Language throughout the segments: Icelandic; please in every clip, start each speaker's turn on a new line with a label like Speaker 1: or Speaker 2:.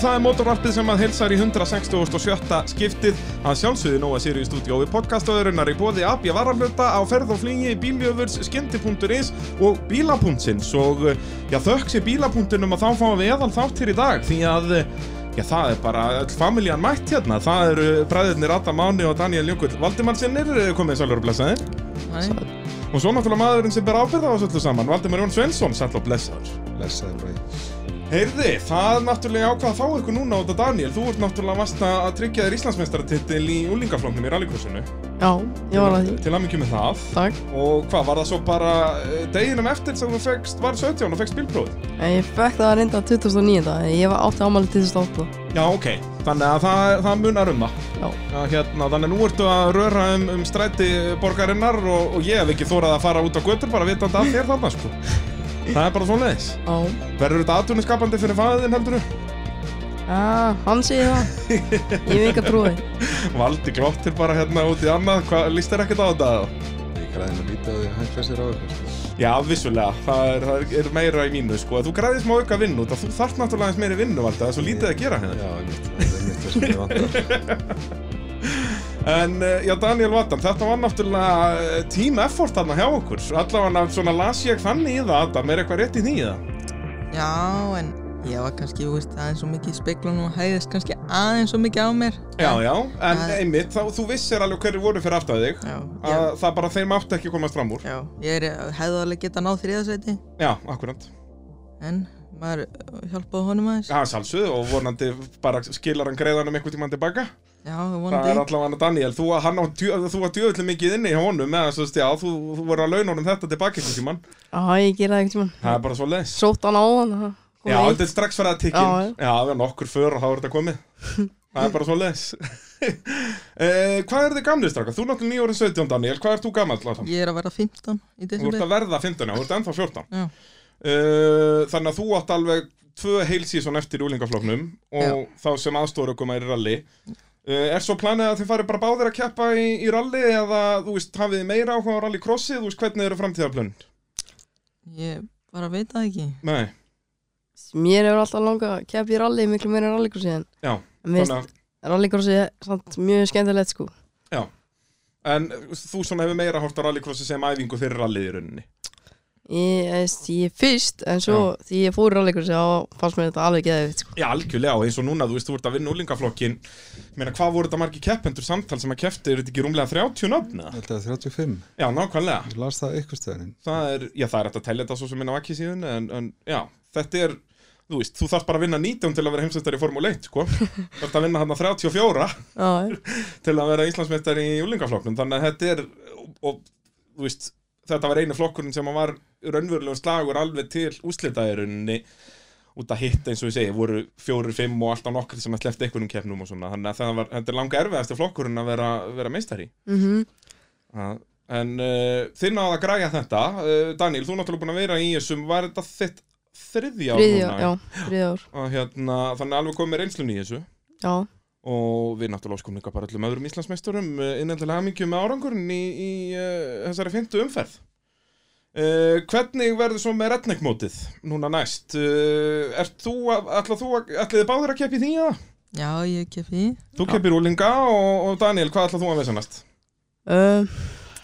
Speaker 1: það er mótorvarpið sem að hilsar í 167. skiptið að sjálfsögðu Nóa Sirius stúdíó við podcastöðurinnar í bóði AB Varafluta á ferð og flygi, bíljöfurs, skyndi.is og bílapunktins og eh, já, þökk sér bílapunktinum að þá fáum við eðal þáttir í dag því að eh, Já, það er bara öll familjan mætt hérna. Það eru bræðirnir Adam Áni og Daniel Jökull eh, Valdimarsinnir, komið sælur og blessaðir.
Speaker 2: Nei,
Speaker 1: Og svo náttúrulega maðurinn sem ber ábyrða á þessu öllu saman, Valdimar Jón Svensson, sæll og blessaður.
Speaker 3: Blessaður bræði.
Speaker 1: Heyrði, það er náttúrulega ákvað að fá ykkur núna út af Daniel. Þú ert náttúrulega vast að tryggja þér Íslandsmeistaratitil í úlingaflóknum í rallycrossinu.
Speaker 2: já, ég var að því
Speaker 1: Til aðmyggjum með það.
Speaker 2: Takk,
Speaker 1: Og hvað, var það svo bara eh, deginum eftir sem þú fegst, var 17 og fegst bílprófið?
Speaker 2: en ég fekk það reynda 2009 dag, en ég var átti ámæli 2008
Speaker 1: Já, ok. Þannig að það, það munar um það.
Speaker 2: Já,
Speaker 1: Já, hérna, þannig að nú ertu að röra um, um stræti borgarinnar og, og ég hef ekki þórað að fara út á götur bara vitandi að þér þarna, sko. Það er bara svona
Speaker 2: á,
Speaker 1: Verður þetta atvinniskapandi fyrir fæðin heldur þú?
Speaker 2: já, hann segir það Ég hef enga trúi
Speaker 1: Valdi glottir bara hérna út í annað, hvað líst þér ekkert á þetta?
Speaker 3: Ég græði að líta á því að hann hlæsir á ykkur. sko.
Speaker 1: Já, vissulega, það er, það er meira í mínu sko, þú græðir smá auka vinnu, það þú þarft náttúrulega aðeins meiri vinnu Valdi, það er svo lítið að gera hérna.
Speaker 3: Já, einmitt. Það er mitt verkefni vantar.
Speaker 1: En eh, já, Daniel Vatam, þetta var náttúrulega eh, team effort þarna hjá okkur, allavega svona las ég þannig í það, Adam, er eitthvað rétt í því í það?
Speaker 4: Já, en ég var kannski, þú veist, aðeins og mikið í speiklunum og hæðist kannski aðeins og mikið á mér.
Speaker 1: Já, já, en
Speaker 4: Það-
Speaker 1: einmitt, þá, þú vissir alveg hverju voru fyrir aftar þig,
Speaker 4: Já,
Speaker 1: að
Speaker 4: já,
Speaker 1: það bara þeir mátti ekki komast fram úr.
Speaker 4: já. Ég er, hefði alveg getað náð þriðasveiti,
Speaker 1: Já, akkurant.
Speaker 4: en maður hjálpaði honum aðeins.
Speaker 1: Já, sjálfsögðu og vonandi bara skilar hann greiðanum einhvern tímann tilbaka.
Speaker 4: Já, ég
Speaker 1: Það
Speaker 4: vonandi.
Speaker 1: er allavega hann að Daniel, þú, hann á, djö, þú var djöðlega mikið inni hjá honum eða svo stjá, þú, þú voru að launa honum þetta tilbaka einhvern tímann.
Speaker 2: Já, ég gera það einhvern tímann
Speaker 1: Það er bara svo leis.
Speaker 2: Sótt hann á hann, það kom
Speaker 1: Já,
Speaker 2: eitt.
Speaker 1: þetta er strax farið að tikka
Speaker 2: Já,
Speaker 1: inn. Já, við erum okkur för og þá er þetta komið. Það er bara svo leis. hvað er þið gamlið straka? Þú er náttúrulega nýjórið 17, Daniel. Hvað er þú gamall? Látum?
Speaker 4: Ég er að vera 15
Speaker 1: Þú
Speaker 4: í
Speaker 1: ert
Speaker 4: desember.
Speaker 1: að verða 15, já, þú ert ennþá 14.
Speaker 4: Já.
Speaker 1: Uh, þannig að þú átt alveg tvö heilsíson eftir úlingafloknum og
Speaker 4: Já.
Speaker 1: þá sem aðstóru okkur maður í ralli uh, er svo planið að þið farið bara báðir að keppa í, í ralli eða þú veist, hafið þið meira áhuga á rallycrossi þú veist, hvernig eru framtíðarplönn
Speaker 4: Ég bara veit það ekki.
Speaker 1: nei,
Speaker 2: Mér hefur alltaf langa að keppa í rally, miklu meira rallygrossi en
Speaker 1: já,
Speaker 2: En mér
Speaker 1: þannig
Speaker 2: finnst rallygrossi samt mjög skemmtilegt sko
Speaker 1: að en uh, þú svona hefur meira hórt á rallycrossi sem æfingu fyrir rallið í rauninni
Speaker 2: Ég, veist, ég fyrst, en svo því ég fór í rallygrossi þá fannst mér þetta alveg geðið sko.
Speaker 1: já, algjörlega, og eins og núna, þú veist, þú ert að vinna úlingaflokkin meina, hvað voru þetta margi keppendur samtal sem að keppti, eru þetta ekki rúmlega 30 nöfna?
Speaker 3: Ég held að það er 35.
Speaker 1: já, nákvæmlega
Speaker 3: Ég las það ykkur stöðuninn.
Speaker 1: það er, já það er hægt að tellja þetta svo sem minna vakið síðan en, en já, þetta er þú veist, þú þarf bara að vinna 19 til að vera heimsveistari í Formule 1, sko þarf að vinna hann 34
Speaker 2: Já, já.
Speaker 1: til að vera Íslandsmeistari í júlingaflokknum þannig að þetta er, og, og þú veist þetta var einu flokkurinn sem var raunverulegum slagur alveg til úslitaðirunni út að hitt eins og ég segi, voru fjórir, fimm og alltaf nokkur sem að slefti einhverjum keppnum og svona þannig að það var, þetta er langa erfiðasti flokkurinn að vera, vera meistari
Speaker 2: Mm
Speaker 1: Já, En uh, þið náðu að græja þetta uh, Daniel, þú er náttúrulega búin að vera í þessum Var þetta þitt þriðja ár
Speaker 2: Þriðja,
Speaker 1: núna?
Speaker 2: já, þriðja ár
Speaker 1: Að, hérna, Þannig að alveg komið reynslun í þessu
Speaker 2: Já,
Speaker 1: Og við náttúrulega skum líka bara öllum öðrum Íslandsmeisturum Innendilega hamingju með árangurinn í, í uh, þessari fintu umferð Uh, hvernig verður svo með retningmótið núna næst uh, ert þú, að, ætla þú að, ætlið þið báður að keppi því að?
Speaker 4: Já, ég kef því.
Speaker 1: Þú keppir úlinga og, og Daniel, hvað ætlað þú að vesa næst?
Speaker 2: Um,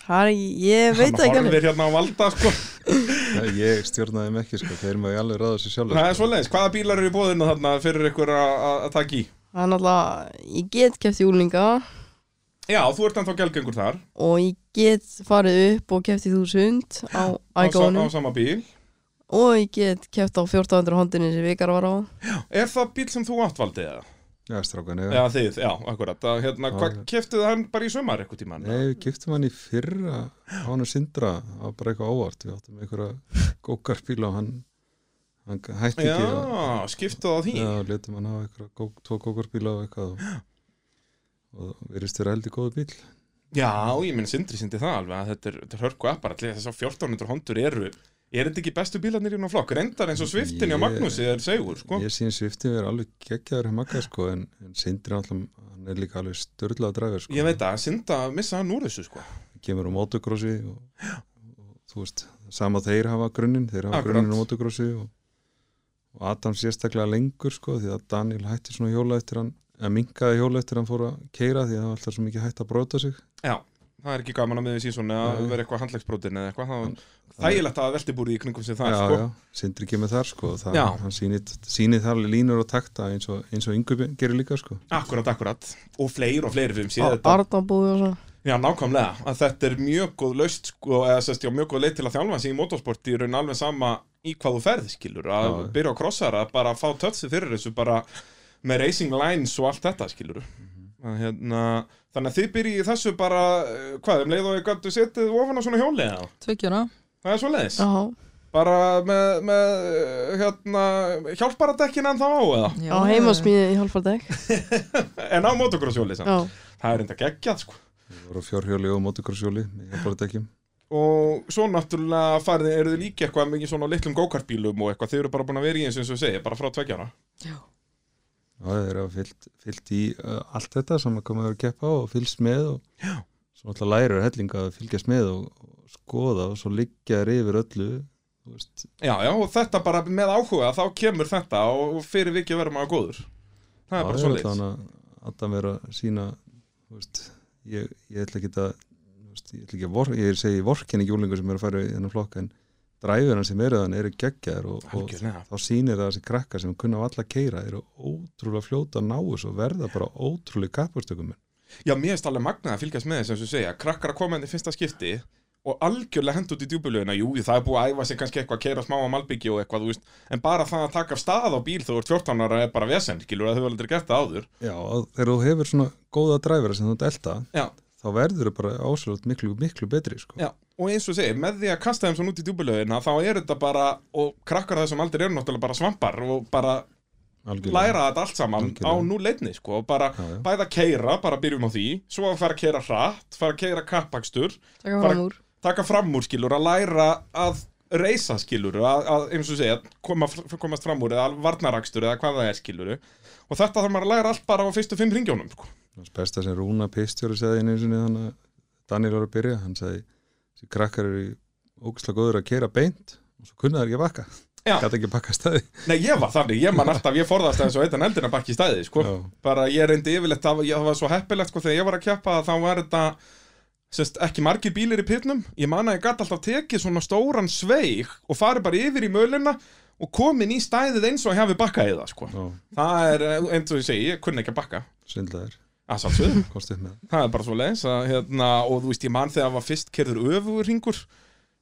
Speaker 2: það er ekki, ég veit
Speaker 1: Hann
Speaker 2: ekki alveg
Speaker 1: horfir hérna á valda sko
Speaker 3: Já, Ég stjórnaði þeim ekki, sko. Þeir maður alveg ráða sér sjálfur.
Speaker 1: Það er
Speaker 3: sko.
Speaker 1: svoleiðis, hvaða bílar eru í bóðinu þarna fyrir ykkur að- að að taka í?
Speaker 2: Það er náttúrulega, ég get keft í úlinga
Speaker 1: Já, þú ert ennþá gælgengur þar
Speaker 2: og ég get farið upp og keft í þúsund
Speaker 1: á,
Speaker 2: á
Speaker 1: sa- á
Speaker 2: ægónum
Speaker 1: sama bíl
Speaker 2: og ég get keft á 1400 hóndinni sem vikar var á
Speaker 1: Er það bíl sem þú áttvaldið eða?
Speaker 3: Já, strákan, já.
Speaker 1: Já, þið, já, akkurat að, hérna,
Speaker 3: Já,
Speaker 1: Hvað
Speaker 3: já.
Speaker 1: keftið hann bara í sumar eitthvað tíma?
Speaker 3: Nei, við giftum hann í fyrra á hann að sindra, það var bara eitthvað óvart við áttum einhverja gókarbíla og hann, hann hætti
Speaker 1: Já,
Speaker 3: ekki og,
Speaker 1: skiptið á því
Speaker 3: já, letum hann hafa einhverja gók, tvo gókarbíla og eitthvað og, og verist þér eldi góðu bíl
Speaker 1: Já, ég minn Sindri sindi það alveg að þetta er, þetta er hörku apparat Þess að 1400 hondur eru Er þetta ekki bestu bílarnir í hún á flokk? Reyndar eins og sviftin hjá
Speaker 3: Ég-
Speaker 1: Magnúsi er segur, sko
Speaker 3: Ég síðan svifti verið alveg geggjaður hjá makka sko, en, en Sindri alltaf, hann er líka alveg störla að draga sko.
Speaker 1: Ég veit að Sinda missa hann úr þessu, sko
Speaker 3: Hann Kemur á motocrossi og, og, þú veist, sama þeir hafa grunninn, þeir hafa
Speaker 1: Akkurat.
Speaker 3: grunninn á motocrossi og, og Adam sérstaklega lengur sko því að Daniel hætti svona hjóla eftir hann eða minkaði hjóla eftir hann fór að keira því að það var alltaf svo mikið hætt að bróta sig
Speaker 1: það er ekki gaman að miður sísón að
Speaker 3: Nei.
Speaker 1: vera eitthvað handlegsbrotin eða eitthvað þá þægilegt að velti búrið í kringum sem það
Speaker 3: já,
Speaker 1: er, sko.
Speaker 3: já, sindri ekki með þar sko og það,
Speaker 1: Já.
Speaker 3: hann sýnir, sýnir þar alveg línur og takta eins og, eins og yngur gerir líka sko
Speaker 1: Akkurat, akkurat og fleiri og fleiri við um síðan þetta
Speaker 2: Arnabúi og svona
Speaker 1: Já, nákvæmlega, að þetta er mjög góð laust sko, eða sérst, já, mjög góð leið til að þjálfa sig í motorsporti í raun alveg sama í hvað þú ferð skilur, að
Speaker 3: Já, já.
Speaker 1: byrja á krossara bara að fá tötsi fyrir þessu, bara með racing lines og allt þetta skilur
Speaker 3: Mhm.
Speaker 1: að, hérna, þannig að þið byrjið í þessu bara, eh, hvað, um leið og ég gættu setið ofan á svona hjóli eða,
Speaker 4: Tveggjara?
Speaker 1: það er svo leiðis
Speaker 2: Já,
Speaker 1: bara með, með eh, hérna, hjálparadekkin en þá á eða,
Speaker 2: já heimasmíði í hálfardeg
Speaker 1: en á motocrosshjóli samt.
Speaker 2: Já,
Speaker 1: það er enda geggjað sko
Speaker 3: það voru fjórhjóli og mótikrossjóli ég bara þetta ekki
Speaker 1: og svo náttúrulega farið eru þið líka eitthvað mikið svona á litlum gókartbílum og eitthvað, þið eru bara búin að vera í eins og ég segi bara frá tveggjana
Speaker 3: Já, þeir eru fyllt, fyllt í uh, allt þetta sem komið að keppa á og fylgst með og Já. svo alltaf lærir hellinga að fylgjast með og, og skoða og svo liggja þeir yfir öllu þú veist,
Speaker 1: já, já, og þetta bara með áhuga þá kemur þetta og fyrir vikið verður maður góður það er bara svo leitt
Speaker 3: að Adam er að sína veist, ég, ég ætla ekki að þú veist, ég ætla ekki að vor, ég segi vorkenni júlingu sem eru að fara í þennan flokk en dræfurinn sem eru þannig eru geggjaðir og, og
Speaker 1: Algjörlega.
Speaker 3: þá sýnir það þessi krakkar sem kunna alla keira eru ótrúlega fljóta að ná þessu og verða bara ótrúlega kappurstökum
Speaker 1: já, mér finnst alveg magnað að fylgjast með þess eins og ég segja krakkar að koma henni fyrsta skipti og algjörlega hend út í djúbulögina, jú, það er búið að æfa sig kannski eitthvað að keira smá á malbyggi og eitthvað, þú veist en bara það að taka af stað á bíl þegar þú ert 14 ára er bara vesen, skilur að þau vel aldrei gert það áður
Speaker 3: Já, að þegar þú hefur svona góða dræfara sem þú ert elda,
Speaker 1: Já,
Speaker 3: þá verður þau bara ásvöld miklu, miklu betri, sko.
Speaker 1: Já, og eins og ég segi, með því að kasta þeim svona út í djúbulöðina þá er þetta bara, og krakkar þessum aldrei eru náttúrulega bara svampar og bara
Speaker 3: Algjörlega.
Speaker 1: læra þetta allt saman á
Speaker 3: Algjörlega.
Speaker 1: núleitni, sko, og bara
Speaker 3: Já, já.
Speaker 1: bæða keira, bara byrjum á því, svo að fara að keira hratt, fara að keira kappakstur,
Speaker 2: taka
Speaker 1: Bara-
Speaker 2: fram úr
Speaker 1: taka fram úr skilur, að læra að reysa skilur, að, að eins og ég segi, að koma, komast fram úr eða varnarakstur eða hvað það er skilur, og þetta þarf maður að læra allt bara á fyrstu fimm ringjónum, sko.
Speaker 3: Það er besta sem Rúna Pistjóri segði einu sinni þannig að Daniel var að byrja, hann segði, þessi krakkar eru ógæslega góður að keira beint og svo kunna þær ekki að bakka.
Speaker 1: Já.
Speaker 3: Gat ekki að bakka staði.
Speaker 1: Nei, ég var þannig, ég man alltaf, ég forðast eins og eittan eldina bakki í stæði, sko.
Speaker 3: Já.
Speaker 1: Bara ég reyndi yfirleitt, það var, ég- það var svo heppilegt, sko, þegar ég var að keppa að þá var þetta, sérst, ekki margir bílir í pitnum. Ég man að ég gæti alltaf tekið svona stóran sveig og farið bara yfir í mölina og komin í stæðið eins og ég hafi bakkað í það, sko.
Speaker 3: Já,
Speaker 1: Það er, eh, eins og ég segi, ég kunni ekki að bakka.
Speaker 3: svindlaðir,
Speaker 1: Að sálsögðu.
Speaker 3: komst upp með. það.
Speaker 1: Það er bara svo leiðis að, hérna, og þú veist, ég man þegar var fyrst kerður öfugur ringur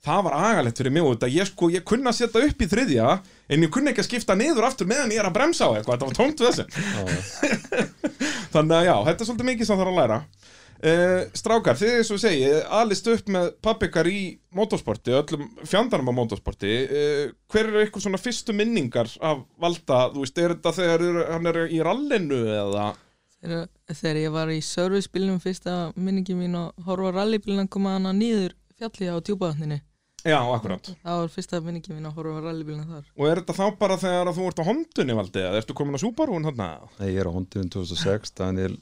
Speaker 1: Það var agalegt fyrir mig og þetta, ég sko, ég kunna að setja upp í þriðja En ég kunna ekki að skipta niður aftur meðan ég er að bremsa á eitthvað, þetta var tómt við þessi
Speaker 3: Já,
Speaker 1: Þannig að já, þetta er svolítið mikið sem þarf að læra uh, Strákar, þið eins og ég segi, alist upp með pappikar í motorsporti, öllum fjandarnum á motorsporti uh, Hver eru ykkur svona fyrstu minningar af Valda, þú veist, er þetta þegar eru- hann er í rallinu eða
Speaker 4: Þegar, þegar ég var í servicebílnum fyrsta minningi mín og horfa á rallybílnum koma hana nýður fjallið á djúbaðatninu.
Speaker 1: Já, akkurát
Speaker 4: Það var fyrsta minningi mín að horfa á rallybílnum þar.
Speaker 1: Og er þetta þá bara þegar að þú ert á hondunni valdið eða ertu komin á Subaru-un þarna?
Speaker 3: Nei, ég er á hondiðum 2006, Daniel,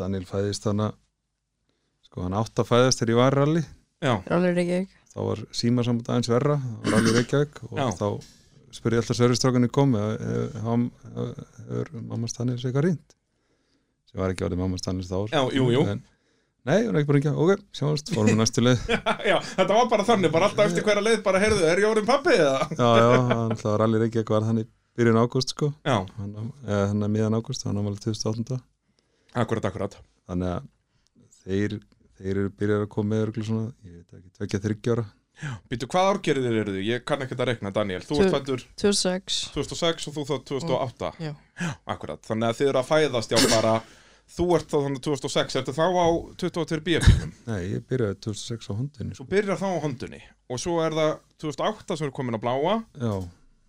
Speaker 3: Daniel fæðist þannig, sko hann átt að fæðast þegar ég var í rally.
Speaker 1: Já,
Speaker 2: Rallir ekki ekki
Speaker 3: þá var símasamband aðeins verra á Rally Reykjavík og
Speaker 1: Já.
Speaker 3: þá spurði ég alltaf servistrákunni kom hefur mamma Stannis eitthvað rýnd sem var ekki árið mamma Stannis þá
Speaker 1: já, jú, jú
Speaker 3: en, nei, hún er ekki bara ekki, ok, sjáumst fórum við næstu leið
Speaker 1: Já, þetta var bara þannig, bara alltaf eftir hverja leið bara heyrðu, er ég orðin pappi eða?
Speaker 3: já, já, hann alltaf Rally Reykjavík var þannig byrjun ágúst sko
Speaker 1: Já,
Speaker 3: hann á- eða hann er miðan ágúst, hann ámalið 2008
Speaker 1: akkurat, akkurat
Speaker 3: þannig að þeir þeir eru byrjar að koma með örgulega svona ég veit ekki, tvekja þryggjára
Speaker 1: Býtu, hvað árgerðir eru þið? Ég kann ekki að rekna, Daniel Þú ert
Speaker 2: Tvö-
Speaker 1: fættur
Speaker 2: 2006
Speaker 1: 2006 og þú þá 2008
Speaker 4: Já.
Speaker 1: Akkurat, þannig að þið eru að fæðast já bara Þú ert þá þannig 2006, ertu þá á 22 bíabílum
Speaker 3: nei, ég byrjaði 2006 á hondinu sko.
Speaker 1: Svo byrjar þá á hondunni Og svo er það 2008 sem er komin að bláa
Speaker 3: já,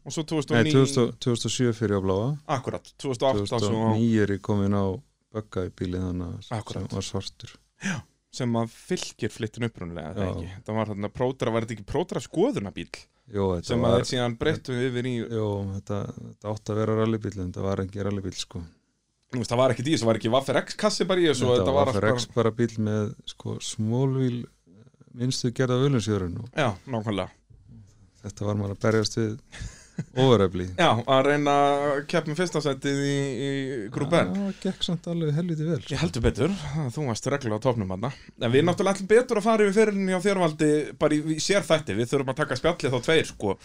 Speaker 1: Og svo
Speaker 3: nei,
Speaker 1: 2009,
Speaker 3: 2000, 2007 fyrir á bláa
Speaker 1: akkurat, 2008 sem á-
Speaker 3: 2009 er ég komin á bögga í bílið þannig að
Speaker 1: Akkúrat.
Speaker 3: sem var svartur
Speaker 1: sem að fylgir flyttin upprunalega eða
Speaker 3: Já.
Speaker 1: ekki, það var þarna pródra, var þetta ekki pródra skoðunabíl
Speaker 3: Jó, þetta
Speaker 1: sem að
Speaker 3: var
Speaker 1: þeir síðan breyttu yfir í
Speaker 3: Jó, þetta, þetta átti að vera rallybíl en þetta var ekki rallybíl sko
Speaker 1: Nú, veist, það var ekki því, það var ekki Vaffer X kassi bara í þessu og
Speaker 3: þetta var
Speaker 1: allt
Speaker 3: fyrir X bara bíl með sko smólvíl minnstu gerða völunsjörun og
Speaker 1: bara, já, nákvæmlega
Speaker 3: þetta var maður að berjast við overefli
Speaker 1: Já, að reyna að keppum fyrsta setið í, í grúpen
Speaker 3: það gekk samt alveg helviti vel sko.
Speaker 1: Ég heldur betur, þú varst reglulega á topnum hann En við náttúrulega ætlum betur að fara yfir fyrirlinni á þjörvaldi bara í, í sér þætti, við þurfum að taka spjallið þá tveir sko,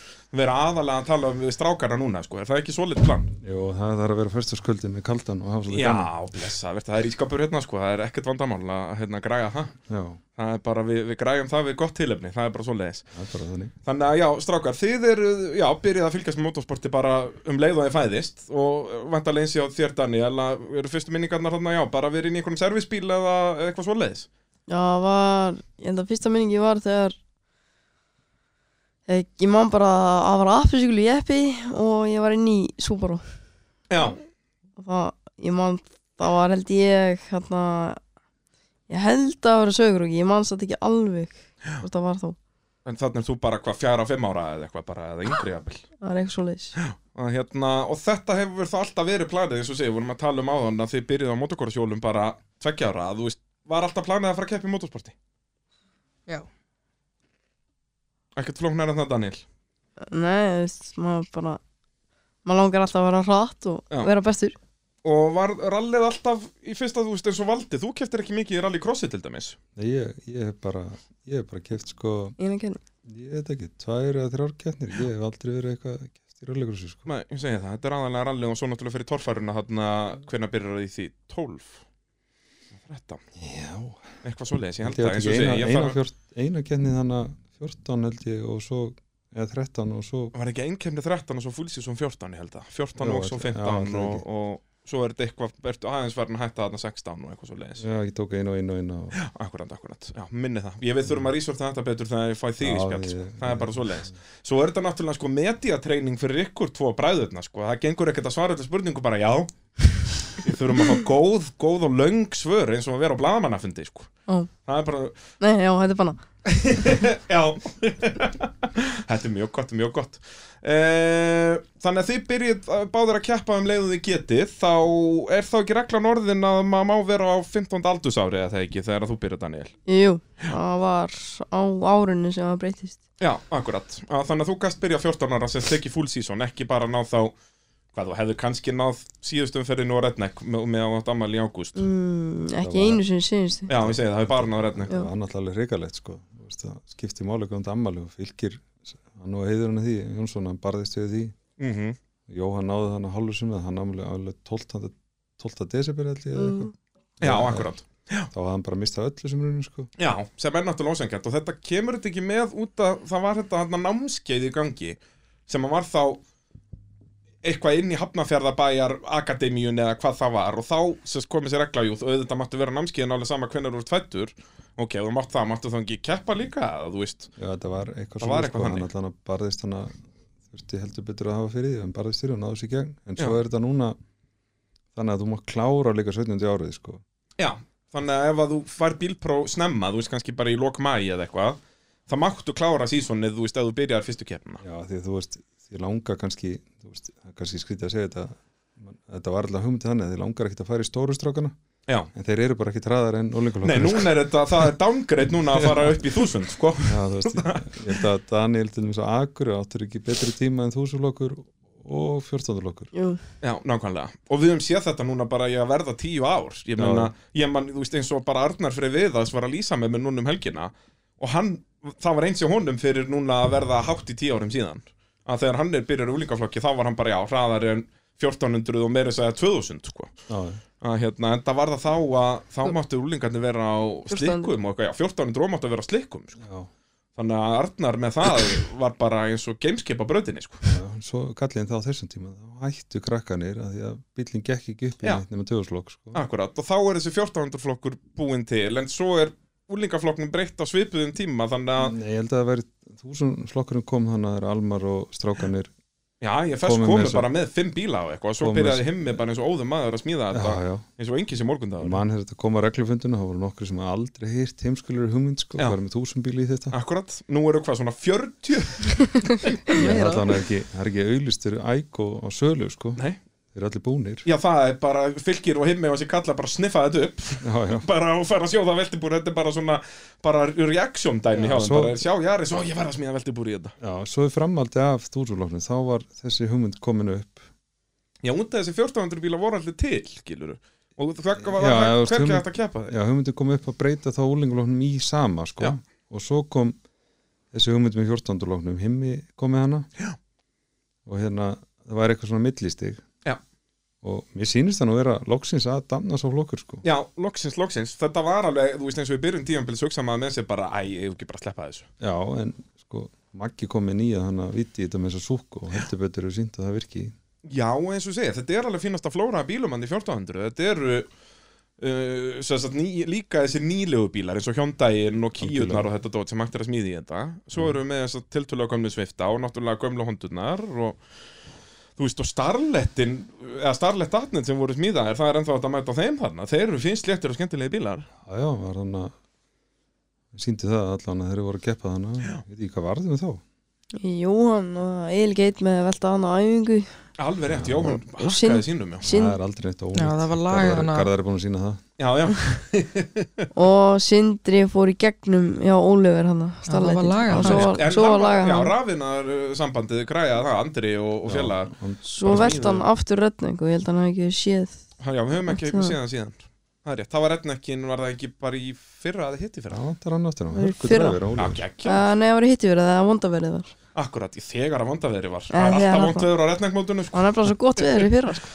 Speaker 1: vera aðalega að tala um við strákana núna sko, er það ekki svolítið plan?
Speaker 3: Jú, það þarf að vera fyrstaskvöldi með kaldan og hafa svolítið
Speaker 1: Já, blessa, það er ískapur hérna sko, það er ekkert vandamál að hérna græja það
Speaker 3: gaman Já,
Speaker 1: Það er bara, við, við græjum það við gott tilefni, það er bara svoleiðis
Speaker 3: það er bara þannig
Speaker 1: Þannig að já, strákar, þið eru, já, byrjið að fylgjast með motorsporti bara um leið og þið fæðist og vantarlega eins ég á þér, Daniel, að eru fyrstu minningarnar þarna, já, bara verið inn í einhverjum servisbíl eða eitthvað svoleiðis
Speaker 2: Já, var, ég enda fyrsta minningi var þegar eh, ég, ég man bara að það var aftursyklu í eppi og ég var inn í Subaru
Speaker 1: Já,
Speaker 2: og það, ég man, það var held ég hérna, ég held að vera sögur og ég man satt ekki alveg hvort það var þá,
Speaker 1: en þannig er þú bara hvað fjara og fimm ára eða eitthvað bara, eða yngri jafnvel
Speaker 2: það var eitthvað svo leis
Speaker 1: að hérna, og þetta hefur þá alltaf verið planið eins og segja, við vorum að tala um áðan að þið byrjuð á motokorsjólum bara tveggja ára að þú veist, var alltaf planið að fara að keppa í motorsporti?
Speaker 4: Já.
Speaker 1: Ekkert flóknar en það, Daniel?
Speaker 2: Nei, þú veist, maður bara maður langar alltaf að vera hratt og
Speaker 1: Já.
Speaker 2: vera bestur
Speaker 1: Og var rallið alltaf í fyrsta, þú veist, eins og valdi, þú keftir ekki mikið í rallycrossi til dæmis?
Speaker 3: Nei, ég, ég hef bara, ég hef bara keft sko,
Speaker 2: í einu kenni.
Speaker 3: ég veit ekki, tvær eða þrjár keppnir, ég hef aldrei verið eitthvað keft í rallygrúsi sko.
Speaker 1: Nei, ég segi það, þetta er aðalega rally og svo náttúrulega fyrir torfæruna þarna, hvernig byrjar það í því? 12? 13?
Speaker 3: Já,
Speaker 1: Eitthvað svoleiðis, ég held
Speaker 3: ég
Speaker 1: það, eins og
Speaker 3: átti
Speaker 1: segi,
Speaker 3: ekki
Speaker 1: ég
Speaker 3: eina,
Speaker 1: þarf,
Speaker 3: fjort, eina keppni þannig að 14 held ég og svo, eða 13 og svo
Speaker 1: var ekki einkemni 13 og svo fúlsið svo 14, ég held það, 14
Speaker 3: Jú,
Speaker 1: og svo
Speaker 3: ætli-
Speaker 1: 15
Speaker 3: já, ætli
Speaker 1: og, og svo er þetta eitthvað, ertu aðeins verðin að hætta þarna 16 og eitthvað svoleiðis.
Speaker 3: Já, ég tók einu og einu og einu og,
Speaker 1: Akkurat, akkurat, já, minni það. Ég við þurfum að rísvörta þetta betur þegar ég fæ þig í
Speaker 3: Já,
Speaker 1: spjall, sko.
Speaker 3: ég-
Speaker 1: það er bara svoleiðis. Svo er þetta náttúrulega sko mediatreining fyrir ykkur tvo bræðurna, sko, það gengur ekkert að svara þetta spurningu bara já. Við þurfum að fá góð, góð og löng svör eins og að vera á bladamannafundi, sko.
Speaker 2: Ó.
Speaker 1: Það er bara,
Speaker 2: Nei, já, þetta er bara
Speaker 1: já, þetta er mjög gott, mjög gott. Eh, Þannig að þið byrjið eh, báðir að keppa um leiðu þið getið, þá er þá ekki reglan orðin að maður má vera á 15. aldursári eða það ekki þegar að þú byrjið, Daniel?
Speaker 2: Jú, það var á árunni sem það breytist
Speaker 1: Já, akkurat. Að Þannig að þú gæst byrja 14 ára sem tekið full season, ekki bara náð þá, hvað þú hefðu kannski náð síðustum ferðinu á Redneck með, með átt ammali í ágúst.
Speaker 2: mm, Ekki
Speaker 3: var-
Speaker 2: einu sinni síðustu
Speaker 1: Já, ég segi það, það er bara náð Redneck.
Speaker 2: Já.
Speaker 3: það var náttúrulega hrikalegt sko, Þú veist, það skipti máli um dammali og fylgir hann og heiður hann að því, Jónsson, hann barðist við því
Speaker 1: Mm
Speaker 3: Jóhann náði þannig að hálfu sem það hann náði alveg 12. 12. desember held ég eða
Speaker 2: Mm.
Speaker 3: eitthvað.
Speaker 1: Já, akkurat.
Speaker 3: þá hafði hann bara mistað öllu sem runni sko.
Speaker 1: Já, sem er náttúrulega ósengjart og þetta kemur þetta ekki með út að það var þetta hann námskeið í gangi sem að var þá eitthvað inn í Hafnafjörðabæjar akademíun eða hvað það var og þá sérst, komið sér regla jú, þú- auðvitað máttu vera námskeiðin alveg sama hvernig þú ert fættur ok, þú mátt það, máttu þá ekki keppa líka eða þú veist,
Speaker 3: já þetta var eitthvað
Speaker 1: Það var
Speaker 3: svona,
Speaker 1: eitthvað
Speaker 3: hann
Speaker 1: þannig.
Speaker 3: alltaf hann barðist hann að þurfti heldur betur að hafa fyrir því hann barðist fyrir og náði sér í gegn en svo
Speaker 1: Já.
Speaker 3: er þetta núna þannig að þú má klára líka 17. árið sko.
Speaker 1: Já, þannig að ef að þú fær bílpró snemma, þú veist kannski bara í lok mæi eða eitthvað, þá máttu klára sísonið, þú veist, ef þú byrjar fyrstu keppnina.
Speaker 3: já því að þú veist því langa kannski, þú veist, það er kannski skrítið að segja þetta Man- þetta var alltaf hugmyndið þannig að því langar ekkit að fara í stóru strákana
Speaker 1: Já.
Speaker 3: en þeir eru bara ekkit hraðar en sko.
Speaker 1: Nei,
Speaker 3: ólingalokar
Speaker 1: núna er þetta, það er downgrade núna að fara upp í þúsund, sko.
Speaker 3: Já, þú veist, ég ég held að Daniel til dæmis að Akur áttur ekki betri tíma en þúsulokur og fjórstöndulokur.
Speaker 2: Jú,
Speaker 1: Já, nákvæmlega. Og við höfum séð þetta núna bara í að verða tíu ár. Ég meina, ég man, þú veist, eins og bara Arnar Frey Viðas var að lýsa með mér núna um helgina og hann, það var eins í honum fyrir núna að verða hátt í tíu árum síðan. Að þegar hann er byrjar í úlingaflokki, þá var hann bara, já, hraðar en 1400 og meira segja 2000, sko.
Speaker 3: Já,
Speaker 1: að hérna, en það var það þá að þá máttu úlingarnir vera á
Speaker 2: 14.
Speaker 1: slikkum og eitthvað, já, 14 dró máttu vera á slikkum sko.
Speaker 3: já,
Speaker 1: þannig að Arnar með það var bara eins og gameskipa bröðinni, sko.
Speaker 3: já, svo kallið en þá á þessum tíma, þá hættu krakkanir að því að bílinn gekk ekki upp í
Speaker 1: Já.
Speaker 3: neitt nema tvöðuslokk, sko.
Speaker 1: akkurat, og þá er þessi 1400 flokkur búin til, en svo er úlingaflokknum breytt á svipuðum tíma þannig að,
Speaker 3: Nei, ég held að það væri þúsunslokkurinn kom þannig að það er Almar og strákanir,
Speaker 1: já, ég fest
Speaker 3: Komum með
Speaker 1: komið
Speaker 3: þessu.
Speaker 1: bara með fimm bíla og eitthvað, og svo
Speaker 3: Komum
Speaker 1: byrjaði himmi bara eins og óðum maður að smíða
Speaker 3: já,
Speaker 1: þetta,
Speaker 3: já,
Speaker 1: eins og engi sem morgundagur
Speaker 3: mann hefði þetta kom að reglufundinu, þá voru nokkri sem aldrei hýrt heimskulur hugmynd, sko,
Speaker 1: Já.
Speaker 3: það var með þúsund bíli í þetta.
Speaker 1: akkurat, nú eru hvað, svona 40
Speaker 3: Ég
Speaker 2: meira.
Speaker 3: held að það er ekki, það er ekki auðlistur æg og sölu, sko.
Speaker 1: Nei,
Speaker 3: þeir eru allir búnir
Speaker 1: Já, það er bara, fylgir og himmi og þessi kalla bara sniffa þetta upp
Speaker 3: já, já.
Speaker 1: bara og fara að sjóða veltibúr þetta er bara svona, bara reaction dæmi hjá þeim,
Speaker 3: svo-
Speaker 1: bara sjá Jari, svo ég verð að smíða veltibúr í þetta
Speaker 3: Já, svo í framaldi af stúrsulofnin þá var þessi hugmynd komin upp
Speaker 1: Já, undan þessi 1400 bíla voru allir til, skilur og það var
Speaker 3: Já, já, þú veist,
Speaker 1: hvernig
Speaker 3: hugmynd-
Speaker 1: hægt að keppa þeim
Speaker 3: Já, hugmyndin kom upp að breyta þá úlingulofnum í sama sko
Speaker 1: Já.
Speaker 3: og svo kom þessi hugmynd með 14. lofnum himmi kom með hana já. og hérna það var eitthvað svona millistig
Speaker 1: Já.
Speaker 3: og mér sýnist það nú vera loksins að damna sá flokkur sko
Speaker 1: Já, loksins, loksins, þetta var alveg, þú veist eins og við byrjum tíðanbils hugsa maður með sér bara, æ, ég hef ekki bara að sleppa þessu
Speaker 3: Já, en sko Maggi kom með nýja þannig að viti þetta með þessa súku og heldur betur eru sínt að það virki
Speaker 1: Já, eins og segja, þetta er alveg fínast að flóra af bílum hann í 1400, þetta eru uh, sem sagt, ný, líka þessi nýlegu bílar eins og Hyundaiinn og Kíunar og þetta dót sem hægt er að smíði í þetta
Speaker 2: Mm.
Speaker 1: svo erum við með þess að tiltölulega gömlu svifta og náttúrulega gömlu hondunar og þú veist, og starlettin eða starlett atnett sem voru smíðaðir það er ennþá hægt að mæta á þeim þarna, þeir eru fínst léttir og skemmtilegi bílar
Speaker 3: Já, já, var þannig að síndi það allan að þeir eru voru að keppa þannig að veit ekki hvað varðum við þá
Speaker 2: Jóhann og Egil Geit með að velta hann á æfingu
Speaker 1: Alveg rétt, já, hún
Speaker 2: Og sinn-
Speaker 1: hakkaði sínum, já
Speaker 2: Syn-
Speaker 3: Það er aldrei neitt ónýtt
Speaker 4: Já, það var lagað hana.
Speaker 3: Garðar er búin að sína það
Speaker 1: Já, já,
Speaker 2: og Sindri fór í gegnum já, Ólífer hann
Speaker 4: Já, það var lagað
Speaker 2: og svo
Speaker 4: hann.
Speaker 2: var,
Speaker 1: En
Speaker 2: svo
Speaker 1: hann
Speaker 2: var lagað
Speaker 1: Já,
Speaker 2: hann
Speaker 1: rafinar sambandið græjaði það, Andri og, og félagar
Speaker 3: hann,
Speaker 2: svo velt hann aftur röddningu ég held að hann hafi ekki séð
Speaker 1: Ha, Já, við höfum ekki
Speaker 2: Það-
Speaker 1: séðan síðan Það er rétt, það var redneckin, var það ekki bara í fyrra eða hitti
Speaker 3: Já,
Speaker 1: fyrra?
Speaker 3: það er hann aftur hann
Speaker 2: Í
Speaker 3: Hörku
Speaker 2: fyrra.
Speaker 3: dræfir,
Speaker 1: Já,
Speaker 3: Ólafur
Speaker 1: geggja
Speaker 2: uh, nei, það var hitti verið það vondaverið var
Speaker 1: Akkurat, í þegar að vondaveðri var
Speaker 2: Ja,
Speaker 1: Það er
Speaker 2: þegar
Speaker 1: alltaf
Speaker 2: það
Speaker 1: vondveður á redneckmótunum
Speaker 2: og hann er bara svo gott veður í fyrra sko.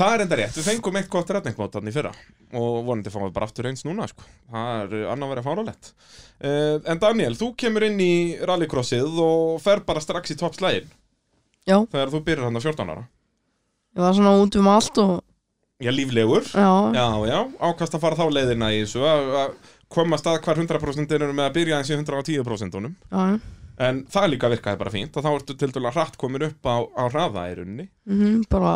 Speaker 1: Það er enda rétt, við fengum eitt gott redneckmót þannig í fyrra og vonandi fáum við bara aftur eins núna sko. það er uh, annað verið fáralett uh, En Daniel, þú kemur inn í rallycrossið og fer bara strax í toppslægin
Speaker 2: já,
Speaker 1: þegar þú byrjar hann að 14 ára
Speaker 2: ég var svona út um allt og
Speaker 1: Já, líflegur
Speaker 2: já,
Speaker 1: Já, já, ákvæmst að fara þá leiðina í þessu að að komast að hvar 100% eru með að byrja eins í 110%-unum
Speaker 2: já, já.
Speaker 1: En það líka virkaði bara fínt og þá ertu til dæla hratt komin upp á, á hraða í rauninni.
Speaker 2: Mm bara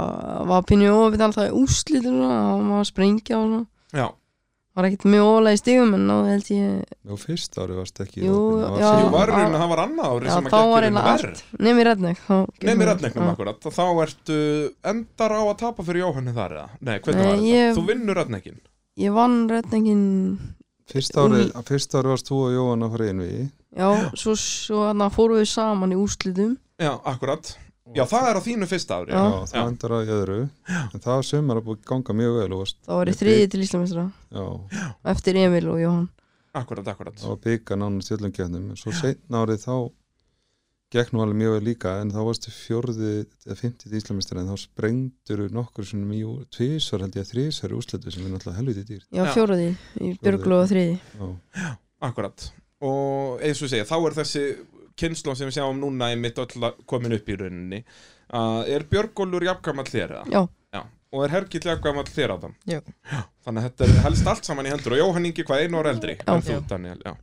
Speaker 2: var pínu ofið alltaf í úslitinu og maður var að sprengja og svona
Speaker 1: Já.
Speaker 2: var ekkert mjög ólega í stigum en þá held ég
Speaker 3: Jú, fyrst ári varst ekki
Speaker 2: Jú,
Speaker 3: opinn, það var
Speaker 2: já.
Speaker 1: Jú,
Speaker 3: síðan-
Speaker 1: var í
Speaker 2: á-
Speaker 1: rauninni, það var annað ári
Speaker 2: já,
Speaker 1: sem að
Speaker 2: þá
Speaker 1: gekk í
Speaker 2: var
Speaker 1: rauninni
Speaker 2: eiginlega
Speaker 1: verð.
Speaker 2: allt nefn í röddning
Speaker 1: Nei, mér
Speaker 2: um
Speaker 1: rednegnum akkurat. Þá ertu endar á að tapa fyrir Jóhanni þar eða? Nei, hvernig
Speaker 2: Nei,
Speaker 1: var þetta?
Speaker 2: ég-
Speaker 1: Þú vinnur rednegin.
Speaker 2: ég vann röddningin
Speaker 3: Fyrst ári, fyrst ári varst þú og Jóhann að fara einn við
Speaker 2: já, svo, svo hann fórum við saman í úslitum
Speaker 1: Já, akkurat. Já, það er á þínu fyrsta ári.
Speaker 2: Já.
Speaker 3: Já, það endar að í öðru En það sumar að búið að ganga mjög vel og varst,
Speaker 2: þá var ég
Speaker 3: Ég
Speaker 2: þriði til Íslamistra
Speaker 3: já,
Speaker 2: eftir Emil og Jóhann
Speaker 1: Akkurat, akkurat.
Speaker 3: það var bygga nánu stjöllumgjöfnum En svo seinna ári þá gekk nú alveg mjög vel líka En þá varstu fjórði eða fymtið íslamistar En þá sprengdur nokkur sem mjög tvisvar held ég að þrisvar í úsletu sem er náttúrulega helviti dýrt
Speaker 2: já,
Speaker 1: Já.
Speaker 2: fjóruði í Björglu og þriði
Speaker 3: Já,
Speaker 1: Akkurat. Og eins og ég segja, þá er þessi kynnslóð sem við sjáum núna í mitt öll að- komin upp í rauninni. Uh, er Björgólfur jafngamall þér eða?
Speaker 2: já,
Speaker 1: Já. Og er Hergill jafngamall þér Adam?
Speaker 4: Já.
Speaker 1: Þannig að þetta er helst allt saman í hendur og Jóhann Ingi hvað einu ára eldri
Speaker 2: Já.
Speaker 1: en þú Daniel, já.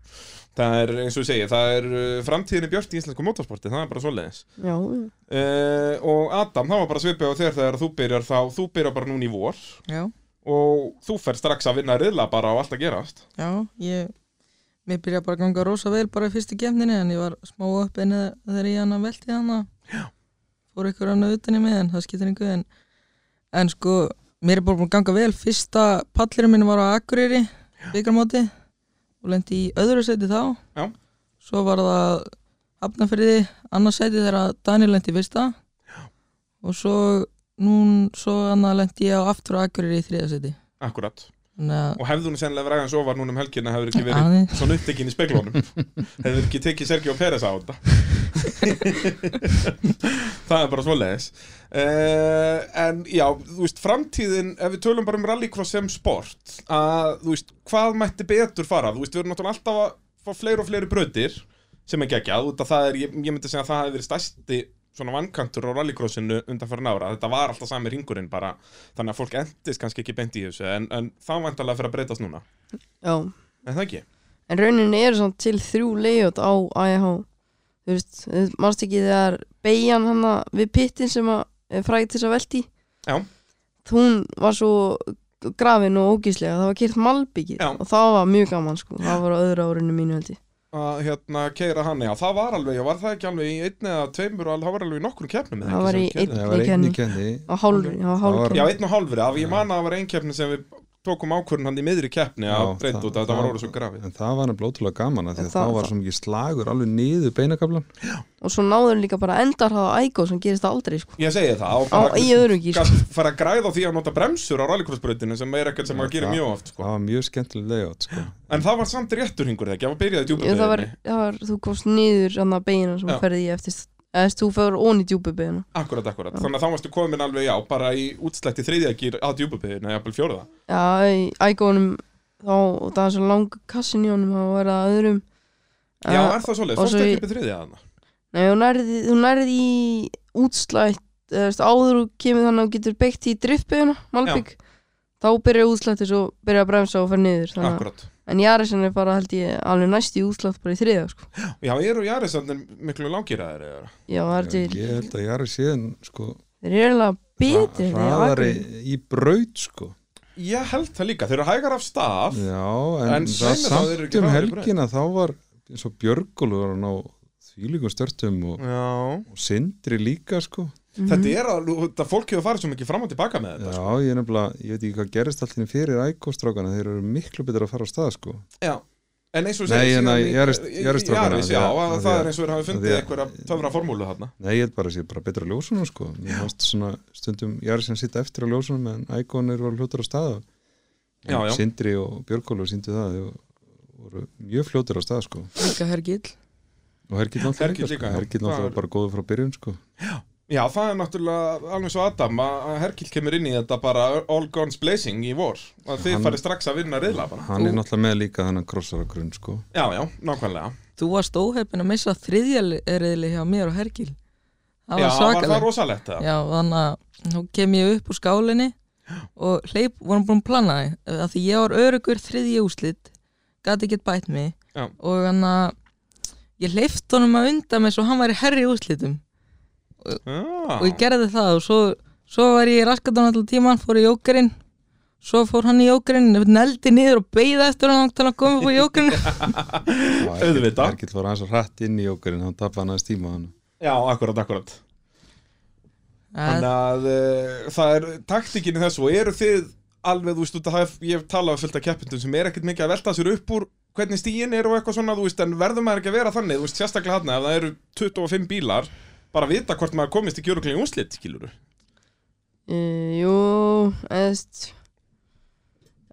Speaker 1: Það er eins og ég segi, það er uh, framtíðinni björt í íslensku motorsporti, það er bara svoleiðis.
Speaker 2: já, já.
Speaker 1: Uh, og Adam, það var bara svipið á þér þegar þú byrjar þá, þú byrjar bara núna í vor
Speaker 4: Já,
Speaker 1: og þú fer strax að vinna riðla bara á allt að gerast.
Speaker 4: já, ég mér byrjaði bara að ganga rosa vel bara í fyrstu kemninni en ég var smá uppin þegar ég hann að velti hann að fór ykkur hann utan í mig en það skiptir einhver en, en sko, mér er bara búin að ganga vel fyrsta pallurinn minn var á Akureyri byggarmóti og lendi í öðru seti þá
Speaker 1: Já.
Speaker 4: svo var það Hafnafriði, annars seti þegar Daniel lendi í fyrsta já. og svo nún, svo annað lendi ég á aftur á Akureyri í þriða seti
Speaker 1: Akkurat.
Speaker 4: þannig að
Speaker 1: Og hefðu hún sennilega verið aðeins ofar núna um helgina hefur ekki verið
Speaker 4: Aðeins.
Speaker 1: svona upptekinn í speglunum. hefur ekki tekið Sergio Pérez á þetta. það er bara svoleiðis. Uh, en já, þú veist, framtíðin, ef við tölum bara um rallycross sem sport, að þú veist, hvað mætti betur fara? Þú veist, við erum náttúrulega alltaf að fá fleiri og fleiri brautir sem er geggjað, út af það er, ég, ég myndi segja að það hefði verið stærsti svona vankantur á rallycrossinu undanfærin ára, þetta var alltaf sami ringurinn bara, þannig að fólk endist kannski ekki beint í þessu, en, en það vantarlega fyrir að breytast núna,
Speaker 2: já.
Speaker 1: en það ekki?
Speaker 2: en rauninni eru svona til þrjú layout á IH þú veist, mannst ekki þegar beigjan hann við pittin sem að er fræg til þess að velti
Speaker 1: Já.
Speaker 2: hún var svo grafin og ógíslega, það var kýrt malbyggir
Speaker 1: Já.
Speaker 2: og það var mjög gaman sko, það var á öðru árinu mínu held ég
Speaker 1: að hérna keira hann já, það var alveg, já, var það ekki alveg í einn eða tveimur, og al- það var alveg í nokkrum keppnum eða
Speaker 2: Það
Speaker 1: ekki
Speaker 2: var
Speaker 1: sem
Speaker 2: í
Speaker 1: við keyrðum?
Speaker 2: einn-
Speaker 3: það var
Speaker 2: kenni.
Speaker 3: einni kenni
Speaker 2: á hálfri, á hálfri.
Speaker 1: já, einn og hálfri, af ég man að það var einn keppni sem við tókum ákvörðun hann í miðri keppni að
Speaker 3: Já,
Speaker 1: breyta
Speaker 3: það-
Speaker 1: út að þetta var
Speaker 3: það-
Speaker 1: orðið svo grafið
Speaker 3: en það var nefnilega ótrúlega gaman af því
Speaker 2: En
Speaker 3: að
Speaker 2: það-
Speaker 3: það var svo mikið slagur alveg niður beinakablan
Speaker 2: og svo náður líka bara endar það á ægó sem gerist aldrei sko.
Speaker 1: ég segi það, og
Speaker 2: á, í öðrungi sko.
Speaker 1: gast fara að græða á því að nota bremsur á rallycrossbrautinu sem er ekkert sem
Speaker 3: Já,
Speaker 1: maður gerir
Speaker 3: það-
Speaker 1: mjög oft sko.
Speaker 3: það var mjög skemmtileg layout sko.
Speaker 1: en það var samt réttur hingur þegar ekki, það var byrjaði
Speaker 2: Jú, það var,
Speaker 1: djúpabeginni
Speaker 2: það var, þú komst niður hann að beina sem
Speaker 1: Já.
Speaker 2: ferði ég eftir eða þú fyrir ón í djúpi beina
Speaker 1: akkurat, akkurat, þannig að þá varstu komin alveg já, bara í útslætti þriðjagýr að djúpabeginni eða jafnvel fjóraða,
Speaker 2: já, í ægónum þá, og það er svo lang kassin í honum þá er það öðrum
Speaker 1: já,
Speaker 2: Eh,
Speaker 1: er það svoleið
Speaker 2: og
Speaker 1: fórstu
Speaker 2: svo
Speaker 1: ekki
Speaker 2: í-
Speaker 1: upp í þriðja þarna?
Speaker 2: Nei, þú nærði, þú nærði í útslætt eða, veist, áður og kemur þannig að þú getur beitt í driftbegina, Malbygg þá byrjar útslættir svo byrjar að bremsa og fer niður þannig að-
Speaker 1: akkurat,
Speaker 2: en Jaresen er bara held ég alveg næst í útslætt bara í þriða sko.
Speaker 1: já, eru Jarisandin miklu langýraðir eða?
Speaker 2: já, það er til,
Speaker 3: ég held að ég er síðan sko,
Speaker 2: þeir eru eiginlega betri en þeir á
Speaker 3: hraðari
Speaker 2: Akureyri.
Speaker 3: í braut sko.
Speaker 1: ég held það líka, þeir eru hægar af stað
Speaker 3: já, en,
Speaker 1: En
Speaker 3: það
Speaker 1: svei mér þá, þeir eru
Speaker 3: samt
Speaker 1: ekki
Speaker 3: um
Speaker 1: hraðari í braut.
Speaker 3: helgina þá var eins og Björgólu var hann á þvílíkum störtum
Speaker 1: Mm.
Speaker 3: og,
Speaker 1: já,
Speaker 3: og Sindri líka sko.
Speaker 1: þetta er að þetta fólk hefur farið svo mikið fram og tilbaka með þetta sko.
Speaker 3: já, ég er nefnilega, ég veit ekki hvað gerist allt hérna fyrir ægóstrákana, þeir eru miklu betur að fara á stað sko.
Speaker 1: já, en eins og
Speaker 3: Nei,
Speaker 1: segir
Speaker 3: en
Speaker 1: síðan
Speaker 3: að
Speaker 1: í-
Speaker 3: Yaris-
Speaker 1: í- í
Speaker 3: Yaris-strákana,
Speaker 1: Yaris,
Speaker 3: því
Speaker 1: já,
Speaker 3: að-
Speaker 1: að
Speaker 3: af því
Speaker 1: það
Speaker 3: að-
Speaker 1: er eins og þeir hafi
Speaker 3: af því
Speaker 1: fundið
Speaker 3: að-
Speaker 1: einhverja töfra formúlu þarna
Speaker 3: Nei, ég held bara að sé bara betra á ljósunum sko. Mér fannst svona stundum, ég er sem sitta eftir á ljósunum en ægonir var hlutur á stað
Speaker 1: Já, já.
Speaker 3: Sindri og Björgólu síndu það og voru mjög fljótur á stað sko.
Speaker 4: Líka hergill
Speaker 3: og Hergill náttúrulega
Speaker 1: Hergill líka,
Speaker 3: sko.
Speaker 1: já.
Speaker 3: Hergill
Speaker 1: Það
Speaker 3: náttúrulega
Speaker 1: var-
Speaker 3: bara góður frá byrjun sko.
Speaker 1: Já, það er náttúrulega alveg svo Adam að að Herkill kemur inn í þetta bara all guns blazing í vor að þið
Speaker 3: Hann-
Speaker 1: farið strax að vinna riðlapana
Speaker 3: Hann er
Speaker 4: Þú-
Speaker 3: náttúrulega með líka þannig krossar á grunn sko.
Speaker 1: Já, já, nákvæmlega
Speaker 4: Þú varst óhefn að missa þriðja reyðli hjá mér og hergill
Speaker 1: Já,
Speaker 4: Það var
Speaker 1: var það
Speaker 4: svakalega
Speaker 1: rosalegt það
Speaker 4: Já, þannig að nú kem ég upp úr skálinni og hleyp, vorum búin að plana það að því ég var örugur þriðji úslit gati ekki bætt mig
Speaker 1: Já.
Speaker 4: og þannig að ég hleyft honum að undan mig svo hann var í herri úslitum og
Speaker 1: Já,
Speaker 4: ég gerði það og svo, svo var ég raskat á náttúrulega tíman, fór í jókerinn svo fór hann í jókerinn, neldi niður og beigði eftir hann langt til hann kom upp á jókerinn
Speaker 3: Já, Hergill-
Speaker 1: Auðvitað.
Speaker 3: Hergill var aðeins hratt inn í okkurinn hann tappa hann aðeins tíma hann
Speaker 1: já akkurat, akkurat Þannig að uh, það er taktikin í þessu og eru þið alveg, þú veist, út að haf, ég hef talað við fullt af keppindum sem er ekkert mikið að velta sér upp úr hvernig stíin eru og eitthvað svona, þú veist, en verður maður ekki að vera þannig, þú veist, sérstaklega hann ef það eru 25 bílar, bara vita hvort maður komist ekki öruglega í únslit, skilur
Speaker 2: Eh, jú, eðst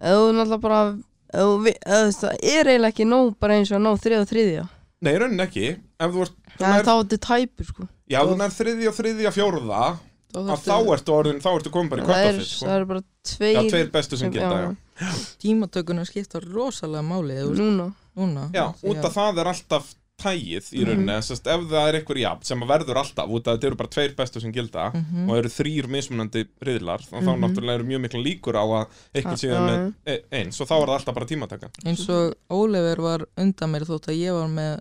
Speaker 2: eða þú náttúrulega bara eða þú vi- eða þú veist, það er eiginlega ekki nóg bara eins og að ná þriða og þriðja
Speaker 1: Nei, í rauninni ekki, ef þú ert þú
Speaker 2: það er
Speaker 1: nærð-
Speaker 2: þá þetta tæpur sko
Speaker 1: Já, þú nær þriðja, þriðja, fjórða að þá ertu orðin, þá ertu komin bara í
Speaker 2: það er,
Speaker 1: kvartafill sko.
Speaker 2: það er bara
Speaker 1: Já,
Speaker 2: tveir,
Speaker 1: tveir bestu sem geta, já
Speaker 4: tímatökuna skipta rosalega máli þú veist,
Speaker 2: núna
Speaker 4: núna
Speaker 1: Já, út af það er alltaf tægið í rauninni, mm -hmm. ef það er einhver jafn sem að verður alltaf, út af þetta eru bara tveir bestu sem gilda og eru þrýr mismunandi riðlar, þá, þá náttúrulega eru mjög mikla líkur á að
Speaker 2: Ah,
Speaker 1: eitthvað síðan
Speaker 2: já,
Speaker 1: með e- eins og þá er það alltaf bara tímataka
Speaker 4: eins og Ólefur var undan mér þótt að ég var með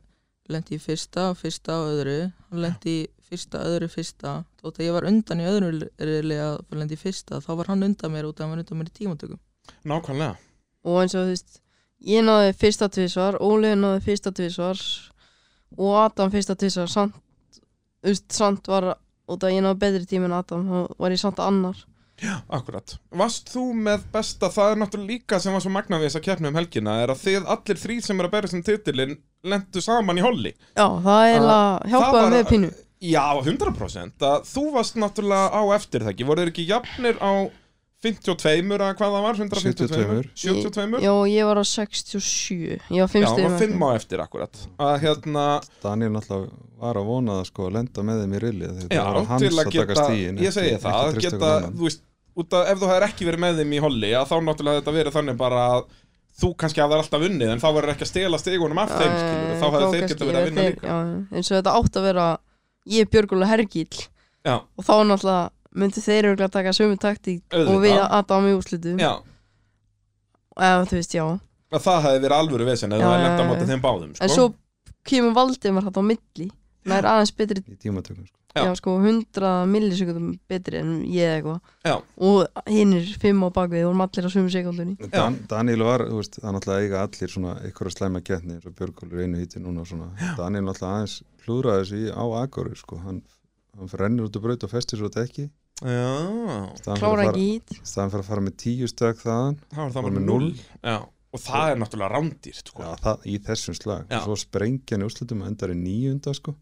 Speaker 4: lendi í fyrsta, fyrsta og öðru hann lendi í fyrsta, öðru, fyrsta þótt að ég var undan í öðru reyðli að lendi í fyrsta, þá var hann undan mér út af að hann var undan mér í tímatökum
Speaker 1: Nákvæmlega,
Speaker 2: og eins og þú veist ég náði fyrsta tvísvar, Óli náði fyrsta tvísvar og Adam fyrsta tvísvar samt, þú veist, samt var út af að ég náði betri tíma en Adam þá var ég samt annar
Speaker 1: akkurat Vast þú með besta, það er náttúrulega líka sem var svo magna við þess að keppna um helgina er að þið allir þrý sem eru að berja sem titilin lendu saman í holli
Speaker 2: já, það er að hjálpaði
Speaker 1: var-
Speaker 2: með pínu
Speaker 1: Já, 100% að þú varst náttúrulega á eftir það ekki voru þeir ekki jafnir á 52 að hvað það var, 152 72
Speaker 2: já, ég var á 67 ég var
Speaker 1: Já,
Speaker 2: fimm
Speaker 1: það var
Speaker 2: stegum
Speaker 1: 5 á eftir akkurat að hérna,
Speaker 3: Daniel náttúrulega var að vona það sko, að lenda með þeim í rilli
Speaker 1: já,
Speaker 3: því þetta var
Speaker 1: til
Speaker 3: hans
Speaker 1: að
Speaker 3: að taka
Speaker 1: geta
Speaker 3: stíin
Speaker 1: ég segi það, að geta þú veist, út að ef þú hefur ekki verið með þeim í holli að þá náttúrulega þetta verið þannig bara að þú kannski hafðar alltaf unnið en þá verður ekki að stela stegunum af þeim skilur, þá hefur þeir geta verið að vinna líka
Speaker 2: já, eins og þetta átt að vera ég, Björgóla Hergill
Speaker 1: Já,
Speaker 2: og þá náttúrulega myndu þeir örugglega taka sömu taktík og
Speaker 1: Auðvitað.
Speaker 2: við Adam í úslitum
Speaker 1: já,
Speaker 2: eða þú veist, já
Speaker 1: að það hefði verið alvöru vesen eða
Speaker 2: Já,
Speaker 1: það
Speaker 2: já,
Speaker 1: lenda á
Speaker 2: já,
Speaker 1: móti
Speaker 2: já.
Speaker 1: þeim báðum
Speaker 2: en
Speaker 1: sko.
Speaker 2: svo kemur Valdimar hann á milli nær aðeins betri
Speaker 3: í tímatökum sko.
Speaker 1: Já.
Speaker 2: já. sko 100 millisekundum betri en ég eða
Speaker 1: Já.
Speaker 2: eitthvað og hinn er 5 á bakvið vorum allir á sömu sekundunni
Speaker 3: Dan, Daniel var, þú veist, það er náttúrulega eiga allir svona ykkur að slæma getni eins og Björgólfur í einu hýtti núna og svona Daniel náttúrulega aðeins klúðraði þessu í- á Akoru sko, hann, hann rennir út og braut og festir svo þetta ekki
Speaker 1: Já,
Speaker 2: klára ekki ít
Speaker 3: staðan fyrir að fara með tíu stök þaðan
Speaker 1: það var það
Speaker 3: Voru
Speaker 1: bara
Speaker 3: með
Speaker 1: núll
Speaker 3: núll.
Speaker 1: Já, og það er náttúrulega rándýrt sko.
Speaker 3: já, það, í þessum slag
Speaker 1: Já.
Speaker 3: og svo sprengja hann í úrslutum og endar í níunda sko.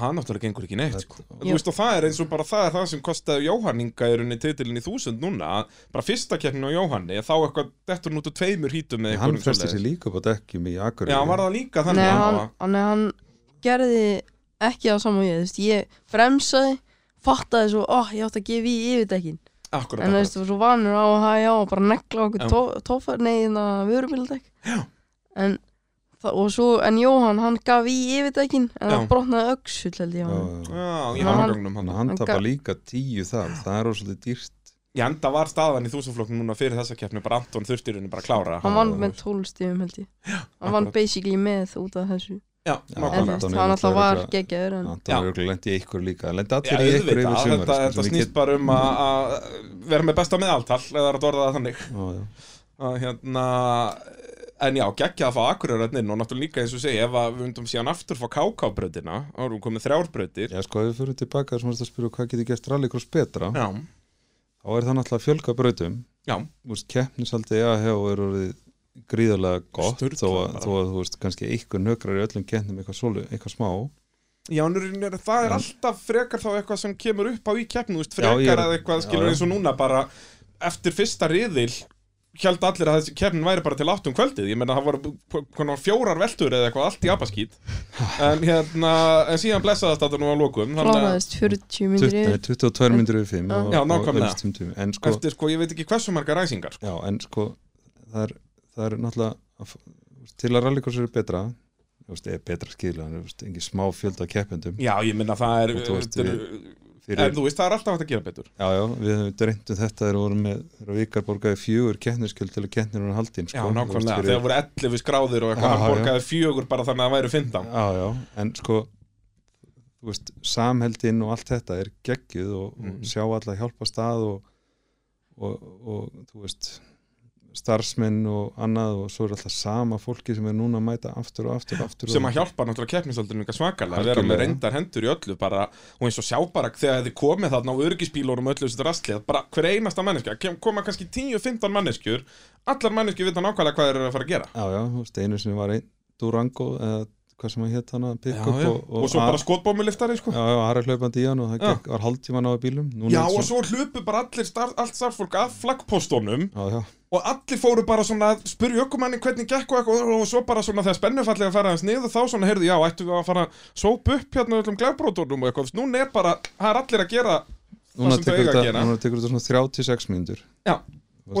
Speaker 1: Það náttúrulega gengur ekki neitt sko.
Speaker 3: Þetta-
Speaker 1: Þú veist, og það er eins og bara það er það sem kostaði Jóhanninga í rauninni titilin í þúsund núna að bara fyrsta keppnin á Jóhanni þá eitthvað dettur hann út úr tveimur hítum með
Speaker 3: hann frestir sér líka upp á dekkjum í Akoru
Speaker 1: Já, var það líka
Speaker 2: Nei,
Speaker 1: þannig
Speaker 2: hann,
Speaker 1: já.
Speaker 2: hann, hann gerði ekki á saman ég, þú veist, ég bremsaði, fattaði svo, ó, ég átti að gefa í yfirdekkin.
Speaker 1: Akkurat,
Speaker 2: En þú veist,
Speaker 1: akkurat.
Speaker 2: þú var svo vanur á að hæja á og bara negla okkur
Speaker 1: Já.
Speaker 2: tó- tófar, nei, þannig að vörubildekk. Já. En, það- og svo, en Jóhann, hann gaf í yfirdekkin, en
Speaker 1: Já.
Speaker 2: hann brotnaði öxull, held ég á hann.
Speaker 1: Já, í
Speaker 2: Hann-
Speaker 1: hangangnum hann
Speaker 3: Þannig að hann
Speaker 2: Hann
Speaker 3: tapar
Speaker 2: gaf-
Speaker 3: líka tíu þar, það er ósvöldi dýrt
Speaker 1: Ég enda var staðan í þúsundflokknum núna fyrir þessa keppni bara Anton þurfti í rauninni bara að klára
Speaker 2: Hann vann með 12 stífum, held ég. Hann vann
Speaker 1: akkurat.
Speaker 2: basically með út af þessu.
Speaker 1: Já,
Speaker 2: En
Speaker 1: nákvæmlega
Speaker 2: þú veist,
Speaker 3: Anton er
Speaker 2: hann alltaf var
Speaker 3: náttúrulega-
Speaker 2: geggjaður, en
Speaker 3: Anton
Speaker 1: Já.
Speaker 3: er auðvitað lendi í ykkur líka lendi
Speaker 1: Já,
Speaker 3: allir í ykkur
Speaker 1: auðvitað,
Speaker 3: yfir sumar
Speaker 1: þetta,
Speaker 3: sko,
Speaker 1: þetta
Speaker 3: sem við
Speaker 1: snýst bara um að að vera með besta meðaltal eða er að orða það þannig
Speaker 3: getum- Já, já.
Speaker 1: að hérna en já, geggja að fá akkurörðin og náttúrulega líka eins og segja ef að við undum síðan aftur fá kákábröðina þá erum við komið þrjárbröðir já.
Speaker 3: Já, sko, ef við fyrir tilbaka sem varst að spyrja hvað getur gert rallycross betra,
Speaker 1: Já,
Speaker 3: þá er það náttúrulega að fjölga brautum.
Speaker 1: já,
Speaker 3: Þú veist, keppnisaldi AHH er orðið gríðarlega gott,
Speaker 1: Sturlað
Speaker 3: þó að,
Speaker 1: bara.
Speaker 3: þó að þú veist, kannski einhver nökrar í öllum keppnum eitthvað sólu, eitthvað smá.
Speaker 1: já en í rauninni er, það er
Speaker 3: Já.
Speaker 1: alltaf frekar þá eitthvað sem kemur upp á í keppnu, þú veist,
Speaker 3: Já, ég er-
Speaker 1: frekar að eitthvað
Speaker 3: já,
Speaker 1: skilur
Speaker 3: já.
Speaker 1: eins og núna bara eftir fyrsta riðil held allir að þessi keppnin væri bara til átt um kvöldið ég meina það voru hv- konar fjórar veltur eða eitthvað allt í abaskýt en hérna, en síðan blessaðast þetta nú á lokum þannig að-
Speaker 2: kláraðist 40 myndir
Speaker 3: 20,
Speaker 2: yfir.
Speaker 3: 22 myndir yfir 5
Speaker 2: Já.
Speaker 3: og,
Speaker 1: Já,
Speaker 3: og
Speaker 1: nákvæmlega.
Speaker 3: öllstum tímum. En sko,
Speaker 1: eftir sko, ég veit ekki hversu margar ræsingar sko.
Speaker 3: já, en sko, það er, það er náttúrulega, að, f- þú veist, til að rallycross eru betra, þú veist, er betra skilja, þú veist, engin smá fjölda af keppendum.
Speaker 1: já, ég meina það er,
Speaker 3: Og þú veist,
Speaker 1: þetta er en
Speaker 3: Fyrir,
Speaker 1: þú veist, það er alltaf hægt að gera betur
Speaker 3: já, já, við höfum dreymtum þetta þegar við vorum með, þegar Vikar borgaði fjögur keppniskjöld til að keppnir hún haldin, sko.
Speaker 1: Já,
Speaker 3: Þú veist,
Speaker 1: nákvæmlega,
Speaker 3: fyrir-
Speaker 1: þegar voru 11 skráðir og eitthvað,
Speaker 3: Já,
Speaker 1: hann
Speaker 3: já.
Speaker 1: borgaði fjögur bara þannig að það væri 15
Speaker 3: Já, já, en sko þú veist, samheldin og allt þetta er geggjuð og,
Speaker 1: Mhm.
Speaker 3: og sjá alla hjálpa stað og, og, og þú veist starfsmenn og annað og svo er alltaf sama fólki sem er núna að mæta aftur og aftur og aftur
Speaker 1: sem
Speaker 3: og
Speaker 1: að hjálpa náttúrulega keppnisaldurinn eitthvað svakalega, að vera með
Speaker 3: Algjörlega.
Speaker 1: reyndar hendur í öllu bara, og eins og sjá bara þegar þið komið þarna á örgisbílunum öllu þessu drastli að bara hver einasta manneskja, kem- koma kannski 10-15 manneskjur, allar manneskjur vita nákvæmlega hvað þeir eru að fara að gera
Speaker 3: Já, já, þú veist, einu sem var einn Durango eða hvað sem að hétt hana
Speaker 1: Já,
Speaker 3: pick-up
Speaker 1: já.
Speaker 3: og,
Speaker 1: og svo bara skotbómuliftari sko.
Speaker 3: Já, já, Ari hlaupandi í hann og það
Speaker 1: Já.
Speaker 3: gekk, var hálftíma náðu bílum núna
Speaker 1: Já,
Speaker 3: er
Speaker 1: og
Speaker 3: svo-
Speaker 1: svo hlupu bara allir starf, allt starffólk af flaggpóstónum
Speaker 3: Já, já,
Speaker 1: og allir fóru bara svona að spurja ökumanni hvernig gekk og eitthvað og svo bara svona þegar spennufallega fara hans niður þá svona heyrðu já, ættu við að fara að sópa upp hérna öllum glæbrótunum og eitthvað Þú veist, núna er bara, það er allir að gera það sem
Speaker 3: núna
Speaker 1: þau
Speaker 3: tekur
Speaker 1: eiga að
Speaker 3: þetta
Speaker 1: gera
Speaker 3: núna tekur þetta svona 36 mínútur
Speaker 1: Já,
Speaker 3: Þú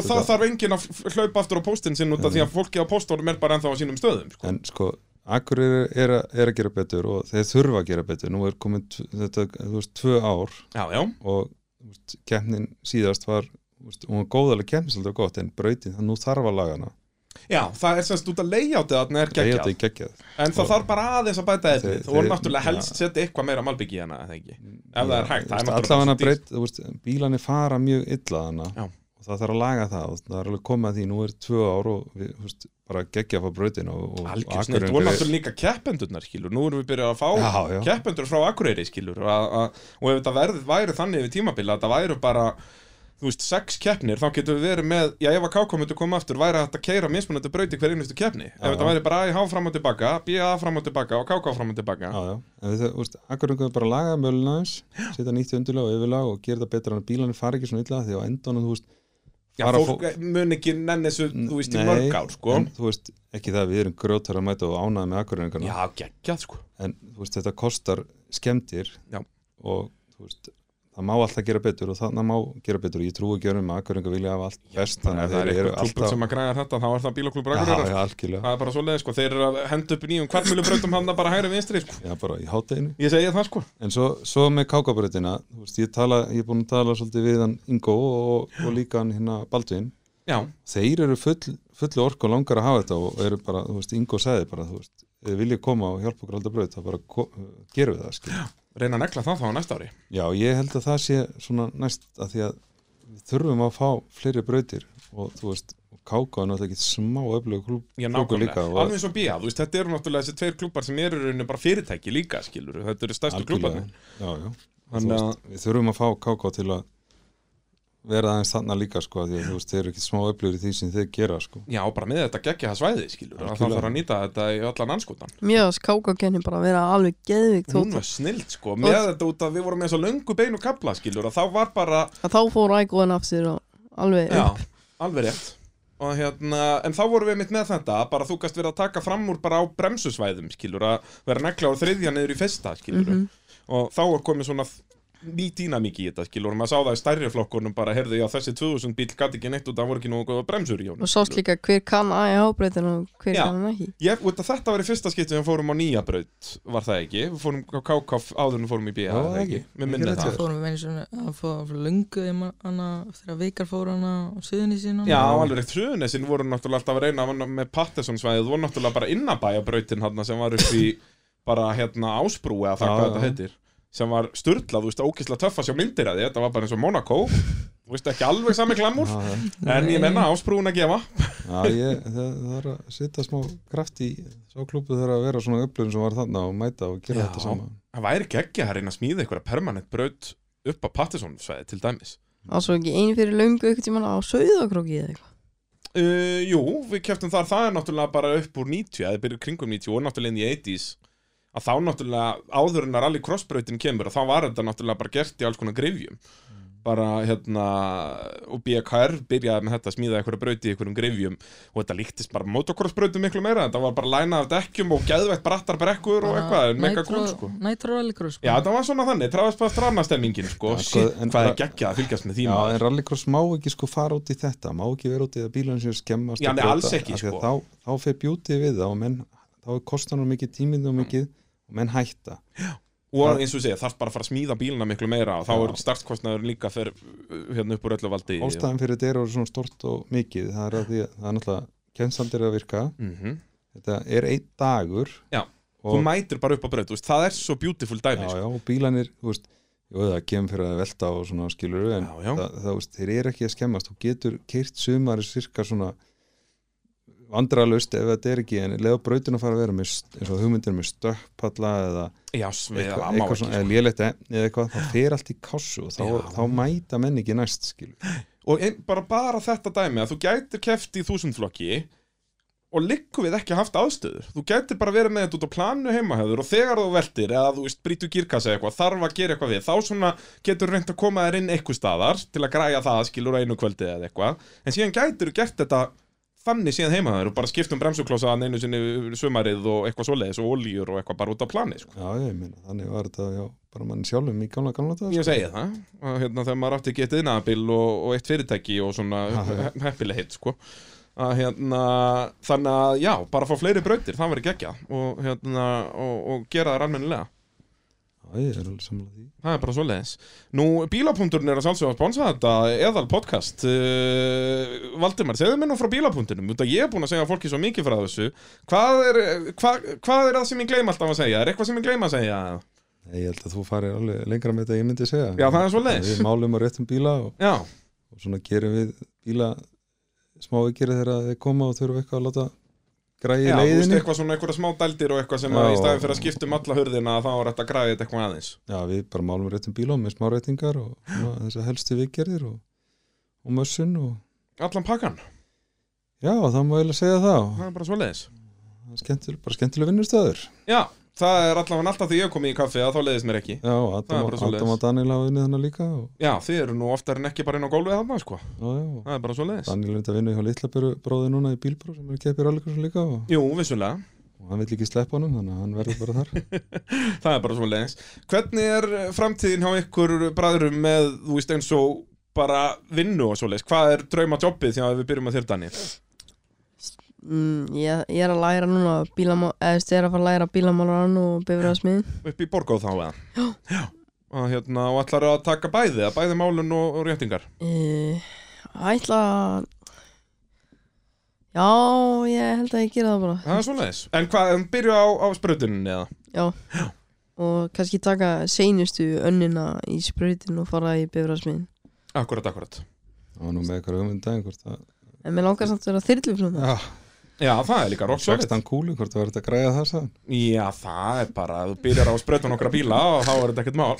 Speaker 1: og
Speaker 3: veist,
Speaker 1: þá
Speaker 3: þetta-
Speaker 1: þarf enginn að f- hlaupa aftur á póstinn sinn út af því að fólkið á póstónum er bara ennþá á sínum stöðum sko.
Speaker 3: en sko, akkur er, er, að- er að gera betur og þeir þurfa að gera betur nú er komin t- þetta, þú veist, tvö ár
Speaker 1: Já, já,
Speaker 3: og þú veist, keppnin síðast var þú veist, hún var góðalega keppnisaldur gott en brautin, þannig nú þarf að laga hana
Speaker 1: já, það er semst út að layoutið þarna er
Speaker 3: Layoutið
Speaker 1: geggjað
Speaker 3: er geggjað
Speaker 1: En það
Speaker 3: Og-
Speaker 1: þarf bara aðeins að bæta efnið
Speaker 3: Þeir-
Speaker 1: og
Speaker 3: þeir-
Speaker 1: náttúrulega helst setja eitthvað meira malbyggi hana, eða ekki Ef það er hægt, það er náttúrulega
Speaker 3: allaf hana
Speaker 1: svo dýrt.
Speaker 3: breyt, þú veist, bílan er fara mjög illa hana
Speaker 1: Já.
Speaker 3: og það þarf að laga það og það er alveg komið að því, nú er tvö ár og við, þú veist, bara geggjað fá brautin og, og
Speaker 1: Algjör
Speaker 3: Sko, Akureyri
Speaker 1: snett, og náttúrulega líka keppendurnar skilur, nú erum við byrjað að fá
Speaker 3: Já, já.
Speaker 1: keppendur frá Akureyri skilur og, að- að- og ef þetta verð, væri þannig yfir tímabila að það væri bara, þú veist, sex keppnir þá getum við verið með, já ef að kákomundu koma aftur væri þetta að keira mismunandi brauti hver einustu keppni ef
Speaker 3: Já,
Speaker 1: þetta
Speaker 3: já.
Speaker 1: væri bara AIH fram og tilbaka, BA fram og tilbaka og KK fram og tilbaka
Speaker 3: Já, já, en við þau, úrst, akkur einhvern bara laga mölun aðeins, setja nýtt undirlag og yfirlag og gera það betra en bílanir fara ekki svona illa því á endanum, þú veist,
Speaker 1: Já,
Speaker 3: fara
Speaker 1: fólk mun ekki nenni þessu, þú veist, í
Speaker 3: Nei,
Speaker 1: mörg ár sko.
Speaker 3: en, þú veist, ekki það, við erum grjótar að mæta og ánæða með akkur
Speaker 1: Já, geggjað sko
Speaker 3: en þú veist, þetta kostar skemmtir
Speaker 1: Já.
Speaker 3: og þú veist, það má alltaf gera betur og þannig má gera betur og ég trúi ekki örum að akkur vilja hafa allt best,
Speaker 1: Þannig að það er eitthvað klubur sem að græða þetta, þá er það bílaklubur
Speaker 3: Já,
Speaker 1: Akureyrar
Speaker 3: já,
Speaker 1: sko.
Speaker 3: algjörlega,
Speaker 1: Það er bara svoleiðis sko, þeir eru að henda upp nýjum kvartmjölubrautum hann bara hægri vinstri sko.
Speaker 3: já, bara í hátteginu
Speaker 1: Ég segi það sko
Speaker 3: En svo, svo með kákabröðina, þú veist, ég, tala, ég er búin að tala svolítið við hann Ingo og, og líka hann hérna Baldvin.
Speaker 1: Já,
Speaker 3: Þeir eru full, fullu orku og langar að hafa þetta og eru bara, þú veist, Ingo sagði bara, þú veist, eh, viljið koma og hjálpa okkur að halda braut þá bara ko- gerum við það skil.
Speaker 1: reyna að negla það þá á næsta ári
Speaker 3: Já, ég held að það sé svona næst að því að við þurfum að fá fleiri brautir og þú veist, og Káka er náttúrulega ekki smá öflögu klúb,
Speaker 1: Já,
Speaker 3: klúbur
Speaker 1: nákvæmlega,
Speaker 3: líka og
Speaker 1: alveg eins og bíja, þú veist, þetta eru náttúrulega þessi tveir klubbar sem eru í rauninni bara fyrirtæki líka, skilur þetta eru stærstu klubbarnir
Speaker 3: Já, já,
Speaker 1: Þannig
Speaker 3: Þannig að við þurfum að fá Káka til að vera aðeins þarna líka sko, því að þú veist, þeir eru ekki smá öflugur í því sem þeir gera sko.
Speaker 1: Já, bara með þetta geggja það svæði, skilur að það
Speaker 3: Algjörlega.
Speaker 1: þarf að nýta þetta í allan anskotan
Speaker 2: Mér að skáka kenni bara að vera alveg geðvikt
Speaker 1: Hún
Speaker 2: tótt
Speaker 1: var snild, sko, með
Speaker 2: Og-
Speaker 1: þetta út að við vorum með svo löngu beinu kapla, skilur að þá var bara,
Speaker 2: að þá fór ægóðan af sér og alveg
Speaker 1: já,
Speaker 2: upp.
Speaker 1: alveg rétt og hérna, en þá vorum við mitt með þetta að bara þú gast verið að taka fram úr bara á bremsusvæðum, skilur, að vera negla á þriðja niður í fyrsta, skilur
Speaker 2: Mhm.
Speaker 1: og þá er komið svona ný dýnamík í þetta, skilur, og maður sá það í stærri flokkunum bara, heyrðu, já, þessi 2000 bíl gæti ekki neitt út, það voru ekki nú góða bremsur í honum
Speaker 2: og sást
Speaker 1: skilurðu.
Speaker 2: líka hver kann AIH-breytin og hver
Speaker 1: Já.
Speaker 2: kann hann ekki
Speaker 1: Ég, út af þetta var í fyrsta skipti sem við fórum á nýja braut, var það ekki? Við fórum á KK áður en við fórum í BH,
Speaker 3: Já,
Speaker 1: var það
Speaker 3: ekki.
Speaker 1: ekki? Mér
Speaker 3: Ekki
Speaker 1: minni
Speaker 3: rétt
Speaker 1: það.
Speaker 3: hjá
Speaker 4: fórum við einu svona að fóra lungu þegar veikar fór hana á suðunni sína
Speaker 1: Já, alveg rétt suðunessin voru náttúrulega alltaf að reyna að vanna- með Patterson svæðið, voru náttúrulega bara innabæja brautin hann sem var upp í bara hérna ásbrú eða það
Speaker 3: Já,
Speaker 1: hvað
Speaker 3: já.
Speaker 1: þetta heitir sem var sturlað, þú veist, ókislega töff að sjá myndir að því, þetta var bara eins og Monaco þú veist ekki alveg sami glammur,
Speaker 3: Já, já.
Speaker 1: en ég menna ásbrúin að gefa
Speaker 3: Já, ég, það, það er að setja smá kraft í svo klúbu þegar að vera svona öflun sem var þarna og mæta og gera
Speaker 1: Já.
Speaker 3: þetta saman
Speaker 1: Það væri geggja að reyna að smíða einhverja permanent braut upp á Patterson svæði til dæmis
Speaker 2: og svo ekki einu fyrir löngu ykkur tíma á Sauðakróki eða eitthvað
Speaker 1: uh, Jú, við keftum þar, það er náttúrulega bara upp úr 90, eða byrjur kringum 90 og náttúrulega inn í 80s að þá náttúrulega áður en að rally crossbrautin kemur og þá var þetta náttúrulega bara gert í alls konar grifjum bara hérna og BKR byrjaði með þetta að smíða einhverja braut í einhverjum grifjum og þetta líktist bara motocrossbrautum miklu meira, þetta var bara læna af dekkjum og geðvægt brattar brekkur og eitthvað, en mega gúl sko
Speaker 4: Nætró Allegro sko
Speaker 1: Já, þetta var svona þannig, tráðast bara strannastemmingin sko,
Speaker 3: Já,
Speaker 1: ja,
Speaker 3: sko,
Speaker 1: shit,
Speaker 3: en
Speaker 1: hvað er
Speaker 3: það-
Speaker 1: geggjað að fylgjast með því
Speaker 3: Já,
Speaker 1: maður.
Speaker 3: en rallycross má ekki sko fara út í þetta má ekki vera út í það bílan sem skemmast
Speaker 1: Já,
Speaker 3: og
Speaker 1: nei,
Speaker 3: brjóta,
Speaker 1: alls ekki,
Speaker 3: af því að
Speaker 1: sko.
Speaker 3: þá, þá fer bjúti við það og menn, þá er kostan og mikið tíminn og mikið og menn hætta
Speaker 1: og eins og ég segja, þarf bara að fara að smíða bílina miklu meira og þá
Speaker 3: Já.
Speaker 1: er startkostnaður líka fyrir uh, hérna upp úr öllu valdi
Speaker 3: Ástæðan fyrir þetta er svona stort og mikið það er að því að það er náttúrulega kennsaldir að virka
Speaker 1: mm
Speaker 3: þetta er einn dagur
Speaker 1: Já,
Speaker 3: og,
Speaker 1: þú mætir bara upp á braut, þú veist, það er svo beautiful dæmi
Speaker 3: já,
Speaker 1: sko.
Speaker 3: já, og bílanir, þú veist Jó, það kemur fyrir að velta og svona skilur en
Speaker 1: Já, já.
Speaker 3: Það, það, veist, þeir eru ekki að skemmast þú getur keirt sumari sirka svona vandralust ef þetta er ekki en leða brautin að fara að vera með st- eins og hugmyndir með stökkpalla eða
Speaker 1: já, sveiða, það
Speaker 3: eitthvað,
Speaker 1: má
Speaker 3: eitthvað
Speaker 1: ekki
Speaker 3: svona,
Speaker 1: sko.
Speaker 3: eða lélegt efni eða eitthvað, þá fer allt í kassu og þá,
Speaker 1: Já.
Speaker 3: þá mæta menn ekki næst skilur.
Speaker 1: og ein, bara, bara þetta dæmi að þú gætir keft í þúsundflokki og liggum við ekki haft aðstöður þú gætir bara verið með þetta út á planu heimahöður og þegar þú veltir eða þú veist brýtu gírkassa eitthvað þarf að gera eitthvað við þá svona getur reynt að koma þér inn eitthvað staðar til að græja það skilur á einu kvöldi eða eitthvað en síðan gætir þú gert þetta þannig síðan heimahöður og bara skiptum bremsuklosaðan einu sinni yfir sumarið og eitthvað svoleiðis og olíur og eitthvað bara út á plani sko.
Speaker 3: Já, ég meina, þannig var þetta já, bara mann sjálfum í gamla sko. gamla dag
Speaker 1: ég segi það og, hérna, þegar maður átti getið innabil og, og eitt fyrirtæki og svona
Speaker 3: já.
Speaker 1: heppileg hitt sko. að hérna þannig að já, bara fá fleiri brautir það verður geggja og, hérna, og, og gera það almennilega
Speaker 3: Já, ég er alveg samlega því.
Speaker 1: Það er bara svo leiðis. Nú, bílapunkturinn er að sjálfsögum að sponsa þetta, eðal podcast. Uh, Valdimar, segðu mér nú frá bílapunktinum, út að ég er búin að segja fólki svo mikið frá þessu. Hvað er, eh, hva, hvað er það sem ég gleym alltaf að segja? Er eitthvað sem ég gleym að segja?
Speaker 3: Nei, Ég held að þú farir alveg lengra með þetta en ég myndi segja.
Speaker 1: Já, það er svo
Speaker 3: Þannig að
Speaker 1: leiðis.
Speaker 3: Við málum á réttum bíla og,
Speaker 1: Já,
Speaker 3: og svona gerum við bíla smáveikir þegar þeir koma og þurfum eitthvað að láta græði
Speaker 1: já
Speaker 3: í
Speaker 1: þú veist,
Speaker 3: leiðinni.
Speaker 1: eitthvað svona, eitthvað smá dældir og eitthvað sem
Speaker 3: Já.
Speaker 1: að í staðin fyrir að skipta um alla hurðina þá er þetta að græða þetta eitthvað aðeins.
Speaker 3: Já, við bara málum á réttum bíla með smáreitingar og svona, þess helstu viðgerðir og, og mössun og
Speaker 1: Allan pakkan,
Speaker 3: já, það má eiginlega segja það. og
Speaker 1: það er bara svo leiðis.
Speaker 3: það er skemmtileg, bara skemmtileg vinnustöður.
Speaker 1: Já, það er allavega alltaf því ég kom í kaffi að þá leiðist mér ekki.
Speaker 3: Já,
Speaker 1: Það er
Speaker 3: Adam,
Speaker 1: bara svoleiðis.
Speaker 3: Adam og Daniel hafa unnið hana líka og,
Speaker 1: Já, þið eru nú oftar en ekki bara inn á gólfið þarna, sko.
Speaker 3: já, já, og
Speaker 1: Það er bara svo
Speaker 3: Daniel er þetta að vinna hjá Litlabjöru bróði núna í bílbró sem er keppir alveg líka og,
Speaker 1: Jú, vissulega.
Speaker 3: og hann vill ekki sleppa honum þannig að hann verður bara þar.
Speaker 1: Það er bara svona leiðins. Hvernig er framtíðin hjá ykkur bræðurum með, þú veist, eins og bara vinnu og svo leiðis? Hvað er drauma jobbið því að við byrjum að þér, Dani?
Speaker 2: mm, ég, ég er að læra núna bílamál, eða þú veist, ég er að fara að læra bílamálaran og bifræðarsmiðin
Speaker 1: Upp í Borgóð þá, eða? Já. Og, hérna, og ætlar að taka bæði, að
Speaker 2: Eh,
Speaker 1: bæði málun og, og réttingar?
Speaker 2: uh, ætla að- Já, ég held að ég gera það bara
Speaker 1: Það er svoleiðis En hvað, um, byrju á, á sprautuninni eða?
Speaker 2: og kannski taka seinustu önnina í sprautin og fara í bifræðsmiðin
Speaker 1: Akkurat, akkurat
Speaker 3: Það var nú með eitthvað umvendaginn hvort það
Speaker 2: en mér langar samt að vera þyrluflum það
Speaker 3: Já,
Speaker 1: Já, það er líka rock solid
Speaker 3: 16 kúlu, hvort það var þetta að græja það sann
Speaker 1: Já, það er bara, þú byrjar á sprautun okkar bíla og þá er þetta ekkert mál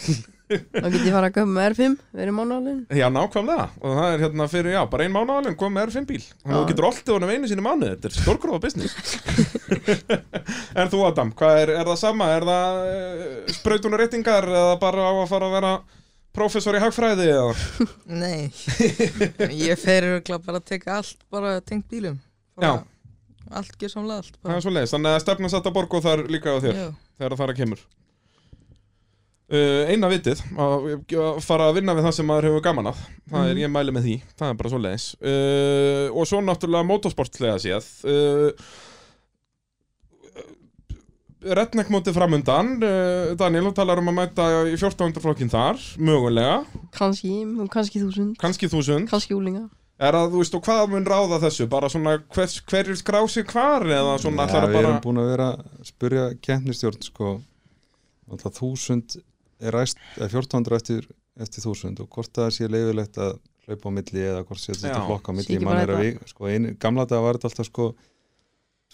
Speaker 2: þá get ég fara að köpa með R5, verið mánuðalinn
Speaker 1: Já, nákvæmlega Og það er hérna fyrir, já, bara ein mánuðalinn kom með R5 bíl Og þú
Speaker 2: Já.
Speaker 1: getur alltaf honum einu sinni í mánuði Þetta er stórgróða business En þú Adam, hvað er, er það sama? Er það uh, sprautunarreitingar eða bara á að fara að vera Professor í hagfræði eða
Speaker 4: Nei, ég fer örugglega bara að teka allt bara tengt bílum bara, Allt gjörsamlega allt
Speaker 1: það
Speaker 4: bara.
Speaker 1: er svo leiðis Þannig að stefnum satt að borgu þar líka á þér
Speaker 4: Já,
Speaker 1: þegar það kemur uh, eina vitið að, að fara að vinna við það sem maður hefur gaman að það
Speaker 3: Mhm.
Speaker 1: er ég mæli með því, það er bara svo leiðis uh, og svo náttúrulega motorsportlega séð uh, Redneck mótið framundan uh, Daniel, þú talar um að mæta í 1400 flokkin þar, mögulega
Speaker 2: kannski, kannski þúsund
Speaker 1: kannski 1000,
Speaker 2: kannski úlinga
Speaker 1: er að þú veist og hvað mun ráða þessu, bara svona hvers, hverjir skrá sig hvar eða svona
Speaker 3: Já,
Speaker 1: ætlarðu
Speaker 3: við
Speaker 1: bara...
Speaker 3: erum búin að vera að spurja keppnistjórn sko, alltaf þúsund er ræst, eða 1400 eftir, eftir þúsund og hvort það sé leifilegt að hlaupa á milli eða hvort sé þetta
Speaker 1: Já.
Speaker 3: flokka á
Speaker 2: Sé ekki
Speaker 3: milli Ég man
Speaker 2: bara
Speaker 3: er að við, sko, ein, gamla dag var þetta alltaf sko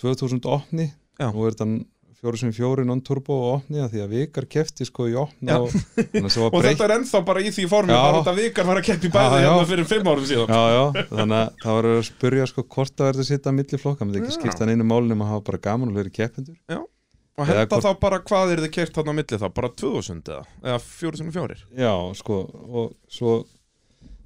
Speaker 3: 2000 opni
Speaker 1: Já.
Speaker 3: nú er þetta 404 non-turbo og opni að því að vikar kefti sko í opni
Speaker 1: Já.
Speaker 3: og, þannig að svo var
Speaker 1: og
Speaker 3: breytt
Speaker 1: þetta er ennþá bara í því formi
Speaker 3: Já.
Speaker 1: bara þetta vikar var að keppi bæði
Speaker 3: Já, já.
Speaker 1: hérna fyrir fimm árum síðan
Speaker 3: Já, já, þannig að það var að spurja sko hvort það verður að sitja að milli flokka, maður ekki
Speaker 1: Já.
Speaker 3: skipta hann einu málunum að hafa bara gaman og hljóri keppendur
Speaker 1: og henda
Speaker 3: Eða hvort-
Speaker 1: þá bara hvað er þið kert þarna á milli það bara 2000 eða, eða 4004
Speaker 3: Já, sko, og svo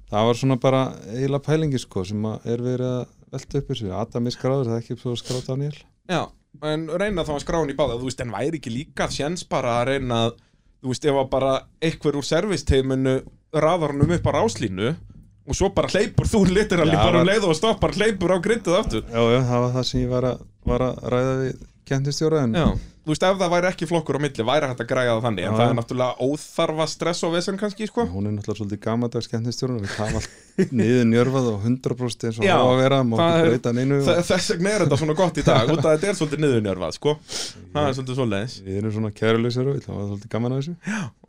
Speaker 3: það var svona bara eiginlega pælingi, sko, sem að er verið að velta upp þessu, Adam er skráður, það er ekki svo skráð Daniel.
Speaker 1: já, en reyna þá að skrá hann í báða þú veist, en væri ekki líka sjens bara að reyna að, þú veist, ef að bara einhver úr servisteiminu raðar hann um upp á ráslínu og svo bara hleypur þú litiralli
Speaker 3: Já,
Speaker 1: bara um
Speaker 3: var-
Speaker 1: leið og stoppar hleypur á grindið aftur
Speaker 3: Já, já, það var það sem ég var að, var að ræða við kemdistjóra, en
Speaker 1: já, þú veist, ef það væri ekki flokkur á milli væri hægt að græja það þannig, en
Speaker 3: Já,
Speaker 1: það
Speaker 3: já.
Speaker 1: er náttúrulega óþarfa stress og vesen kannski, sko
Speaker 3: hún er náttúrulega svolítið gamadags kemdistjóra, við það var allt niður njörfað og 100% eins og
Speaker 1: Já,
Speaker 3: það var að vera, má
Speaker 1: það er-
Speaker 3: ekki breyta neinu
Speaker 1: Þa-
Speaker 3: og
Speaker 1: Þess vegna er þetta svona gott í dag út að þetta er svolítið niðurnjörfað sko Það er svolítið svoleiðis
Speaker 3: við erum svona kæruleysir og það var svolítið gaman að þessu.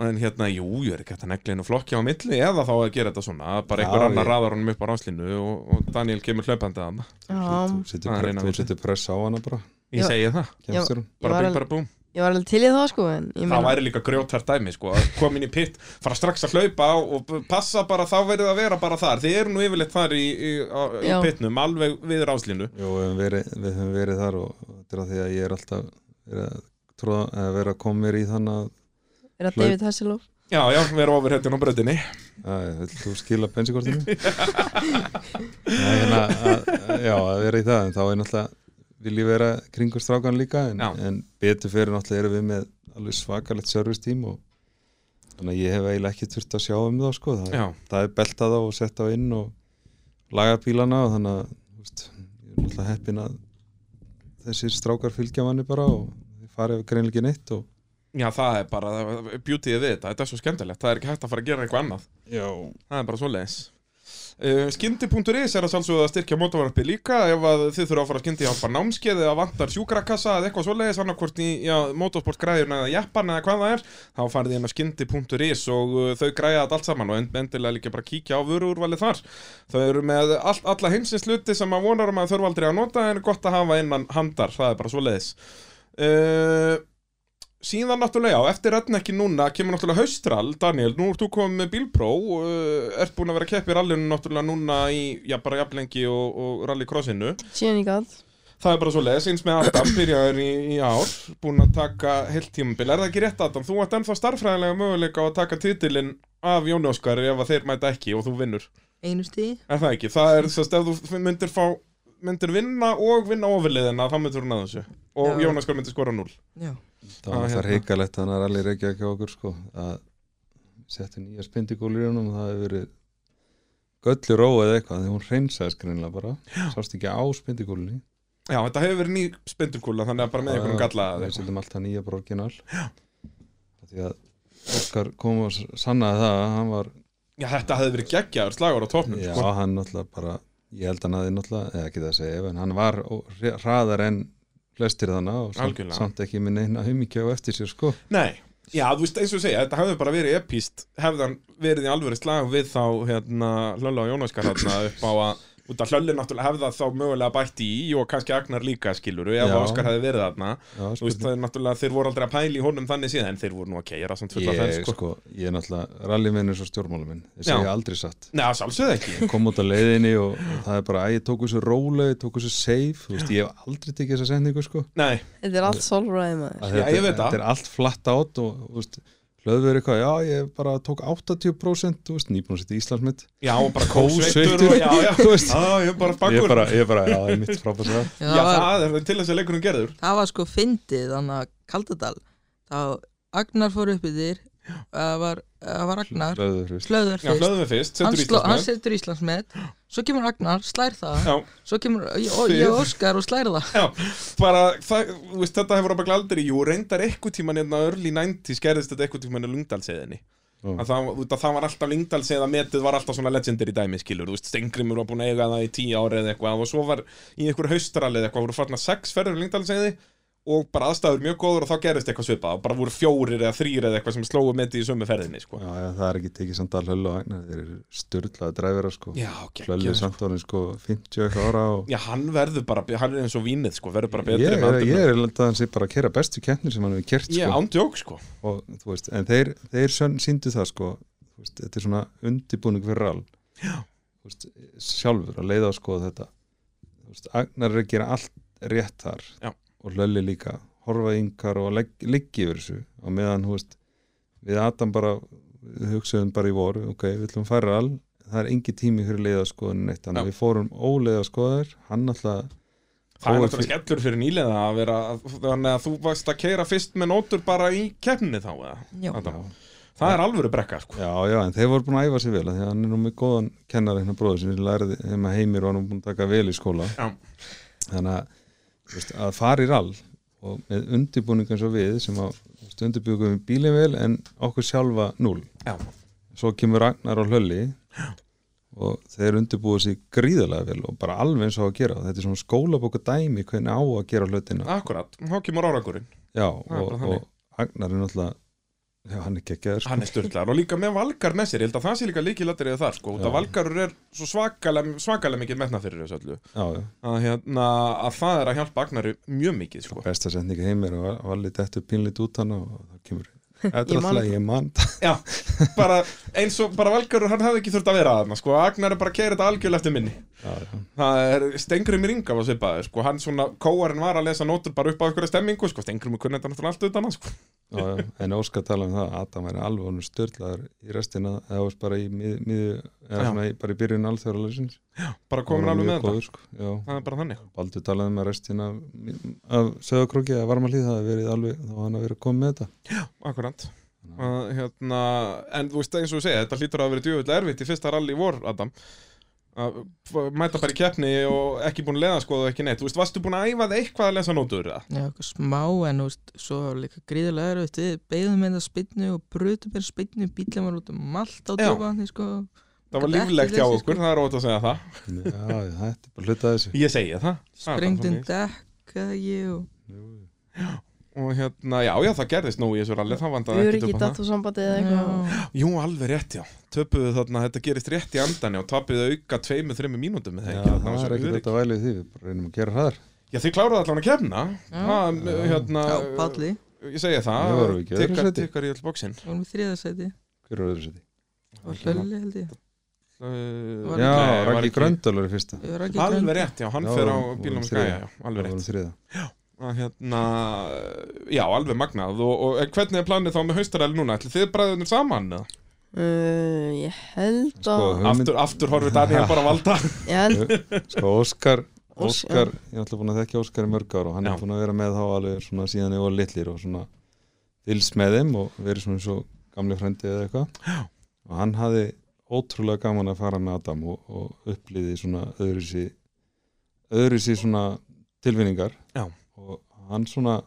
Speaker 1: En hérna, jú, ég er ekki hægt að negla inn og flokki á milli eða þá að gera þetta svona að bara einhver
Speaker 3: Já,
Speaker 1: annar
Speaker 3: ég-
Speaker 1: raðar honum upp á ráslinu og, og Daniel kemur hlaupandi að hann
Speaker 2: Já.
Speaker 3: Þú setur
Speaker 1: Það er
Speaker 3: pre-
Speaker 1: eina
Speaker 3: Þú
Speaker 1: vitið.
Speaker 3: setur press á hana bara,
Speaker 1: Ég
Speaker 2: Já.
Speaker 1: segi það,
Speaker 3: kemdistjóra.
Speaker 2: ég
Speaker 1: bara
Speaker 2: var,
Speaker 1: bing,
Speaker 2: alveg,
Speaker 1: bara búm
Speaker 2: ég var alveg til í það sko en ég
Speaker 1: Það
Speaker 2: meina,
Speaker 1: væri líka grjótært dæmi sko að koma inn í pitt, fara strax að hlaupa á og b- passa bara, þá verið að vera bara þar Þið eru nú yfirleitt þar í, í, á- í
Speaker 2: Já.
Speaker 1: pittnum, alveg við ráslinu
Speaker 3: Jó, við höfum verið, við höfum verið þar og og þetta er að því að ég er alltaf verið að, tróða, að vera að koma mér í þann að
Speaker 2: er að David Hasselhoff
Speaker 1: Já, já, við erum ofurhettin á bröðinni
Speaker 3: Æ, vill þú skila bensinkortinu? Nei, hérna, að, að- já, að vera í það, en þá er náttúrulega vil ég vera kringur strákan líka, en,
Speaker 1: Já.
Speaker 3: en betur fyrir náttúrulega erum við með alveg svakalegt service team og þannig að ég hef eiginlega ekki þurft að sjá um þá, sko, það,
Speaker 1: Já,
Speaker 3: það er beltað á og sett á inn og laga bílana og þannig að, þú veist, ég er náttúrulega heppin að þessir strákar fylgja manni bara og þeir farið greinlega ekki neitt og
Speaker 1: já, það er bara beautyið við þetta, þetta er svo skemmtilegt Það er ekki hægt að fara að gera eitthvað annað
Speaker 3: Já.
Speaker 1: Það er bara svo leis uh, Skyndi.is er að sjálfsögðu að styrkja mótavarpi líka ef að þið þurfa að fara að skyndi hjálpa námskeið eða vantar sjúkrakassa eða eitthvað svoleiðis annarkvort í já, motorsport græðuna eða jeppan eða hvað það er þá farið inn á skyndi.is og uh, þau græða þetta allt saman og end- endilega líka bara kíkja á vöruúrvalið þar þau eru með all, alla heimsins hluti sem maður vonar um að maður þurfa aldrei að nota en er gott að hafa innan handar, það er bara svoleiðis uh, síðan náttúrulega, já, eftir Redneckin núna kemur náttúrulega haustral, Daniel, nú ert þú komið með bílpró, uh, ert búin að vera að keppi rallinu náttúrulega núna í, já, bara jafnlengi og, og rallycrossinu
Speaker 2: síðan ég gæt
Speaker 1: það er bara svo leiðis, eins með Adam, byrjaður í, í ár búin að taka heilt tímabil, er það ekki rétt Adam, þú ert ennþá starffræðilega möguleika á að taka titilinn af Jóni Óskari ef að þeir mæta ekki og þú vinnur,
Speaker 4: einu stíð
Speaker 1: er það ekki, það er sérst, ef þú myndir fá myndir vinna og vinna ofurliðina, þá myndir hún að þessu og
Speaker 4: Já.
Speaker 1: Jón Óskar myndir skora 0
Speaker 3: Það
Speaker 4: Já,
Speaker 3: var
Speaker 1: Ah,
Speaker 3: alltaf
Speaker 1: hérna.
Speaker 3: reykalegt þannig að allir reykja ekki á okkur sko að setja nýja spindigólu í honum og það hefur verið göllu ró eða eitthvað því hún hreinsaði skrinlega bara sást ekki á spindigólunni
Speaker 1: Já, þetta hefur verið ný spindurkúla, þannig að bara með
Speaker 3: Ah.
Speaker 1: einhverjum galla eða
Speaker 3: við
Speaker 1: eitthvað.
Speaker 3: setjum alltaf nýja bara orginal því að Óskar kom og sannaði það að hann var
Speaker 1: Já, þetta hefði verið geggjaður slagur á topnum,
Speaker 3: já,
Speaker 1: sko.
Speaker 3: hann náttúrulega bara ég held hann að þið náttúrulega, eða ekki það að segja en hann var ó- hra- hraðar en flestir þannig og samt,
Speaker 1: Algjörlega.
Speaker 3: samt ekki minn eina humíkja á eftir sér sko
Speaker 1: Nei, já, þú veist, eins og ég segja, þetta hefði bara verið epíst hefðan verið í alvöru slag við þá hérna, hlölla og jónaskar hérna upp á að út að hlöllu náttúrulega hefða þá mögulega bætt í og kannski Agnar líka skiluru ef
Speaker 3: Já.
Speaker 1: Óskar hefði verið þarna
Speaker 3: Já,
Speaker 1: þú veist, það er náttúrulega, þeir voru aldrei að pæla í honum þannig síðan en þeir voru nú að keira samt fulla þenn
Speaker 3: ég,
Speaker 1: sko.
Speaker 3: sko, ég er náttúrulega rallyminnur svo stjórnmáluminn, ég
Speaker 1: Já.
Speaker 3: segja aldrei satt
Speaker 1: Nei, það sálsögðu ekki
Speaker 3: kom út á leiðinni og og það er bara að ég tók þessu rólega, ég tók þessu safe þú veist, ég hef aldrei tekið þessa sendingu sko
Speaker 1: Nei,
Speaker 2: Þetta er allt solræði maður
Speaker 3: Að
Speaker 1: Já,
Speaker 3: þetta-
Speaker 1: ég veit það.
Speaker 3: þetta er allt flatt átt og þú veist, hlöðver eitthvað, já ég bara tók 80% þú veist, nýbúin að setja Íslandsmynd
Speaker 1: já, og bara
Speaker 3: Kósveittur.
Speaker 1: kósveitur og, Já, já,
Speaker 3: Þú veist.
Speaker 1: já, ég er bara
Speaker 3: ég
Speaker 1: bakkur
Speaker 3: bara, ég bara, já það er mitt frábærs að
Speaker 4: Já,
Speaker 1: Já,
Speaker 4: það var,
Speaker 1: það er til þess að leikunum gerður
Speaker 4: það var sko fyndið þannig að Kaldadal þá Agnar fór upp í þér það var, það var Agnar
Speaker 3: hlöðver, þú veist.
Speaker 4: Hlöður
Speaker 1: Já,
Speaker 4: fyrst,
Speaker 1: hlöðum við fyrst,
Speaker 4: hann,
Speaker 1: setur
Speaker 4: sló, hann
Speaker 1: Íslandsmeð
Speaker 4: setur Íslandsmet svo kemur Agnar, slær það
Speaker 1: Já,
Speaker 4: svo kemur ég, og- ég
Speaker 1: Fyrr.
Speaker 4: Óskar og slær það
Speaker 1: Já, bara, það, þú veist, þetta hefur ábyggilega aldrei, jú, reyndar eitthvað tíman hérna early 90s gerðist þetta eitthvað tíman í Lungdalsseðinni.
Speaker 3: Já.
Speaker 1: Að það, út að það var alltaf Lungdalsseða, metið var alltaf svona legendary dæmi, skilur, þú veist, Stengrimur var búin að eiga það í tíu ári eða eitthvað og svo var í einhver haustralið eitthvað, voru farnar sex ferður í Lungdalsseði og bara aðstæður mjög góður og þá gerðist eitthvað svipað og bara voru fjórir eða þrýr eða eitthvað sem slógu metið í sömu ferðinni, sko.
Speaker 3: já, já, það er ekki tekið samt að hlöðlu og agnar þeir eru styrlaði dræfira sko
Speaker 1: Já,
Speaker 3: hlöðlu
Speaker 1: geggjað.
Speaker 3: samt orðin sko 50 eitthvað ára og
Speaker 1: Já, hann verður bara, hann er eins og vínið, sko, verður bara
Speaker 3: ég
Speaker 1: betri með
Speaker 3: er,
Speaker 1: aldrinum.
Speaker 3: ég er held að hann sé bara að kera bestu keppnir sem hann hefur kert
Speaker 1: Ég
Speaker 3: sko
Speaker 1: ándjók, sko.
Speaker 3: og, þú veist, en þeir, þeir sönn síndu það sko þú veist, þetta er svona undibúning fyrir all Þú veist, sjálfur að leiða að skoða þetta Þú veist, Agnar er að gera allt rétt þar
Speaker 1: Já.
Speaker 3: og Lölli líka horfa yngar og legg, liggi yfir þessu og meðan þú veist, við Adam bara við hugsaðum bara í voru ok, við ætlum að færa all það er engi tími fyrir leiðaskoðun neitt þannig
Speaker 1: Já.
Speaker 3: að við fórum óleiða skoðar hann alltaf
Speaker 1: Það er
Speaker 3: Fáir
Speaker 1: náttúrulega skellur fyrir nýlega að vera þannig að þú varst að keira fyrst með nótur bara í keppni þá eða?
Speaker 4: Já.
Speaker 1: Adam. Það er alvöru brekka sko.
Speaker 3: Já, já, en þeir voru búin að æfa sér vel af því að hann er nú með góðan kennar hérna bróður sem lærði þeim að heimir var nú búin að taka vel í skóla
Speaker 1: Já.
Speaker 3: þannig að, þú veist, að fara í rall og með undirbúning eins og við sem að þú veist, undirbúingum við bílinn vel en okkur sjálfa núl
Speaker 1: Já.
Speaker 3: svo kemur Ragnar á hlölli og þeir undirbúið sér gríðarlega vel og bara alveg eins og á að gera þetta er svona skólabóka dæmi hvernig á að gera hlutina
Speaker 1: Akkurat, þá kemur árangurinn
Speaker 3: já,
Speaker 1: það er
Speaker 3: og,
Speaker 1: bara þannig.
Speaker 3: og Agnar er náttúrulega já, hann er geggjaður sko.
Speaker 1: Hann er styrlar og líka með Valgar með sér ég held að það sé líka líkilatrið þar sko. út að
Speaker 3: Já.
Speaker 1: Valgarur er svo svakalega, svakalega mikið metna fyrir þessu öllu
Speaker 3: já, já.
Speaker 1: að, hérna, að það er að hjálpa Agnari mjög mikið sko.
Speaker 3: besta setning heimir og valli þetta pínlít út hann og það kemur
Speaker 2: Ég man
Speaker 3: Þetta
Speaker 2: það.
Speaker 3: ég mann
Speaker 1: Já, bara eins og bara Valgarur hann hefði ekki þurft að vera þarna sko. Agnar er bara að keira þetta algjörlega eftir minni
Speaker 3: það
Speaker 1: Það er, Stengrimir Inga var svipaður, sko, hann svona, kóarinn var að lesa nótur bara upp á einhverja stemmingu, sko, Stengrimir kunni þetta náttúrulega allt utan hann, sko.
Speaker 3: en Óskar tala um það að Adam væri alveg honum störlaður í restina eða veist, bara í mið, mið, eða
Speaker 1: Já.
Speaker 3: svona, í- bara í byrjun alþjóðarleysins
Speaker 1: Bara komin alveg með þetta.
Speaker 3: sko. Já.
Speaker 1: Það er bara þannig.
Speaker 3: Baldur talaði um að restina af söðakróki eða varmalíð það hefði verið alveg þá var hann að vera komið með þetta
Speaker 1: Akkurant. Uh, hérna, en þú veist, eins og ég segja, þetta hlýtur að vera djöfull erfitt í fyrsta rally í vor, Adam. Að f- mæta bara í keppni og ekki búin að leða, sko, og ekki neitt. Þú veist, varstu búin að æfa það eitthvað að lesa nótur, eða?
Speaker 4: Já, eitthvað smá en þú veist, svo var líka gríðarlega erfitt við beigðum með það spynnu og brutum með spynnu bílum var út um allt á
Speaker 1: Já.
Speaker 4: djópaðan sko.
Speaker 1: Það var
Speaker 4: Gat ekki
Speaker 1: líflegt hjá
Speaker 4: lesið, sko.
Speaker 1: okkur, það er ótt að segja það.
Speaker 3: já, já, þetta er bara hluta af þessu
Speaker 1: Ég segi það. Það er bara
Speaker 4: sprengt inn
Speaker 1: þannig.
Speaker 4: dekk eða ég og
Speaker 1: Og hérna, já, já, það gerðist nú í þessu rally, það vandaði ekkert
Speaker 2: Öryggi
Speaker 1: upp á það.
Speaker 2: datasambandi eða eitthvað
Speaker 4: Já.
Speaker 1: Jú, alveg rétt, já. Töpuðu þarna, þetta gerist rétt í andan, já. Tapuðu auka tveimur, þreimur mínútum með Hérna,
Speaker 3: Já,
Speaker 1: það ekki. þarna
Speaker 3: það
Speaker 1: var
Speaker 3: er
Speaker 1: svo
Speaker 3: ekkert
Speaker 1: örygg.
Speaker 3: þetta vælið því við bara reynum að gera hraðar
Speaker 1: Já, þið kláraðu allan að kemna.
Speaker 4: Já.
Speaker 1: Það, hérna,
Speaker 4: Já, Palli,
Speaker 1: ég segi það.
Speaker 3: Við vorum ekki í öðru
Speaker 1: Tikkar-
Speaker 3: sæti.
Speaker 1: Tikkar í öll bóksinn.
Speaker 4: hún er þriðasæti
Speaker 3: hver er öðru seti?
Speaker 4: og hlölli held ég
Speaker 1: Uh,
Speaker 4: Var
Speaker 3: Já,
Speaker 1: nei, var
Speaker 3: Raggi
Speaker 1: ekki-
Speaker 3: Gröndalur fyrsta
Speaker 4: Ég var ekki
Speaker 1: Alveg
Speaker 4: grönn.
Speaker 1: rétt, já, hann
Speaker 3: Já,
Speaker 1: fer á
Speaker 3: vorum-
Speaker 1: bílum
Speaker 3: vorum
Speaker 1: skæja,
Speaker 3: þriðja.
Speaker 1: já, alveg rétt.
Speaker 3: Það voru þriða
Speaker 1: Að, hérna, já, alveg magnað. Og, og en hvernig er planið þá með haustaræli núna? Ætli þið bræðunir saman? eða?
Speaker 2: Uh, Ég held
Speaker 3: Sko,
Speaker 2: að
Speaker 3: hugmynd-
Speaker 1: Aftur, aftur horfið Daniel bara að valda.
Speaker 2: Ég held
Speaker 3: Sko Óskar,
Speaker 2: Ósk-
Speaker 3: Óskar ég ætla búin að þekka Óskar í mörg ár og hann
Speaker 1: Já.
Speaker 3: er búin að vera með þá alveg svona síðan ég var litlir og svona fylst með þeim og verið svona svo gamli frendi eða eitthvað og hann hafði ótrúlega gaman að fara með Adam og, og upplýði svona öðruvísi öðruvísi svona tilvinningar
Speaker 1: Já.
Speaker 3: og hann svona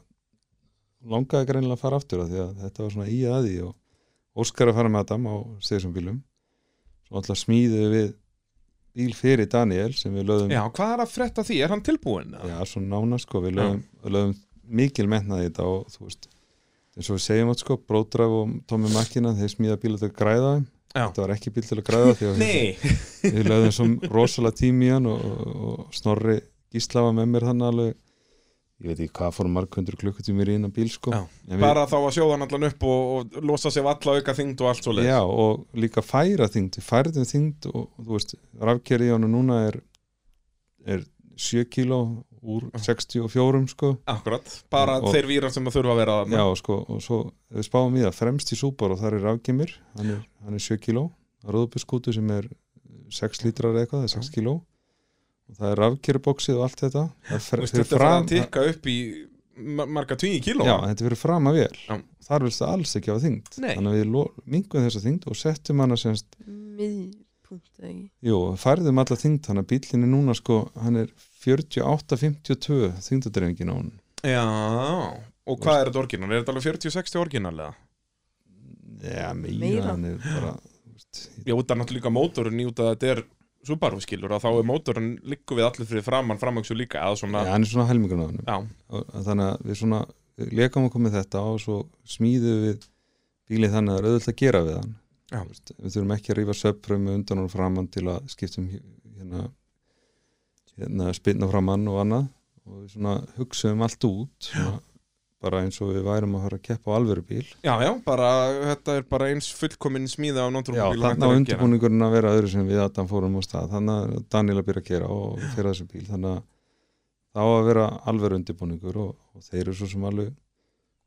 Speaker 3: langaði greinilega að fara aftur af því að þetta var svona í aði og Óskar að fara með Adam á stegisum bílum svo alltaf smíðuðu við bíl fyrir Daniel sem við lögðum
Speaker 1: Já, hvað er að frétta af því? Er hann tilbúin?
Speaker 3: Já, svo nána sko, við lögum, lögum mikil metnaði í þetta og þú veist eins og við segjum átt sko, Bródraf og Tommy Makina, þeir smíða bíla til að græða þeim.
Speaker 1: Já.
Speaker 3: þetta var ekki bíl til að græða því að við-
Speaker 1: Nei,
Speaker 3: við lögum svo rosalega tími í hann og, og, og Snorri Gísla var með mér þannig alveg ég veit ekki hvað fórum marg hundur klukkutímir í innan bíl sko
Speaker 1: Já,
Speaker 3: En við,
Speaker 1: bara þá að sjóða hann allan upp og, og losa sig af alla auka þyngd og allt svo leið
Speaker 3: já, og líka færa þyngd, við færðum þyngd og og þú veist, rafkerið í hann núna er, er 7 kíló úr 64 sko
Speaker 1: Akkurat, bara
Speaker 3: Og-
Speaker 1: þeir vírar sem að þurfa að vera þarna.
Speaker 3: Já, sko, og svo ef við spáum í það fremst í súpar og þar er rafgemir hann er, hann er 7 kíló, rúðubiskútu sem er 6 lítrar eða eitthvað, það er 6 kíló og það er rafkerubóksið og allt þetta það er
Speaker 1: Þú
Speaker 3: fer,
Speaker 1: veist, Þetta er að tikka upp í ma- marga tugi kíló
Speaker 3: já, þetta fyrir fram að vél
Speaker 1: Já.
Speaker 3: þar vilst það alls ekki hafa þyngd
Speaker 1: Nei.
Speaker 3: þannig að við lo- minkum þessa þyngd og settum hana semst,
Speaker 2: miðpunkt eða ekki
Speaker 3: jú, færðum alla þyngd þannig að bílinni núna sko, hann er 48-52 þyngdadreifingin á hún
Speaker 1: Já, og hvað er þetta orginal? Er þetta alveg 40-60 orginalega?
Speaker 3: já, meira,
Speaker 2: Meira.
Speaker 3: hann er bara þú veist,
Speaker 1: Já, út af náttúrulega líka mótorinn í út að þetta er Subaru skilur að þá er mótorinn líku við allir fyrir framann framöksu líka að svona,
Speaker 3: Já, hann er svona helmingurinn á hann
Speaker 1: já,
Speaker 3: og að þannig að við svona lekum okkur með þetta og svo smíðum við bílið þannig að það er auðvitað að gera við hann
Speaker 1: Já.
Speaker 3: Þú veist, við þurfum ekki að rífa söprum undan og framann til að skiptum hérna, hérna spinna framann og annað og við svona hugsaðum allt út svona, bara eins og við værum að fara að keppa á alvöru bíl
Speaker 1: já, já, bara þetta er bara eins fullkomin smíða á
Speaker 3: Já,
Speaker 1: náttúrulega
Speaker 3: þannig að undirbúningurinn að vera öðru sem við Adam fórum á stað, þannig að Daniel að byrja að gera og fyrir þessu bíl, þannig að það á að vera alveg undirbúningur og, og þeir eru svo sem alveg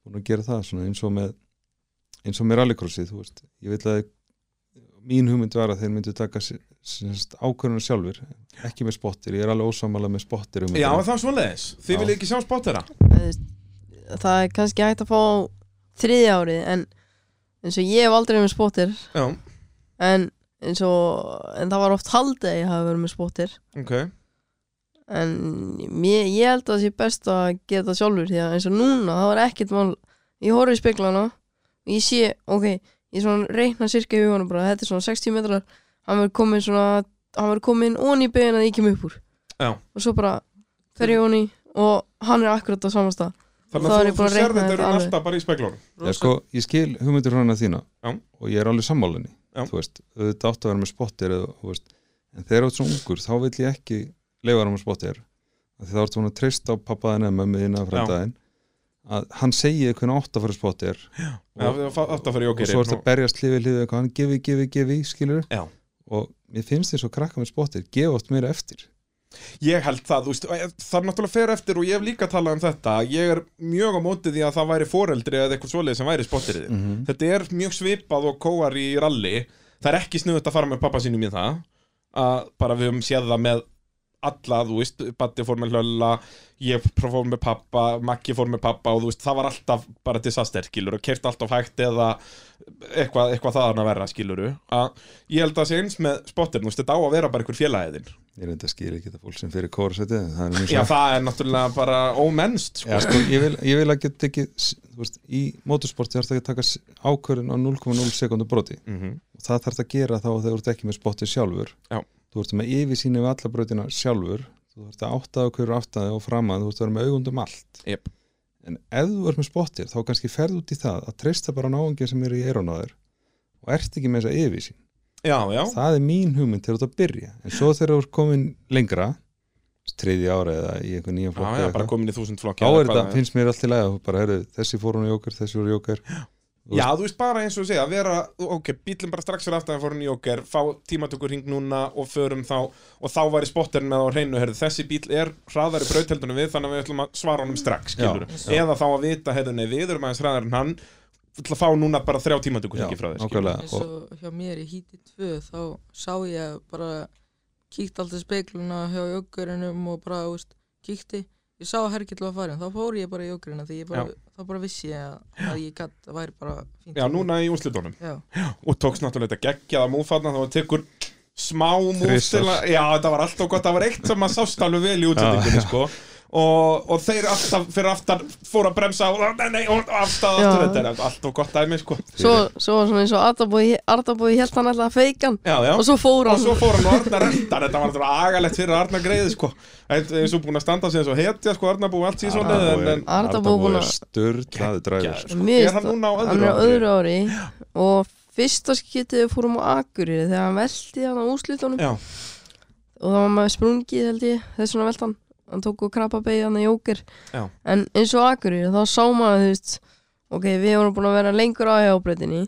Speaker 3: búin að gera það, svona eins og með eins og með rallycrossið, þú veist ég vil að mín hugmynd var að þeir myndu taka ákvörðuna sjálfur, ekki með spottir ég er alveg ósamála með spottir um
Speaker 1: Já, það er svoleiðis, þið
Speaker 3: Já.
Speaker 1: viljið ekki sjá spottera
Speaker 2: Þú veist, það er kannski hægt að fá á þriðja árið en eins og ég hef aldrei verið með spottir
Speaker 1: Já,
Speaker 2: en eins og en það var oft haldið að ég hafi verið með spottir
Speaker 1: ok,
Speaker 2: en mér, ég held að það sé best að gera það sjálfur því að eins og núna það var ekkert mál ég horfði í speglana og ég sé, ok, ég svona reikna sirka í hugunum bara, þetta er svona 60 metrar hann verður komin svona, hann verður komin ón í beina að ég kem upp úr
Speaker 1: Já.
Speaker 2: og svo bara fer ég ón í og hann er akkurat á samasta
Speaker 1: þannig
Speaker 2: Þá er
Speaker 1: að þú,
Speaker 2: ég
Speaker 1: þú
Speaker 2: búin
Speaker 1: sér
Speaker 2: að reikna
Speaker 1: þetta eru
Speaker 2: þetta alveg.
Speaker 1: alltaf bara í speglunum
Speaker 3: Já, sko, ég skil hugmyndur hana þína
Speaker 1: Já.
Speaker 3: og ég er alveg sammálinni
Speaker 1: Já.
Speaker 3: þú veist, auðvitað áttu að vera með spottir eða, þú veist, en þegar þú ert svo ungur þá vil ég ekki leifa hann með spottir af því þá ertu hún að treysta á pappaðin eða mömmuðin eða frændaðin að hann segi eitthvað átt að fara spottir
Speaker 1: Já, það er alltaf fyrir
Speaker 3: og
Speaker 1: jókeri
Speaker 3: svo ertu að berjast hlifið hlifið eitthvað hann gefi, gefi, gefi, skilur
Speaker 1: Já.
Speaker 3: og mér finnst þér svo krakka með spottir gefa oft meira eftir
Speaker 1: Ég held það, þú veist, það er náttúrulega fer eftir og ég hef líka talað um þetta Ég er mjög á móti því að það væri foreldri eða eitthvað svoleið sem væri spotterið
Speaker 3: -hmm.
Speaker 1: Þetta er mjög svipað og kóar í ralli Það er ekki snuðut að fara með pappa sínum í það að bara við höfum séð það með alla, þú veist, Batti fór með hlölla ég fór með pappa, Maggi fór með pappa og þú veist, það var alltaf bara disaster, skilur, og keirt alltaf hægt eða eitthvað, eitthvað þaðan að vera, skilur að ég held að það sé eins með spotterinn, þú veist, þetta á að vera bara einhver félagiðin
Speaker 3: ég reyndi að skil ekki þetta fólk sem fyrir kórsetti það er mjög
Speaker 1: Já, það er náttúrulega bara ómennst sko.
Speaker 3: Já, sko, ég, vil, ég vil að geta ekki þú veist, í motorsporti þarf það ekki að taka ákvörðin á 0,0 sekundu broti
Speaker 1: Mhm.
Speaker 3: og það þarf það að gera þá að þegar þú ert ekki með spotti sjálfur
Speaker 1: Já.
Speaker 3: þú ert með yfirsýni við alla brautina sjálfur þú ert að áttaða okkur aftaði og framað þú ert að vera með augundum allt
Speaker 1: Jep.
Speaker 3: en ef þú ert með spottir þá kannski ferð út í það að treysta bara náðingja sem eru í eyrun á þér og ert ekki með þessa yfirsýn
Speaker 1: Já, já,
Speaker 3: það er mín hugmynd þegar þú ert að byrja en svo þegar þú ert komin lengra þriði ára eða í einhver nýjan
Speaker 1: já,
Speaker 3: flokk
Speaker 1: já
Speaker 3: eða
Speaker 1: bara
Speaker 3: eitthvað,
Speaker 1: komin í þúsund flokki
Speaker 3: þá
Speaker 1: eða
Speaker 3: er
Speaker 1: hvað
Speaker 3: þetta, finnst mér allt í lagi að þú bara, heyrðu, þessi fór hún í okkar, þessi voru í okkar
Speaker 1: Já, þú veist bara eins og segja, að vera, ok, bílum bara strax fyrir aftan að fórum í okkar, fá tímatökur hring núna og förum þá, og þá væri spotterinn með á hreinu, herðu, þessi bíl er hraðari brautheldunum við, þannig að við ætlum að svara honum strax, skilur eða þá að vita, herðu, nei, við erum aðeins hraðar en hann, við ætlum að fá núna bara þrjá tímatökur hringi frá þér, skilur
Speaker 3: nákvæmlega
Speaker 4: eins
Speaker 3: og,
Speaker 4: og hjá mér í híti 2 þá sá ég bara kíkt alltaf speikluna hjá joggurinnum og bara, þú veist, kíkti ég sá að Hergill var farin, þá fór ég bara í joggurina því ég bara, þá bara vissi ég að, að ég gatt, það væri bara fínt
Speaker 1: Já, núna í úrslitunum,
Speaker 4: Já,
Speaker 1: og tókst náttúrulega þetta geggjaða múfarna, þá tekur smá múf
Speaker 3: Þrisvar.
Speaker 1: til að, já, þetta var alltaf gott, það var eitt sem maður sást alveg vel í útsendingunni, sko, og, og þeir alltaf fyrir aftan fóru að bremsa og nei, nei, og afstað
Speaker 2: Já.
Speaker 1: aftur þetta er allt og gott dæmi sko
Speaker 2: Svo, svo var svona eins og Arnabói, Arnabói held hann alltaf að feika hann
Speaker 1: já, já.
Speaker 2: og svo fór
Speaker 1: og
Speaker 2: hann
Speaker 1: svo fór hann og Arnar eldar þetta var náttúrulega agalegt fyrir Arnar greiði sko Eitt- eins og búin að standa sig eins og hetja sko Arnar búið allt síðan en, en
Speaker 2: Arnarbúi búin að-
Speaker 3: Sturlaði dræður sko.
Speaker 1: sko,
Speaker 2: Mér
Speaker 1: er hann
Speaker 2: finnst
Speaker 1: núna á
Speaker 2: hann
Speaker 1: öðru
Speaker 2: er á
Speaker 1: ári?
Speaker 2: öðru ári og fyrsta skiptið við fórum á Akureyri þegar hann velti hann á úslitunum
Speaker 1: Já.
Speaker 2: og það var maður sprungið held ég þess vegna velti hann hann tók og krabbabegi hann að jóker
Speaker 1: Já.
Speaker 2: en eins og Akureyri þá sá maður þú veist ok, við vorum búin að vera lengur á hjábreytinni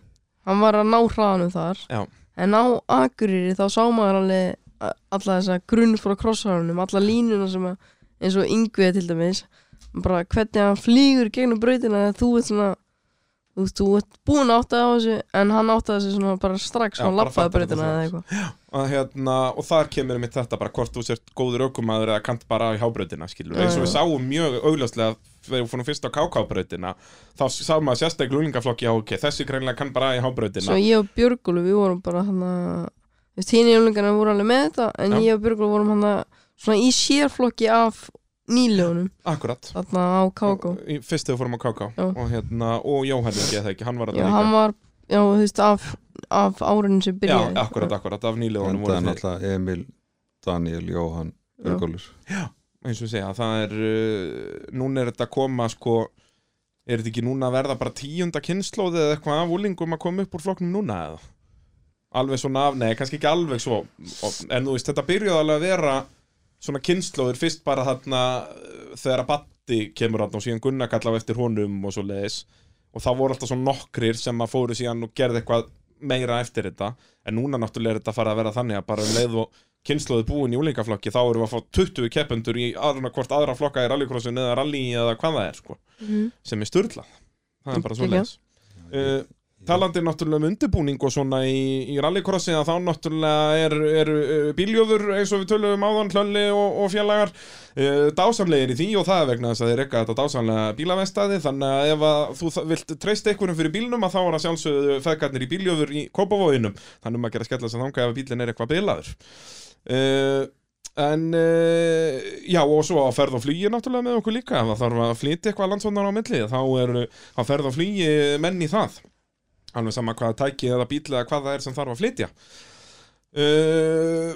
Speaker 2: hann var að ná hraðanum þar
Speaker 1: Já.
Speaker 2: en á Akureyri þá sá maður alveg a- alla þessa grunn frá krosshárunum alla línuna sem að eins og yngvið til dæmis bara hvernig hann flýgur gegnum brautina þegar þú ert svona þú, þú ert búin að átta á þessu en hann áttaði þessu svona bara strax
Speaker 1: Já,
Speaker 2: og hann
Speaker 1: bara
Speaker 2: lappaði
Speaker 1: fattar þetta
Speaker 2: brautina eða eitthvað
Speaker 1: og, hérna, og þar kemur mitt þetta bara hvort þú sért góður aukumæður eða kant bara í hábrautina skilur
Speaker 2: Já,
Speaker 1: eins og við
Speaker 2: já.
Speaker 1: sáum mjög augljóslega þegar við fórum fyrst á kákábrautina þá sá maður sérstaklega glúlingaflokki já ok, þessi greinlega kann bara í hábrautina
Speaker 2: svo ég og Björgúlu við vorum bara hann að hinn jólungarna voru alveg með þetta en
Speaker 1: Já.
Speaker 2: ég og Björgúlu vorum hann svona í sérflokki af nýljónum
Speaker 1: akkurat
Speaker 2: þarna á Kákó
Speaker 1: Í- fyrst þegar við fórum á káká
Speaker 2: Já.
Speaker 1: og, hérna, og Jóhann ekki eða ekki, hann var að
Speaker 2: já hann var já þú veist af, af árinu sem
Speaker 1: já,
Speaker 2: byrjaði
Speaker 1: akkurat, akkurat, af nýliðunum
Speaker 3: Endaði
Speaker 1: voru þeir
Speaker 3: náttúrulega Emil, Daniel, Jóhann
Speaker 2: Já.
Speaker 3: Örgólus
Speaker 1: eins og segja, það er uh, núna er þetta að koma sko er þetta ekki núna að verða bara tíunda kynnslóð eða eitthvað af úlingum að koma upp úr flokknum núna eða alveg svona af, nei, kannski ekki alveg svo og- en þú veist, þetta byrjuði alveg að vera svona kynnslóðir fyrst bara þarna uh, þegar að Batti kemur þarna og síðan Gunnar kallaði eftir honum og svo leiðis og það voru alltaf svona nokkrir sem að fóru síðan og gerði eitthvað meira eftir þetta en núna náttúrulega er þetta farið að vera þannig að bara um leið og kynnslóði búin í úlingaflokki þá erum við að fá 20 keppendur í aðruna hvort aðra flokka í rallycrossinu eða rally eða hvað það er sko,
Speaker 2: Mhm.
Speaker 1: sem er styrlað það er bara svo leiðis uh,
Speaker 3: ég-
Speaker 1: talandi náttúrulega um undirbúning og svona í, í rallycrossi að þá náttúrulega er, er uh, bíljóður eins og við töluðum áðan hlölli og, og félagar uh, dásamlegir í því og það er vegna þess að þeir reyka þetta dásamlega bílavestaði þannig að ef að þú þa- vilt treysta einhverjum fyrir bílnum að þá er að sjálfsögðu feðgarnir í bíljóður í Kópavóinum þannig um að gera skella sem þanga ef að bílinn er eitthvað bilaður uh, En uh, já og svo að ferð og flýi náttúrulega með okkur líka ef það þarf að flytja eitthvað landsvondan á milli þá er að ferð og flýi menn í það alveg sama hvaða tæki eða bíl eða hvað það er sem þarf að flytja uh,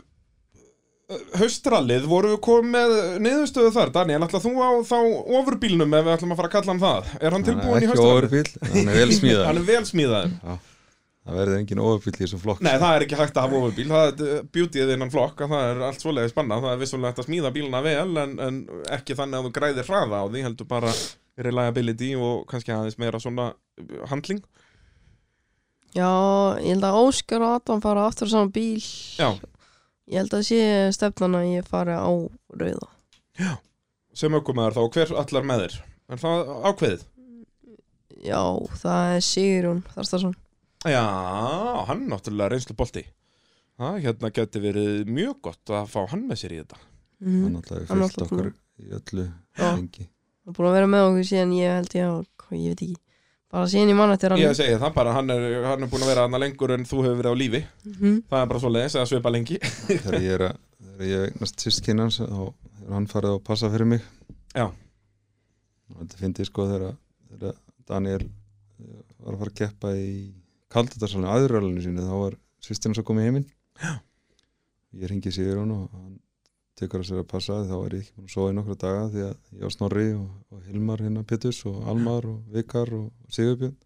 Speaker 1: Haustrallið voru við komið með niðurstöðu þar, Daniel, ætla þú á þá ofurbílnum ef við ætlum að fara að kalla hann það er hann
Speaker 3: Hann
Speaker 1: tilbúin
Speaker 3: er
Speaker 1: í
Speaker 3: ekki
Speaker 1: haustrallið?
Speaker 3: overfíl, hann er vel smíðað
Speaker 1: Hann er vel smíðaður
Speaker 3: Það verður engin overfíl í þessum flokk
Speaker 1: Nei, það er ekki hægt að hafa ofurbíl það er bjútið innan flokk að það er allt svoleiði spanna það er vissulega hægt að smíða bíluna vel en, en ekki þannig að þú græðir hraða á því heldur bara reliability og kannski aðeins meira svona uh, handling
Speaker 2: já ég held að Óskar og Adam fara aftur á saman bíl
Speaker 1: Já,
Speaker 2: ég held að sé stefnan að ég fari á rauða
Speaker 1: sem aukumæður þá, hver allar með þér? Er það ákveðið?
Speaker 2: já það er Sigurún Þarstarsson
Speaker 1: Já, hann náttúrulega reynslu bolti Það hérna geti verið mjög gott að fá hann með sér í þetta
Speaker 2: mm.
Speaker 3: Hann alltaf
Speaker 2: Hann
Speaker 3: hefur fyllt
Speaker 2: alltaf
Speaker 3: okkur í öllu
Speaker 2: Já.
Speaker 3: lengi
Speaker 2: Það er búin að vera með okkur síðan ég held ég á, hvað, ég veit ekki, bara síðan ég mann eftir hann.
Speaker 1: Ég segi það bara, hann er, hann er búin að vera hann lengur en þú hefur verið á lífi
Speaker 2: Mhm.
Speaker 1: Það er bara svoleiðis eða svipa lengi
Speaker 3: Þegar ég, er að, þegar ég eignast sístkinn hans þá er hann farið að passa fyrir mig
Speaker 1: Já.
Speaker 3: Og Þetta finnst ég sko þegar, þegar Daniel eh, var að fara að keppa í kaldatarsalinu, aðurralinu sínu þá var sýstin hans að koma í heiminn Ég ringi sigur hann og hann tekur að sér að passa þá er ég ekki búin að sofa í nokkra daga því að ég var Snorri og, og Hilmar hérna Péturs og Almar og Vikar og Sigurbjörn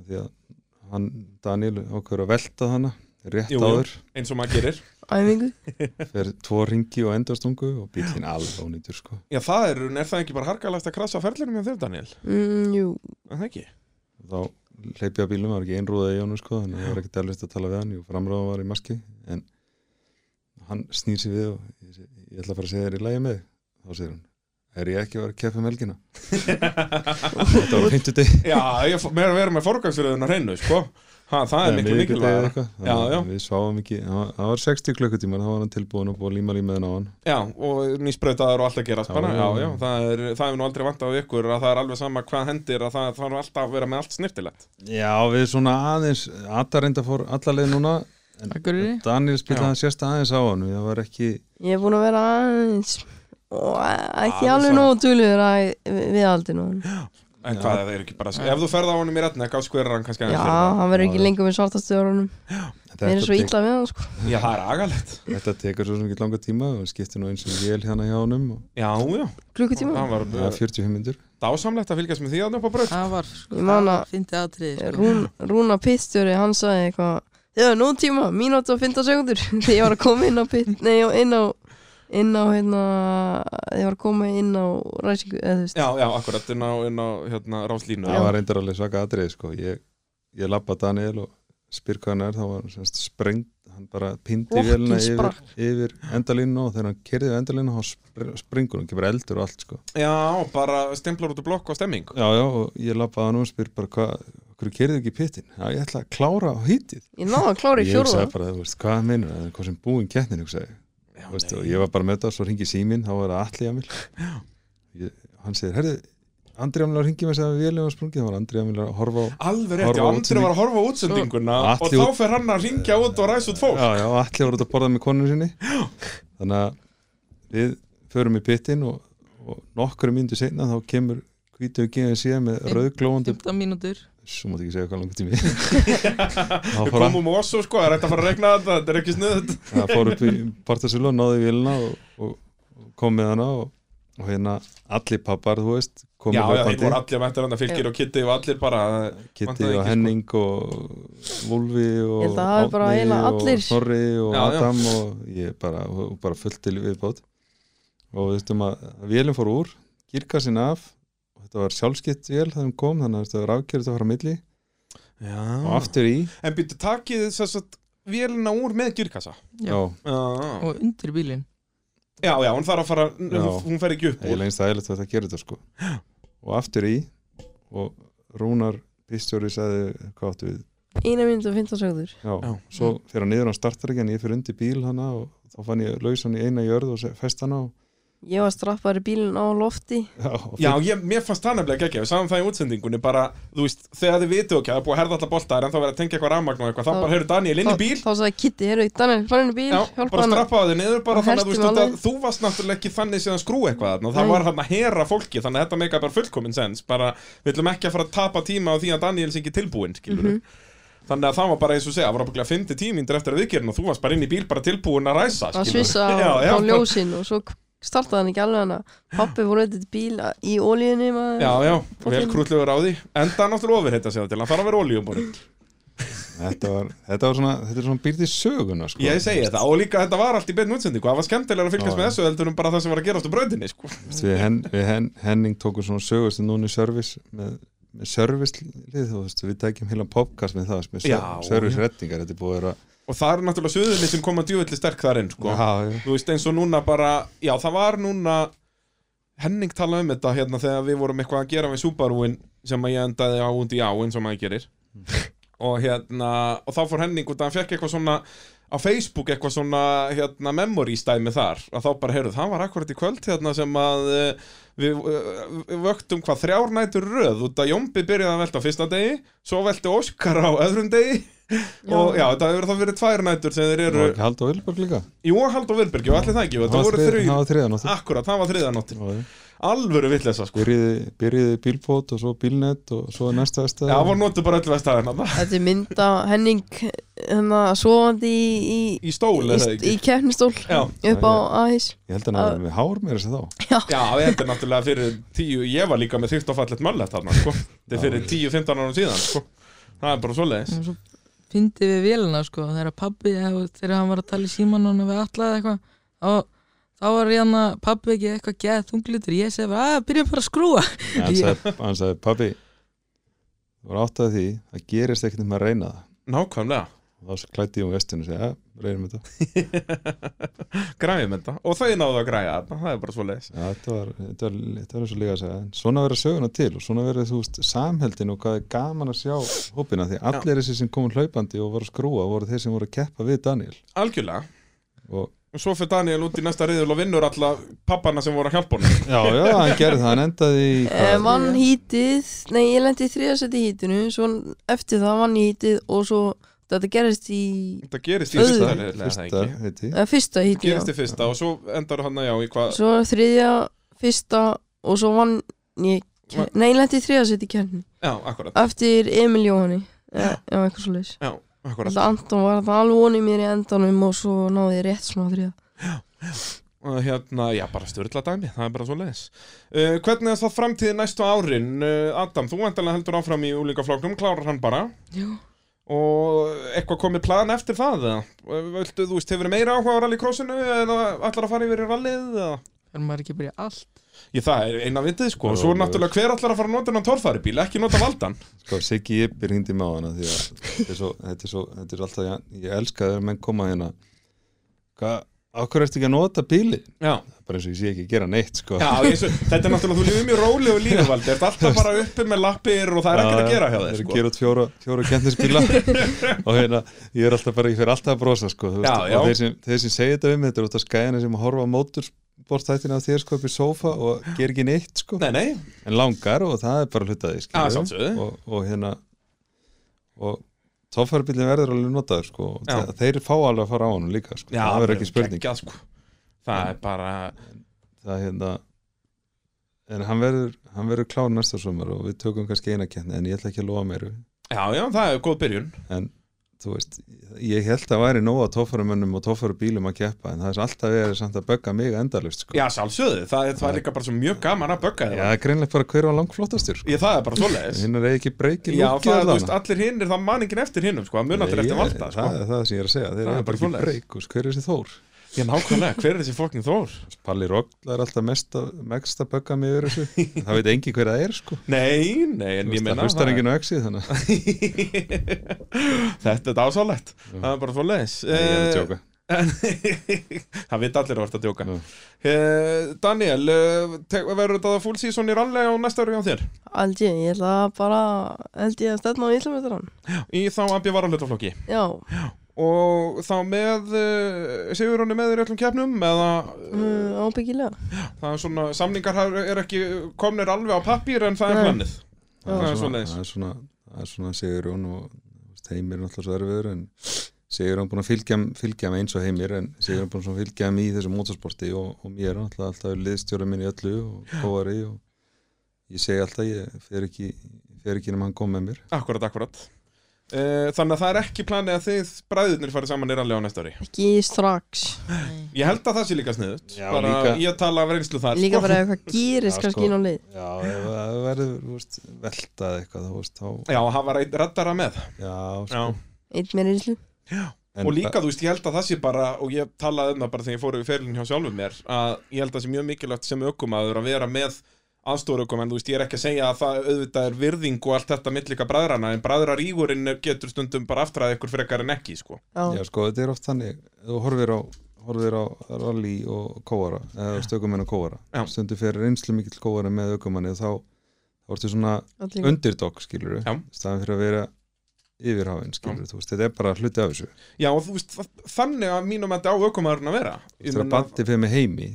Speaker 3: Af því að hann, Daniel, okkur að velta þarna rétt
Speaker 1: Jú, jú.
Speaker 3: áður
Speaker 1: Eins og maður gerir
Speaker 2: Æfingu?
Speaker 3: fer tvo ringi og endastungu og bílinn alveg ónýtur sko
Speaker 1: Já, það er, er það ekki bara harkalegt að krasa ferlinum hjá þér, Daniel?
Speaker 2: Mm, jú,
Speaker 1: Er það ekki?
Speaker 3: þá hleyp ég að bílum, það var ekki einrúðað í honum sko þannig að ég var ekki dælvist að tala við hann, jú framrúðan var í maski en hann snýr sér við og ég, seg- ég ætla að fara að segja þér í lægi með þig." þá segir hann, er ég ekki að vera að keppa um helgina þetta var 50 deg
Speaker 1: Já, ég f- meira að vera með forgangsröðun að hreinu, sko ha, Það er miklu mikilvæg Já, já.
Speaker 3: við sváum ekki, það var- það var 60 klukkutímar þá var hann tilbúin að búa líma límaðin á hann
Speaker 1: Já, og nýspröytaðar og allt að gerast
Speaker 3: Já,
Speaker 1: bara Já,
Speaker 3: já.
Speaker 1: já, það er, það er nú aldrei vant á ykkur að það er alveg sama hvað hendir að það það þarf alltaf að vera með allt snirtilegt
Speaker 3: já, við svona aðeins, Atta reynda fór allalegið núna en
Speaker 4: Akureyri
Speaker 3: Daniel
Speaker 1: Já.
Speaker 3: spilaði hann sérst aðeins á hann, það var ekki
Speaker 2: ég er búin að vera aðeins og e, ekki
Speaker 1: Alveg
Speaker 2: alveg
Speaker 1: sama.
Speaker 2: nógu duglegur að- við aldinu
Speaker 1: En hvað, það er ekki bara Ef þú ferð á honum í retna, hvað skverar hann kannski
Speaker 2: Já,
Speaker 1: aðeins fyrir það?
Speaker 2: hann verður ekki
Speaker 3: Já, já.
Speaker 2: lengur með svartastöðurunum Mér er svo illa við hann sko
Speaker 1: Já, það er agalegt
Speaker 3: Þetta tekur svo sem ekki langa tíma og skiptir nú eins og vél hérna hjá honum og
Speaker 1: Já, já,
Speaker 2: Klukkutíma
Speaker 1: hann var
Speaker 3: það er 45 myndur
Speaker 1: dásamlegt að fylgjast með því að nöpa braut
Speaker 4: það var sko,
Speaker 2: Ég man
Speaker 4: það
Speaker 2: að-
Speaker 4: var fyndið atriði sko.
Speaker 2: Rún, Rúna Pittstjóri, hann sagði eitthvað Já, nú tíma, mínúti og 15 sekundur Þegar ég var að koma inn á Pitt Nei, já, inn á inn á hérna Þegar ég var að koma inn á ræsingu eða þú veist
Speaker 1: Já, já, akkurat, inn á, inn á hérna, ráslínu
Speaker 3: Það var reyndar alveg svaka atrið sko Ég, ég lappa Daniel og spyr hvað hann er þá var hann semst sprengt hann bara pindi
Speaker 2: Blokkin
Speaker 3: vélina yfir,
Speaker 2: sprakk.
Speaker 3: yfir endalínu og þegar hann kerði endalínu þá spr- springur hann, kemur eldur og allt sko
Speaker 1: Já, bara stemplar út úr blokk og stemming
Speaker 3: Já, já, og ég lappa hann og spyr bara hvað, hverju kerði ekki í pittin? Já, ég ætla að klára á hítið
Speaker 2: Ég náði að klára í
Speaker 3: Ég
Speaker 2: fjórða
Speaker 3: hugsaði bara, þú veist, hvað meinur það er hvað sem búin kettnin, hugsaði ég.
Speaker 1: Já,
Speaker 3: Þú veist,
Speaker 1: nei.
Speaker 3: og ég var bara með það, svo ringi símin þá var það allir jamil ég, hann segir, herðu, Andri Amil var ringið með þess að við var sprungið, þá var Andri Amil að horfa á
Speaker 1: Alveg rétt, já,
Speaker 3: Horfa á
Speaker 1: Andri var að horfa á útsendinguna
Speaker 3: Svo-
Speaker 1: og
Speaker 3: Atli
Speaker 1: þá
Speaker 3: út-
Speaker 1: fer hann að ringja út og ræsa út fólk
Speaker 3: já, já, og allir var út að borða með konun sinni þannig að við förum í pittin og, og nokkru myndu seinna þá kemur hvítu og geðin síðan með
Speaker 4: Fimm-
Speaker 3: rauðglóðandi
Speaker 4: 15 mínútur
Speaker 3: svo mátt ekki segja hvað langar tími þá
Speaker 1: Við
Speaker 3: fór, að,
Speaker 1: komum á oss og sko, það er þetta að fara að regna þetta, þetta er ekki snuð
Speaker 3: það fór upp í partasölu og náði í vélina og, og, og kom með hana og, og hérna allir pappar, þú veist
Speaker 1: Já,
Speaker 3: komið
Speaker 1: já, þeir voru allir mættir hann að fylgir og kitti og allir bara
Speaker 3: Kitty
Speaker 1: Vantaði
Speaker 3: og
Speaker 1: ekki, sko.
Speaker 3: Henning og Wolfi
Speaker 2: Ég
Speaker 3: og
Speaker 2: held að það hafi bara eiginlega allir.
Speaker 3: og Snorri og
Speaker 1: Já, já.
Speaker 3: Adam og ég bara, og bara fullt til viðbót og við veistum að vélum fór úr, girkassin af og þetta var sjálfskipt vél þegar hún kom þannig að þetta var afgjörð að fara á milli og
Speaker 1: Já
Speaker 3: aftur í,
Speaker 1: En byrju, takið þess að vélina úr með girkassa
Speaker 3: já,
Speaker 4: Já.
Speaker 3: já
Speaker 1: Já,
Speaker 4: og undir bílinn
Speaker 1: já, já, hún þarf að fara, hún fer ekki upp
Speaker 3: ég
Speaker 1: úr
Speaker 3: lengst aðeinslegt að þetta gerir þetta sko og aftur í og Rúnar Pistjóri sagði hvað áttu við
Speaker 2: Einu mynd og 15 sekundur
Speaker 3: Já,
Speaker 1: Já.
Speaker 3: svo fyrir hann niður á startaríkjan, ég fyrir undir bíl hana og þá fann ég laus hann í eina jörð og se- fest hana og,
Speaker 2: Ég var strappaður í bílinn á lofti
Speaker 3: já, og
Speaker 1: Já, ég, mér fannst það nefnilega ekki, við sáum það í útsendingunni bara, þú veist, þegar þið vitu ekki, það er búið að herða alla boltar en þá verið að tengja eitthvað rafmagn og eitthvað, þá
Speaker 2: Þá-
Speaker 1: bara heyrðu Daniel inn í
Speaker 2: Þá-
Speaker 1: bíl
Speaker 2: Þá sagði Kitty, heyrðu, Daniel, fara inn í bíl
Speaker 1: Já,
Speaker 2: Hjálpa
Speaker 1: bara
Speaker 2: hann
Speaker 1: strappaði niður bara
Speaker 2: Og
Speaker 1: þannig að þú,
Speaker 2: herti
Speaker 1: veist,
Speaker 2: málið.
Speaker 1: þetta- þú varst náttúrulega ekki þannig síðan skrú eitthvað þarna og það
Speaker 2: Nei.
Speaker 1: var hann að hera fólki þannig að þetta meika bara fullkomin sens bara við ætlum ekki að fara að tapa tíma á því að Daniels ekki tilbúin skilur
Speaker 2: Mhm.
Speaker 1: þannig að það var bara eins og segja það var bara fymti tímindir eftir að viðgerðin og þú varst bara inn í bíl bara tilbúin að ræsa
Speaker 2: að
Speaker 1: skilurðu.
Speaker 2: svissa
Speaker 1: Já,
Speaker 2: á,
Speaker 1: já.
Speaker 2: á ljósin og svo startaði hann ekki alveg hana pappi fór auðvitað til bíl að- í ólíunni maður
Speaker 1: Já, já, vel
Speaker 2: Fólkin-
Speaker 1: krútlegur á því Enda náttúrulega ofur heita sér það til, hann þarf að vera um olíumbúin
Speaker 3: þetta var, þetta var svona þetta er svona býrt í söguna sko.
Speaker 1: Ég segi þetta, og líka þetta var allt í beinu útsendingu Það var skemmtilega að fylgjast
Speaker 3: Já,
Speaker 1: með
Speaker 3: já.
Speaker 1: þessu heldur en bara það sem var að gerast á brautinni sko.
Speaker 3: við, hen, við hen, Henning tókum svona sögustu núna í service með, með service lið þú veist, við tekjum heila podcast með það með
Speaker 1: Já,
Speaker 3: service rettingar, þetta er búið að vera
Speaker 1: Og það er náttúrulega suðunni sem koma djúvillig sterk þar inn sko.
Speaker 3: já, já,
Speaker 1: þú veist eins og núna bara já það var núna Henning talaði um þetta hérna þegar við vorum eitthvað að gera við Subaruin sem að ég endaði á undi á eins og maður gerir og hérna og þá fór Henning út að hann fekk eitthvað svona á Facebook eitthvað svona hérna memory stæmi þar að þá bara heyrðu það var akkurat í kvöld hérna sem að eh, við, eh, við vöktum hvað þrjár nætur röð út að Jómbi byrjaði að velta á fyrsta degi svo velti Óskar á öðrum degi og já þetta hefur þá verið tvær nætur sem þeir
Speaker 3: það
Speaker 1: eru
Speaker 3: var ekki hald á Vilberg líka
Speaker 1: Jú, Haldur Vilbergi og allir það ekki, þetta voru Ah. þrjú
Speaker 3: það var þriðan
Speaker 1: Akkurat, það var þriða nóttin Alvöru villesa sko
Speaker 3: byrjiði, byrjiði bílbót og svo bílnet og svo næsta
Speaker 1: Já,
Speaker 3: stað
Speaker 1: það var notu bara öllu vestæðina
Speaker 2: þetta er mynd af Henning hérna sofandi í, í,
Speaker 1: Í stól,
Speaker 2: í,
Speaker 1: eða
Speaker 2: st-
Speaker 1: ekki
Speaker 2: í keppnistól
Speaker 1: Já.
Speaker 2: upp á aðeins
Speaker 3: ég held að hann hafi með hár meira sér þá
Speaker 1: Já, þetta er náttúrulega fyrir tíu Ég var líka með þygt og fallegt möllet þarna sko Þetta er fyrir tíu, 15 árum síðan sko Það er bara svoleiðis
Speaker 4: og svo fyndi við vélina sko þegar pabbi, eða, þú veist, þegar hann var að tala í síman og við allaði eitthvað þá- þá var hérna pabbi ekki eitthvað geð þunglutur, ég segi bara að byrja bara að skrúa
Speaker 3: hann
Speaker 4: Já.
Speaker 3: sagði, hann sagði pabbi þú voru átt að því að gerist ekkert um að reyna það
Speaker 1: Nákvæmlega,
Speaker 3: og þá klætti ég um vestinu og segi, ja, reynum þetta
Speaker 1: græfum þetta Og þau náðu að græja þarna, það er bara svoleiðis
Speaker 3: Já, þetta var, þetta var, þetta var eins og líka að segja en svona verður söguna til og svona verður þú veist samheldin og hvað er gaman að sjá hópina því allir þessi sem komu hlaupandi og voru að skrúa voru þeir sem voru að keppa við Daniel
Speaker 1: Algjörlega
Speaker 3: og
Speaker 1: Og svo fyrir Daniel út í næsta riðul og vinnur alla pappana sem voru að hjálpa honum
Speaker 3: já, já, hann gerði það, hann endaði í
Speaker 2: Eh,
Speaker 3: hvað,
Speaker 2: vann hítið, nei ég lendi í þriðasetti hítinu svo eftir það vann ég hítið og svo þetta gerist í
Speaker 1: Þetta gerist í
Speaker 2: Öðru.
Speaker 1: fyrsta, leiðilega,
Speaker 3: Fyrsta,
Speaker 1: það
Speaker 3: fyrsta
Speaker 1: ekki?
Speaker 3: heiti
Speaker 2: eða fyrsta hitti já.
Speaker 1: Gerist í fyrsta og svo endar hann að já í hvað
Speaker 2: svo þriðja, fyrsta og svo vann ég
Speaker 1: Va-
Speaker 2: nei, ég lenti í þriða seti í kjærni
Speaker 1: Já, akkurat
Speaker 2: eftir Emil Jóhanni já, já eitthvað svo leis
Speaker 1: Já, akkurat
Speaker 2: Alltaf Anton var alltaf alveg vonið mér í endanum og svo náði ég rétt smá þriða
Speaker 1: Og hérna, já, bara styrla dæmi, það er bara svo leis uh, Hvernig er það framtíði næstu árin? Uh, Adam, þú endalega heldur áfram í úlingafloknum, klárar hann bara
Speaker 4: Já.
Speaker 1: Og eitthvað komið plan eftir það eða? Viltu, þú veist, hefur meira áhuga á rallycrossinu eða ætlar að fara yfir í rallið eða?
Speaker 4: Þannig maður ekki bara í allt
Speaker 1: Ég, það er eina vitið sko, og
Speaker 3: Já,
Speaker 1: svo
Speaker 3: mjög
Speaker 1: náttúrulega hver ætlar að fara að nota hennan torfæribíl, ekki nota valdan
Speaker 3: Sko, Siggi Yppi hringdi mig á hana því að þetta er svo, þetta er svo, þetta er alltaf, ég, ég elska þegar menn koma hérna hvað, okkur ertu ekki að nota bíli?
Speaker 1: Já,
Speaker 3: Bara eins og ég sé ekki að gera neitt, sko.
Speaker 1: Já eins og, þetta er náttúrulega, þú lifir mjög róli og lífvaldi, þetta er alltaf bara uppi með lappir og það er ekkert að gera hjá
Speaker 3: Það
Speaker 1: þér
Speaker 3: er að
Speaker 1: sko
Speaker 3: gera út fjóra, fjóra kennisbíla og hérna, ég er alltaf bara, ég fer alltaf að brosa, sko. þú
Speaker 1: Já, já.
Speaker 3: Og þeir sem, þeir sem segja þetta um þetta er út af skæðina sem að horfa á móturbortættina af þér, sko, upp í sófa og ger ekki neitt, sko.
Speaker 1: Nei, nei,
Speaker 3: En langar og það er bara hlutaði,
Speaker 1: að
Speaker 3: skilur.
Speaker 1: sjálfsögðu
Speaker 3: og, og hérna og tóffarabillin verður alveg notaður sko og
Speaker 1: Já.
Speaker 3: þe- þeir fá alveg að fara á honum líka sko. það verður ekki spurning
Speaker 1: geggjað, sko. Það er bara,
Speaker 3: það, hérna, en hann verður hann verður klár næsta sumar og við tökum kannski eina kenni en ég ætla ekki að lofa meiru
Speaker 1: já, já, það er góð byrjun
Speaker 3: en þú veist, ég held að væri nóg að tóffaramönnum og tóffarabílum að keppa en það er alltaf verið samt að bögga mig endalust sko.
Speaker 1: Já, sjálfsögðu, það er, það er líka bara svo mjög gaman að bögga
Speaker 3: Já,
Speaker 1: þér
Speaker 3: það er greinlega bara hver var langflottastur sko.
Speaker 1: Ég, það er bara svoleiðis
Speaker 3: hinn er ekki breykið
Speaker 1: Já, það er, þú veist, allir hinnir, það man enginn eftir hinnum, sko, það mun allir eftir valda, sko
Speaker 3: það er það sem ég er að segja,
Speaker 1: Það
Speaker 3: þeir
Speaker 1: er
Speaker 3: eru
Speaker 1: bara
Speaker 3: bara ekki
Speaker 1: svoleiðis.
Speaker 3: breyk sko. hver er þessi þór?
Speaker 1: Ég nákvæmlega, hver er þessi fólkning þór?
Speaker 3: Palli Rogla er alltaf mest að, megst að bögga mig yfir þessu það veit engi hver það er sko
Speaker 1: Nei, nei, en ég
Speaker 3: það
Speaker 1: meina
Speaker 3: hlustar enginn á exið þannig að
Speaker 1: Þetta er dásálegt Það er bara svo leis
Speaker 3: Nei, ég er að tjóka
Speaker 1: Það veit allir að verða að djóka
Speaker 3: Já.
Speaker 1: Eh, Daniel, eh, te- verður þetta full season í rally á næsta ári á þér?
Speaker 2: aldrei, ég ætla bara held ég að stefna á íllametran
Speaker 1: Í þá abbi varahlutaflokki
Speaker 2: já,
Speaker 1: Og þá með uh, Sigur hann með þér í öllum keppnum Eða
Speaker 2: mm, ábyggilega
Speaker 1: það er svona Samningar har- er ekki komnir alveg á pappír En það er
Speaker 2: Nei.
Speaker 1: planið
Speaker 3: það
Speaker 1: Já,
Speaker 3: er svona,
Speaker 1: svoleiðis.
Speaker 3: það er svona, það er svona Sigurjón og þú veist, Heimir er náttúrulega svo erfiður en Sigurjón búin að fylgja, fylgja með eins og Heimir en Sigurjón búin að svona fylgja með í þessu motorsporti og, og mér er náttúrulega alltaf liðstjóra minn í öllu og kóari og ég segi alltaf ég fer ekki, fer ekki nema hann kom með mér
Speaker 1: Akkurat, akkurat Eh, Þannig að það er ekki planið að þið bræðurnir farið saman í rally á næsta ári
Speaker 2: ekki strax
Speaker 1: Ég held að það sé líka sniðut
Speaker 3: Já,
Speaker 1: bara
Speaker 3: líka.
Speaker 1: ég tala af reynslu þar
Speaker 2: líka
Speaker 1: sko.
Speaker 2: bara eitthvað
Speaker 3: Já,
Speaker 2: gerist
Speaker 3: sko.
Speaker 2: kannski inn á leið
Speaker 3: já, ef það verður þú veist, veltað eitthvað þú veist, þá,
Speaker 1: Já, hafa reynd reddara með
Speaker 3: já,
Speaker 1: Já.
Speaker 3: sko.
Speaker 2: einn meir einslu
Speaker 3: En
Speaker 1: Og líka, þú veist, ég held að það sé bara og ég talaði um það bara þegar ég fór í ferilin hjá sjálfum mér að ég held að það sé mjög mikilvægt sem aukumaður að vera með aðstórukum en þú veist, ég er ekki að segja að það auðvitað er virðing og allt þetta millika bræðrana en bræðrarígurinn getur stundum bara aftræði ykkur frekar en ekki, sko
Speaker 2: já,
Speaker 3: Já, sko, þetta er oft þannig þú horfir á, horfir á rally og kóara, eða stökumenn og
Speaker 1: Já.
Speaker 3: kóara stundu fyrir reynslu mikill kóara með aukumanni og þá þá ertu svona
Speaker 2: allir
Speaker 3: underdog, skilur
Speaker 1: Já.
Speaker 3: staðan fyrir að vera yfirhafinn, skilur þú veist, þetta er bara hluti af þessu Þú
Speaker 1: Já, og þú veist, þa- þannig að mínum að þetta á aukumaðurinn að vera Ég
Speaker 3: þegar
Speaker 1: meina-
Speaker 3: bandi fyrir mig heimi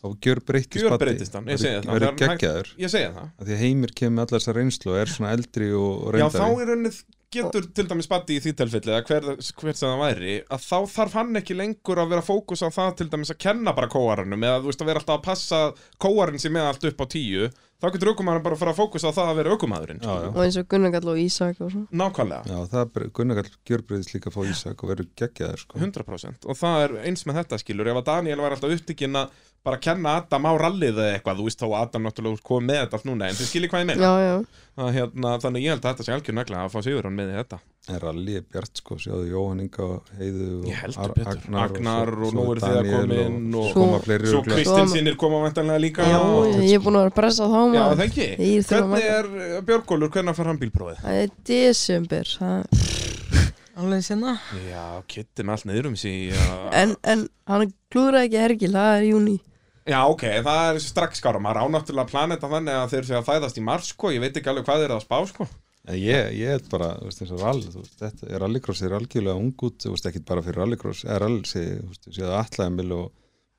Speaker 3: þá gjör breytist
Speaker 1: Gjörbreytist hann, ég segi það. Þegar
Speaker 3: verður
Speaker 1: hann hægt-
Speaker 3: geggjaður,
Speaker 1: Ég segja það
Speaker 3: af því að heimir kemur með allar þessar reynslu og er svona eldri og, og
Speaker 1: Já, þá
Speaker 3: reyndari
Speaker 1: er raunnið getur til dæmis Batti í því tilfelli eða hver, hver sem það væri að þá þarf hann ekki lengur að vera fókus á það til dæmis að kenna bara kóarunum eða þú veist að vera alltaf að passa kóarinn sem er allt upp á tíu þá getur aukumæðurinn bara að fara að fókus á það að vera aukumæðurinn
Speaker 3: Já, já.
Speaker 2: og eins og Gunnar Gall og Ísak og svona
Speaker 1: Nákvæmlega,
Speaker 3: Já, það er bara- Gunnar Gall gjörbreytist líka að fá Ísak og verður geggjaður, sko
Speaker 1: 100% og það er eins með þetta skilur ef að Daniel var alltaf upptikinn að bara kenna Adam á rallið eða eitthvað þú veist þá að Adam náttúrulega komið með þetta allt núna en þið skilir hvað ég meina
Speaker 2: já, já,
Speaker 1: Að hérna, þannig ég held að þetta sé algjör negla að fá sigur með í þetta
Speaker 3: En rally er bjart sko, sjáðu Jóhann Inga og Heiðu
Speaker 1: Ég
Speaker 3: og
Speaker 1: heldur betur.
Speaker 3: Agnar,
Speaker 1: Agnar og
Speaker 3: svo-
Speaker 1: nú
Speaker 3: svo
Speaker 1: eru þið að
Speaker 3: Daniel
Speaker 1: koma inn og-
Speaker 3: og svo koma fleiri
Speaker 1: Svo
Speaker 3: örugglega.
Speaker 1: Kristinsinir koma vantanlega líka
Speaker 2: já
Speaker 1: og-
Speaker 2: ég er búin að vera að pressa þá
Speaker 1: Já, það
Speaker 2: maður
Speaker 1: ekki.
Speaker 2: Ég er þurfa að
Speaker 1: Hvernig er uh, Björgólfur, hvernig fær hann bílprófið?
Speaker 2: það er desember það-
Speaker 4: Alveg sinna
Speaker 1: Já, kitti með allt niður um sig já.
Speaker 2: en, en hann klúðra ekki hergil það er júni
Speaker 1: já, ok, það er strax skára Maður á náttúrulega planeta þannig að þeir séu að fæðast í mars sko. Ég veit ekki alveg hvað þeir eru að spá sko.
Speaker 3: En ég, ég er bara, þú veist, eins og rall þú veist, þetta er rallycross, er algjörlega ung út þú veist, ekkit bara fyrir rallycross, eða rally sé, þú veist, séðu Atlaemil og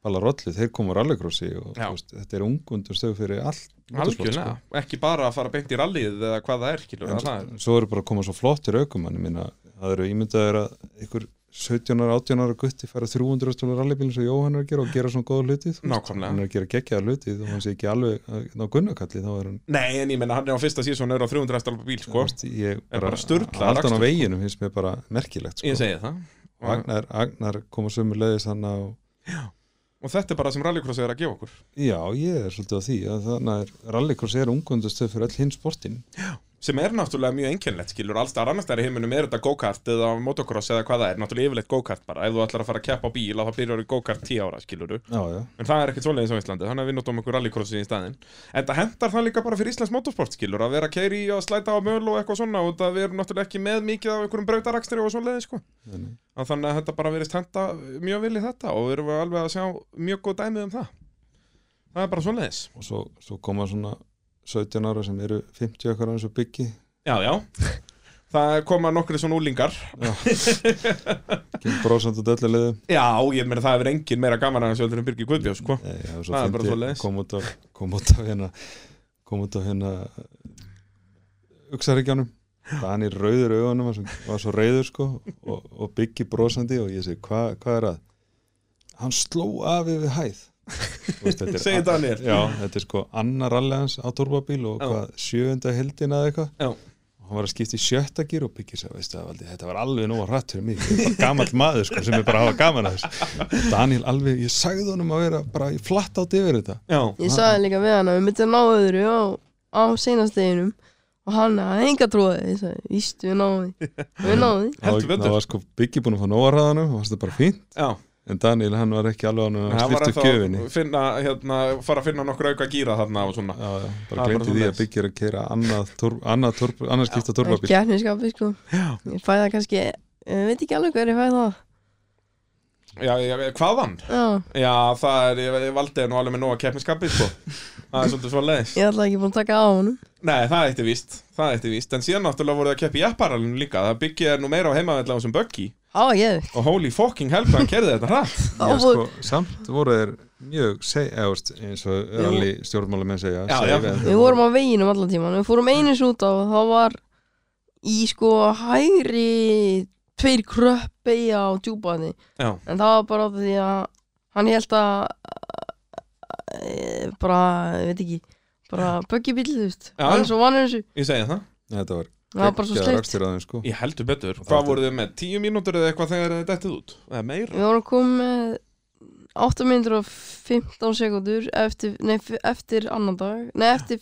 Speaker 3: Balla Rollu, þeir koma á rallycrossi og
Speaker 1: Já.
Speaker 3: þú veist, þetta er ungundur stöð fyrir allt motorsport, sko.
Speaker 1: Algjörlega, ekki bara að fara beint í rallið eða hvað það er, skilur
Speaker 3: En
Speaker 1: sko. það er.
Speaker 3: Svo eru bara að koma svo flottir aukumann minna, það eru ímyndaður að einhver 17 ára, 18 ára gutti fara 300 stólar rallybílinn sem Jóhann er að gera og gera svona góða hluti þú veist.
Speaker 1: Nákvæmlega.
Speaker 3: hann er að gera geggjaða hluti þó hann sé ekki alveg að ná gunnakalli þá er hann
Speaker 1: Nei, en ég menna hann er á fyrsta síðan er á 300 hestalpa bíl,
Speaker 3: þú
Speaker 1: sko
Speaker 3: veist, ég
Speaker 1: Er bara sturlað
Speaker 3: að halda hann á
Speaker 1: akstur,
Speaker 3: veginum finnst mér bara merkilegt
Speaker 1: Ég
Speaker 3: sko.
Speaker 1: segi það
Speaker 3: Og Agnar, Agnar koma sömu leiðis hann á
Speaker 1: Og þetta er bara sem rallycross er að gefa okkur
Speaker 3: já ég er svolítið á því að þannig að rallycross er ungundastöð fyrir öll hinn sportin
Speaker 1: sem er náttúrulega mjög einkennlegt, skilur allstar annars þær í heiminum er þetta go-kart eða motocross eða hvað það er, náttúrulega yfirleitt go-kart bara ef þú ætlar að fara að keppa á bíl þá byrjar þú go-kart 10 ára, skilur
Speaker 3: já já
Speaker 1: en það er ekkert svoleiðis á Íslandi, þannig að við notum okkur rallycrossi í staðinn, en það hendar það líka bara fyrir Íslands motorsport, skilur, að vera að keiri og slæta á möl og eitthvað svona, og það við erum náttúrulega ekki með mikið af einhverjum brautarakstri og svoleiði, sko
Speaker 3: Þannig.
Speaker 1: að þannig að þetta bara verist henda mjög vel í þetta og við erum alveg að sjá mjög góð dæmið um það það er bara svoleiðis
Speaker 3: og svo, svo koma svona 17 ára sem eru 50 okkar eins og byggi
Speaker 1: já, já, það koma nokkri svona úlingar
Speaker 3: kemur brósand og döllu leiðum
Speaker 1: já, ég meina það hefur engin meira gaman að þessu heldur en Birgir Guðbjós, sko
Speaker 3: Nei, já, svo
Speaker 1: Það er bara
Speaker 3: fyndi-
Speaker 1: svoleiðis.
Speaker 3: kom út á, kom út á hérna kom út á hérna Uxaríkjánum Dani rauður augunum var svo, var svo rauður sko og, og byggi brosandi og ég segi "Hva- hvað er að hann sló af yfir hæð Þú veist, þetta er-
Speaker 1: Segir Daniel.
Speaker 3: já, þetta er sko annar allans á turbabíl og
Speaker 1: Já.
Speaker 3: hvað sjöunda heldin eða eitthvað
Speaker 1: Já.
Speaker 3: og hann var að skipta í sjötta gýr og byggja sér, veistu það valdi, þetta var alveg nóg að rætt fyrir mig, ég er bara gamall maður sko sem er bara að hafa gaman að þessu Daniel alveg, ég sagði honum að vera bara í flatt átt yfir þetta
Speaker 1: já,
Speaker 2: Ég sagði líka við hann að við myndum ná öðru á, á seinasteginum og hann að enga tróði Ég sagði, víst, við náðum því Við náðum því
Speaker 1: Heldur
Speaker 3: Það-
Speaker 1: betur.
Speaker 3: það var sko byggi búin að fá nóg að ræðanum og varst það bara fínt,
Speaker 1: já
Speaker 3: en Daniel hann var ekki alveg ánum að
Speaker 1: það
Speaker 3: hann
Speaker 1: var
Speaker 3: slýst upp gjöfinni
Speaker 1: að finna, hérna, fara að finna nokkur auka gíra þarna og svona
Speaker 3: Já, já, bara
Speaker 1: Það er bara
Speaker 3: glemti því
Speaker 1: svoleiðis.
Speaker 3: að byggja er að keira annað, torf, annað, torf, annað skipta
Speaker 2: Það er
Speaker 3: torfabíl
Speaker 2: kjarniskapi, sko Ég fæ það kannski, ég veit ekki alveg hver ég fæ það
Speaker 1: já, já, hvaðan?
Speaker 2: Já,
Speaker 1: já, það er, ég, ég valdi nú alveg með nóga keppniskapið, sko það er svolítið svoleiðis
Speaker 2: ég ætla ekki búin að taka á honum
Speaker 1: Nei, það eitt er víst, það eitt er víst En síðan náttúrulega voru það að keppa í epparalunum líka Það byggja er nú meira á heimavella á þessum buggy
Speaker 2: Á, ég,
Speaker 1: Og holy fucking hell, hvað hann kerði þetta hratt
Speaker 2: þá
Speaker 3: Já,
Speaker 2: fór
Speaker 3: sko, samt voru þeir mjög seg, eðust, eins og öðrali stjórnmálamenn segja
Speaker 1: Já, já.
Speaker 3: save, en
Speaker 2: Við vorum á veginum allan tíman Við fórum einu út á og þá var í sko hægri tveir kröppi á djúbaði
Speaker 1: Já,
Speaker 2: en það var bara út af því að hann held að e, bara, ég veit ekki bara böggibíl, þú veist
Speaker 1: Já.
Speaker 2: hann er svo vanur þessu,
Speaker 1: ég segi það
Speaker 3: þetta var
Speaker 2: það var bara svo
Speaker 3: geggjaður
Speaker 2: sleikt
Speaker 3: akstur á þeim, sko.
Speaker 1: Ég heldur betur,
Speaker 3: Og
Speaker 1: hvað
Speaker 3: það-
Speaker 1: voruð þið með? Tíu mínútur eða eitthvað þegar þið dettið út? Eða meira?
Speaker 2: við vorum komið með 8 minnur og 15 sekundur eftir, nei, f- eftir annan dag nei, eftir,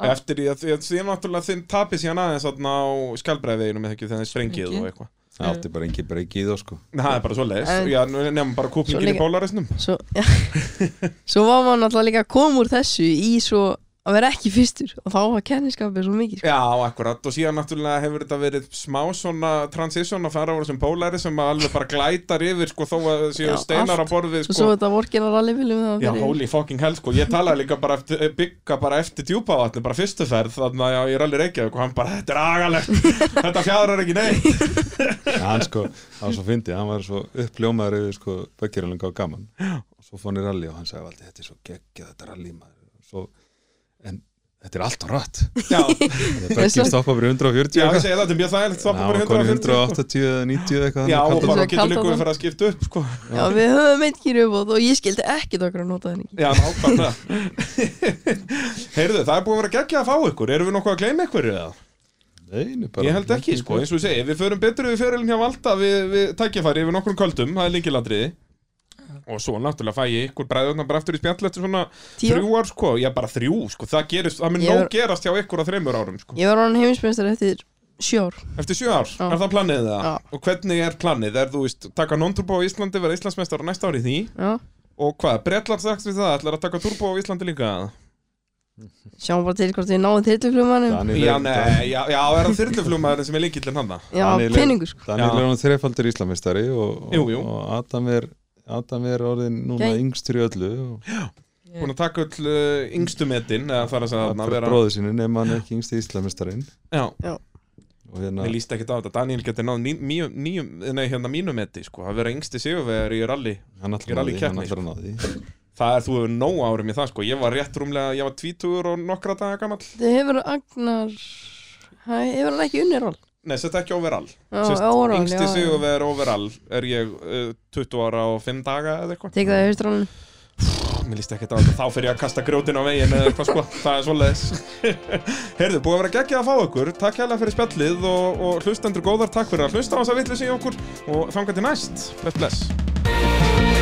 Speaker 2: Já.
Speaker 1: Eftir því að því að því að náttúrulega þinn tapir síðan aðeins þarna á skjálbreiðveginum eða ekki þegar þið sprengið
Speaker 4: Sprengi.
Speaker 1: og eitthvað
Speaker 3: Það átti bara engin breyki í þá sko
Speaker 1: Nei, Það er bara svo leiðis,
Speaker 2: En-
Speaker 1: já, nefnum bara
Speaker 2: Svo
Speaker 1: kúplingin
Speaker 2: líka-
Speaker 1: í pólarisnum
Speaker 2: svo, ja. svo var maður náttúrulega líka að koma úr þessu í svo að vera ekki fyrstur og þá var kenniskapið svo mikið sko.
Speaker 1: Já, akkurat, og síðan náttúrulega hefur þetta verið smá svona transition að fara á þessum pólari sem alveg bara glætar yfir, sko, þó að
Speaker 2: Já,
Speaker 1: séu steinar á
Speaker 2: allt.
Speaker 1: borðið,
Speaker 2: svo
Speaker 1: sko
Speaker 2: svo þetta vorkinar alveg viljum það
Speaker 1: Já,
Speaker 2: fyrir-
Speaker 1: holy fucking hell, sko, ég talaði líka bara eftir, bygga bara eftir djúpavatni, bara fyrstu ferð þannig að já, ég er alveg reykjað og hann bara, þetta er agalegt þetta fjadrar ekki neitt
Speaker 3: En hann sko, hann svo fyndi, hann var svo uppljómaður yfir sko böggjarlunga og gaman og svo fór hann í rally og hann sagði alltaf þetta er svo geggjað, þetta er rally maður svo, en þetta er allt á rætt
Speaker 1: Já,
Speaker 3: böggjar stoppa fyrir
Speaker 1: já,
Speaker 3: 140
Speaker 1: ég
Speaker 3: eitthvað.
Speaker 1: segi það, þetta er mjög þægilegt
Speaker 3: En
Speaker 1: stoppa
Speaker 3: hann
Speaker 1: bara
Speaker 3: var konið
Speaker 1: 150 sko.
Speaker 3: 180 eða 90 eitthvað
Speaker 1: Já, og
Speaker 3: þannig kaldan-
Speaker 1: bara
Speaker 2: Kaldan-
Speaker 1: getur líka
Speaker 2: Kaldan-
Speaker 1: verið að skipta upp, sko
Speaker 2: Já, við höfum eitt kýrjubót og ég skildi ekkert okkur að nota henni.
Speaker 1: Já, nákvæmlega Heyrðu, það er búin að vera geggja að fá ykkur Erum við nokkuð að gleyma ykkur eða?
Speaker 3: Nei, nei, bara-
Speaker 1: Ég held ekki, sko, eins og ég segi Við förum betur yfir fyrirlin hjá Valda Við, við tækjafæri yfir nokkrum köldum, það er líkilandriði Og svo náttúrulega fæ ég ykkur bræðurna bara aftur í spjall eftir svona
Speaker 2: Tíu,
Speaker 1: Þrjú ár sko, já bara þrjú sko Það, gerist, það mun
Speaker 2: Ég
Speaker 1: nóg
Speaker 2: var-
Speaker 1: gerast hjá ykkur á þreymur árum sko.
Speaker 2: ég var hann heimismestari eftir sjö ár.
Speaker 1: Eftir sjö ár,
Speaker 2: Já.
Speaker 1: er það planið það?
Speaker 2: Já.
Speaker 1: Og hvernig er planið? Er þú veist, taka non-turbo á Íslandi vera Íslandsmeistar á næsta ári því
Speaker 2: Já,
Speaker 1: Og hvað, bretlar strax við það? Ætlar að taka turbo á Íslandi líka?
Speaker 2: sjáum bara til hvort ég náði þyrluflumannum.
Speaker 3: Daniel er-
Speaker 1: Já, nei, já, já, er það þyrluflugmaðurinn sem er líkillinn hann það?
Speaker 2: Já,
Speaker 3: Daniel er-
Speaker 2: peningur sko.
Speaker 3: Daniel
Speaker 1: Já.
Speaker 3: er hann þrefaldur íslamistari og, og,
Speaker 1: Jú, jú.
Speaker 3: og Adam er Adam er orðin núna
Speaker 2: Gæ-
Speaker 3: yngstur í öllu og
Speaker 1: Búin að taka öll uh, yngstu metin eða þar að segja þarna vera
Speaker 3: bróðu sínu nema hann er ekki yngst í íslamistarinn
Speaker 1: Já,
Speaker 3: og hérna
Speaker 1: mér líst ekki á þetta Daniel getur náð ný- míu- níu, nei, hérna mínu meti sko Að vera yngsti sigurvegar í rally
Speaker 3: hann
Speaker 1: Ég er
Speaker 3: ætlar að ná
Speaker 1: alveg keppni,
Speaker 3: því,
Speaker 1: sko.
Speaker 3: hann ætlar að ná því
Speaker 1: Það er, þú hefur nóg árum í það sko Ég var rétt rúmlega, ég var tvítugur og nokkra daga gamall
Speaker 2: Þau hefur Agnar, hæ, hefur hann ekki unnir all.
Speaker 1: Nei, sett ekki overall
Speaker 2: Já,
Speaker 1: Sérst,
Speaker 2: overall,
Speaker 1: Yngsti
Speaker 2: já, já.
Speaker 1: sigurvegar overall er ég uh, 20 ára og 5 daga eða eitthvað
Speaker 2: Tek það í haustrálun
Speaker 1: Mér líst ekki þetta á þetta, þá fer ég að kasta grjótin á veginn eða eitthvað sko, það er svoleiðis Heyrðu, búið að vera geggjað að fá okkur Takk hérlega fyrir spjallið og, og hlustendur góðar Takk fyrir að hlusta á þess að vitlu sig okkur og þangað til næst, bless bless